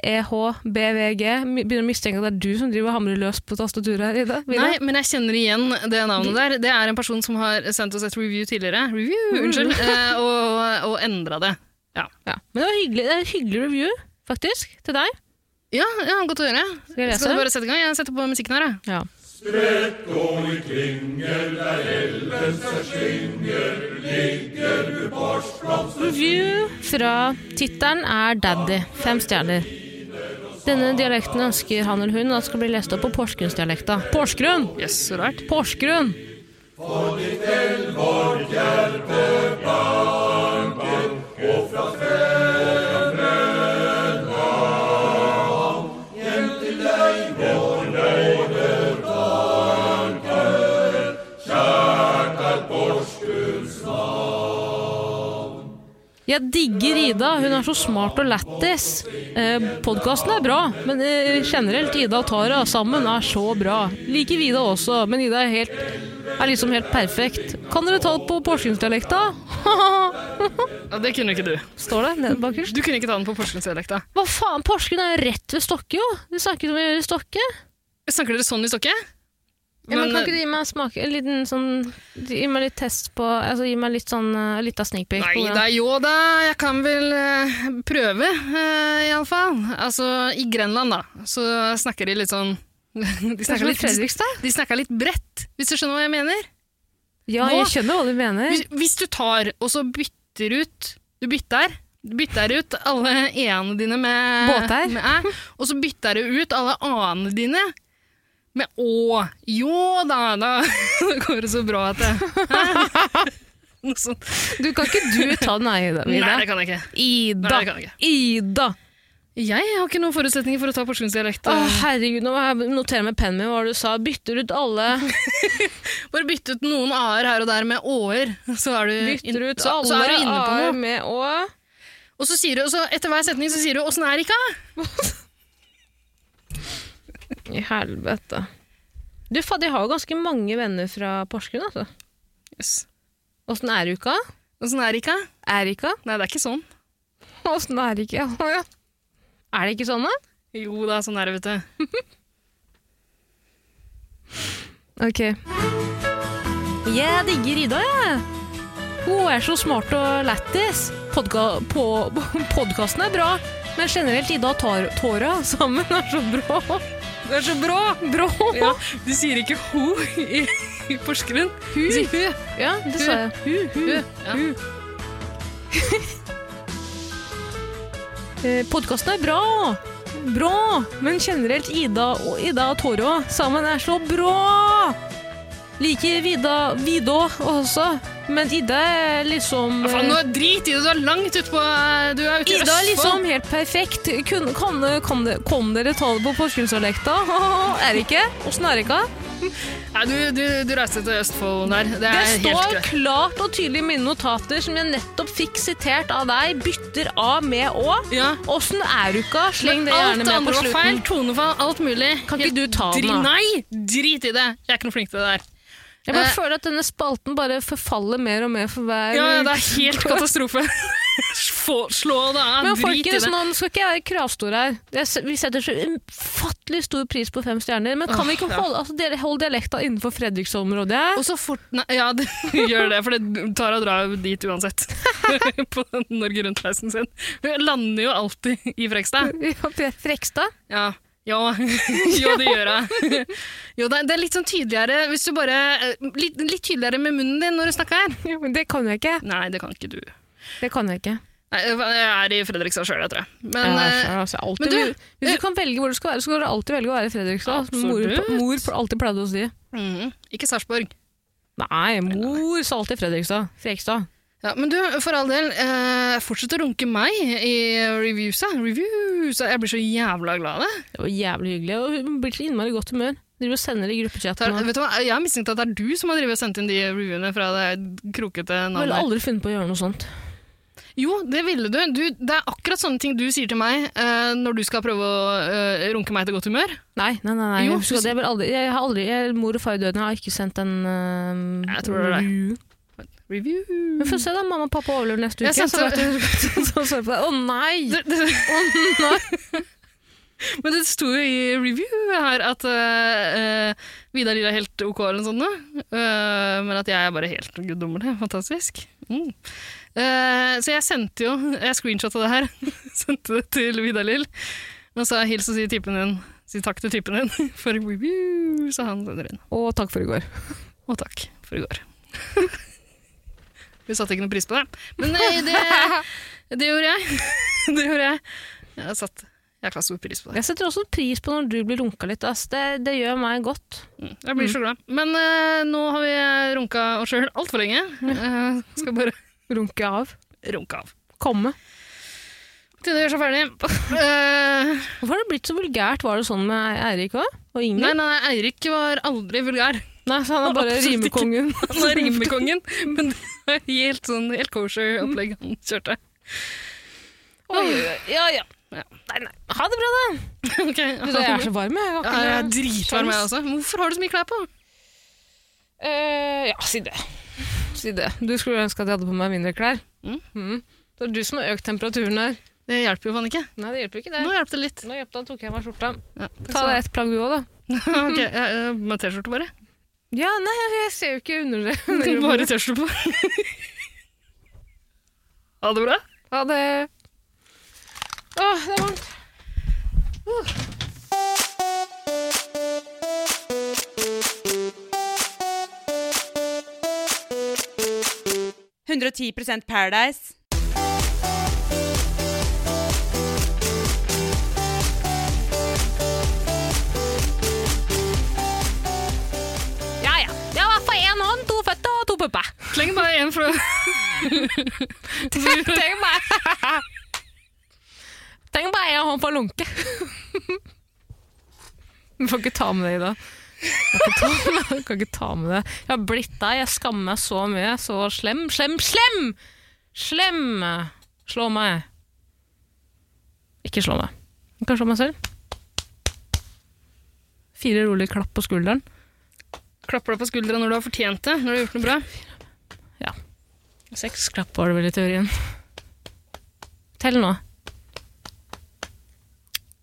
AHCKLØ-LHFD-WEHBVG. Begynner å mistenke at det er du som driver og hamrer løs på tastaturet her, Ida. Vidar. Nei, men jeg kjenner igjen det navnet der. Det er en person som har sendt oss et review tidligere, review, unnskyld, eh, og, og endra det. Ja. Men det var hyggelig. Det er en hyggelig review, faktisk, til deg. Ja, ja, godt å høre. Skal jeg lese? Skal du bare sette i gang? Jeg setter på musikken her, jeg. Ja. Review fra tittelen er 'Daddy'. Fem stjerner. Denne dialekten ønsker han eller hun at skal bli lest opp på porsgrunnsdialekta. Porsgrunn! Jøss, yes, så rart. Porsgrunn! Jeg digger Ida. Hun er så smart og lættis. Eh, Podkasten er bra, men eh, generelt Ida og Tara sammen er så bra. Liker vi Ida også, men Ida er, helt, er liksom helt perfekt. Kan dere ta det på porsgrunnsdialekta? [laughs] Ja, det kunne ikke du. Står det nede bakerst. Du kunne ikke ta den på porsgrunnsdialekta. Hva faen, Porsgrunn er jo rett ved Stokke, jo! Vi snakket om å gjøre Stokke. Snakker dere sånn i Stokke? Ja, men, eh, kan ikke du gi meg, smak, en liten sånn, gi meg litt test på altså, Gi meg litt sånn uh, lita sneak peek? på eh, Nei hvordan- da, jo da, jeg kan vel eh, prøve, eh, iallfall. Altså, i Grenland, da, så snakker de litt [laughs] sånn [laughs] De Kanskje snakker litt litt, Fredrikstad? de snakker litt bredt, hvis du skjønner hva jeg mener? Ja, Hva? jeg skjønner hva du mener. Hvis, hvis du tar og så bytter ut Du bytter du bytter ut alle e-ene dine med Båter? med æ, og så bytter du ut alle a-ene dine med å. Jo da, da [laughs] går det så bra at det [laughs] Hæ? Noe sånt. Du kan ikke du ta den Ida? Nei, Ida. det kan jeg ikke. Ida. Nei, det kan jeg Ida. Jeg har ikke noen forutsetninger for å ta porsgrunnsdialekt. Å, herregud, nå må jeg notere med pennen min hva var det du sa. Bytter ut [laughs] alle Bare bytte ut noen a-er her og der med å-er, så er du, Bytter ut så, så er du inne på A-er noe. med å Og så sier du, og så etter hver setning så sier du 'åssen er det ikke'? I helvete. Du, fader, jeg har jo ganske mange venner fra Porsgrunn, altså. Yes. Åssen er uka? Åssen er det ikke? Erika? Nei, det er ikke sånn. Åssen er det ikke? Å, ja. Er det ikke sånn, da? Jo da, sånn er det, vet du. Ok. Jeg digger Ida, jeg. Hun er så smart og lættis. Podka på [laughs] podkasten er bra, men generelt Ida og tar tåra sammen er så bra. Det er så bra! Bra! Ja, Du sier ikke ho i, i Porsgrunn. Hu. Du sier hu. det sa jeg. Hu, hu, Ja. Eh, Podkasten er bra! Bra! Men generelt Ida og Ida og Toro sammen er så bra! Liker Vida Vidå også, men Ida er liksom Ja, faen, nå drit i det, du er langt utpå Du er sånn- ute Ida i er Østfold. liksom helt perfekt. Kun, kan, kan, kan dere ta det på porsgrunnsdialekta? [laughs] Er det ikke? Åssen er det ikke? Nei, du, du, du reiste til Østfold der. Det Det er helt står greit. klart og tydelig i mine notater, som jeg nettopp fikk sitert av deg, bytter av med å. Ja. Åssen er du ikke? Sleng det alt gjerne det med andre på var feil. slutten. Tonefall, alt mulig. Kan ikke Helt du ta den, dri- da? Nei, drit i det. Jeg er ikke noe flink til det der. Jeg bare Eh. føler at denne spalten bare forfaller mer og mer for hver Ja, [laughs] det er helt katastrofe. [laughs] Få- Slå det av, Men drit i folkens, det. nå skal ikke jeg være kravstor her. Jeg se- Vi setter så ufattelig stor pris på fem stjerner, men kan Åh, vi ikke ja. holde, altså, dere holder dialekta innenfor Fredriksområdet? her? Og så fort Nei, ja, det, [laughs] gjør det, for det tar og drar jo dit uansett. [laughs] På den Norge Rundt-reisen sin. Hun lander jo alltid i Frekstad. Ja, Fre- Frekstad? Ja. [laughs] Jo, jo, det gjør jeg. Jo, det er- det er litt sånn tydeligere hvis du bare eh, Litt, litt tydeligere med munnen din når du snakker her. Ja, men det kan jeg ikke. Nei, det kan ikke du. Det kan jeg ikke. Nei, jeg er i Fredrikstad sjøl, jeg tror jeg. Men jeg eh, er altså, alltid, men du- hvis du kan velge hvor du skal være, så skal du alltid velge å være i Fredrikstad. som Mor, Absolutt. mor alltid pleide å si. mhm, ikke Sarpsborg. Nei, mor sa alltid Fredrikstad. Frekstad. Ja, men du, for all del, eh, fortsett å runke meg i reviewsa. Reviewsa. Jeg blir så jævla glad av det. Det var jævlig hyggelig, og hun blir så innmari godt humør. Driver og sender det i gruppechatten. Tar, og- vet du hva? Jeg har mistenkt at det er du som har drevet og sendt inn de reviewene fra det krokete Jeg ville navnet. aldri funnet på å gjøre noe sånt. Jo, det ville du. du. Det er akkurat sånne ting du sier til meg eh, når du skal prøve å eh, runke meg til godt humør. Nei, nei, nei. nei. Jo, Husk at jeg, vil aldri, jeg har aldri jeg, Mor og far i døden har ikke sendt en øhm, Jeg tror det er det. review. Review Vi får se, da. Mamma og pappa overlever neste uke. Jeg så sendte- vet du- så ser vi på det. Å nei! det, [laughs] det, Å nei! Men det sto jo i review her at eh, eh, Vidar Lill er helt ok, eller noe sånt, nå. Eh, men at jeg er bare helt guddommelig. Fantastisk. Mm. Eh, så jeg sendte jo Jeg screenshotta det her. [laughs] sendte det til Vidar Lill. Og sa hils og si typen din. Si takk til typen din [laughs] for review, sa han sender inn. Og takk for i går. Og takk for i går. [laughs] Vi satte ikke noe pris på det. [laughs] Men eh, det, det gjorde jeg. [laughs] det gjorde jeg. Jeg satte jækla stor pris på det. Jeg setter også pris på når du blir runka litt. Ass. Det, det gjør meg godt. Jeg blir så glad. Men eh, nå har vi runka oss sjøl altfor lenge. Eh, skal bare Runke av. runke av. Komme. Til det gjør seg ferdig. Eh, Hvorfor har det blitt så vulgært? Var det sånn med Eirik òg? Og nei, Ingrid? nei, nei, Eirik var aldri vulgær. Nei, så han er bare Absolutt ikke. rimekongen. [laughs] Han er rimekongen, men det var helt sånn helt kosher opplegg han kjørte. Oi, ja, ja. Ja. Nei, nei. Ha det bra, da! Ok, Du, Jeg er så varm, jeg. jeg. Ja, har jeg ikke er dritvarm, jeg også. Hvorfor har du så mye klær på? Eh, ja, si det. Si det. Du skulle ønske at jeg hadde på meg mindre klær. Mm. Mm. Det er du som har økt temperaturen her. Det hjelper jo faen ikke. Nei, det hjelper ikke det. Nå hjelper det litt. Nå hjelpte han, tok jeg meg skjorta. [laughs] Ja, Ta takk skal du deg ha. et plagg du òg, da. ok, jeg- jeg- Med T-skjorte, bare. Ja, nei, jeg ser jo ikke under det. [laughs] Bare tørste på. [laughs] Ha det bra. Ha det. Åh, det er varmt. Ja, ja. Det var for én hånd, to føtter og to pupper. Sleng bare en [laughs] fra Tenk bare Tenk bare én hånd for lunke. Du får ikke ta med det i dag. Du kan ikke ta med- du kan ikke ta med det. Jeg har blitt deg. Jeg skammer meg så mye. Så slem, slem, slem! Slem! Slå meg. Ikke slå meg. Jeg kan slå meg selv. Fire rolige klapp på skulderen. Klapper deg på skuldra når du har fortjent det, når du har gjort noe bra. Seks klapp var det vel i teorien. Tell nå.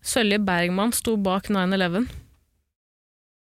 Sølje Bergman sto bak 9-11.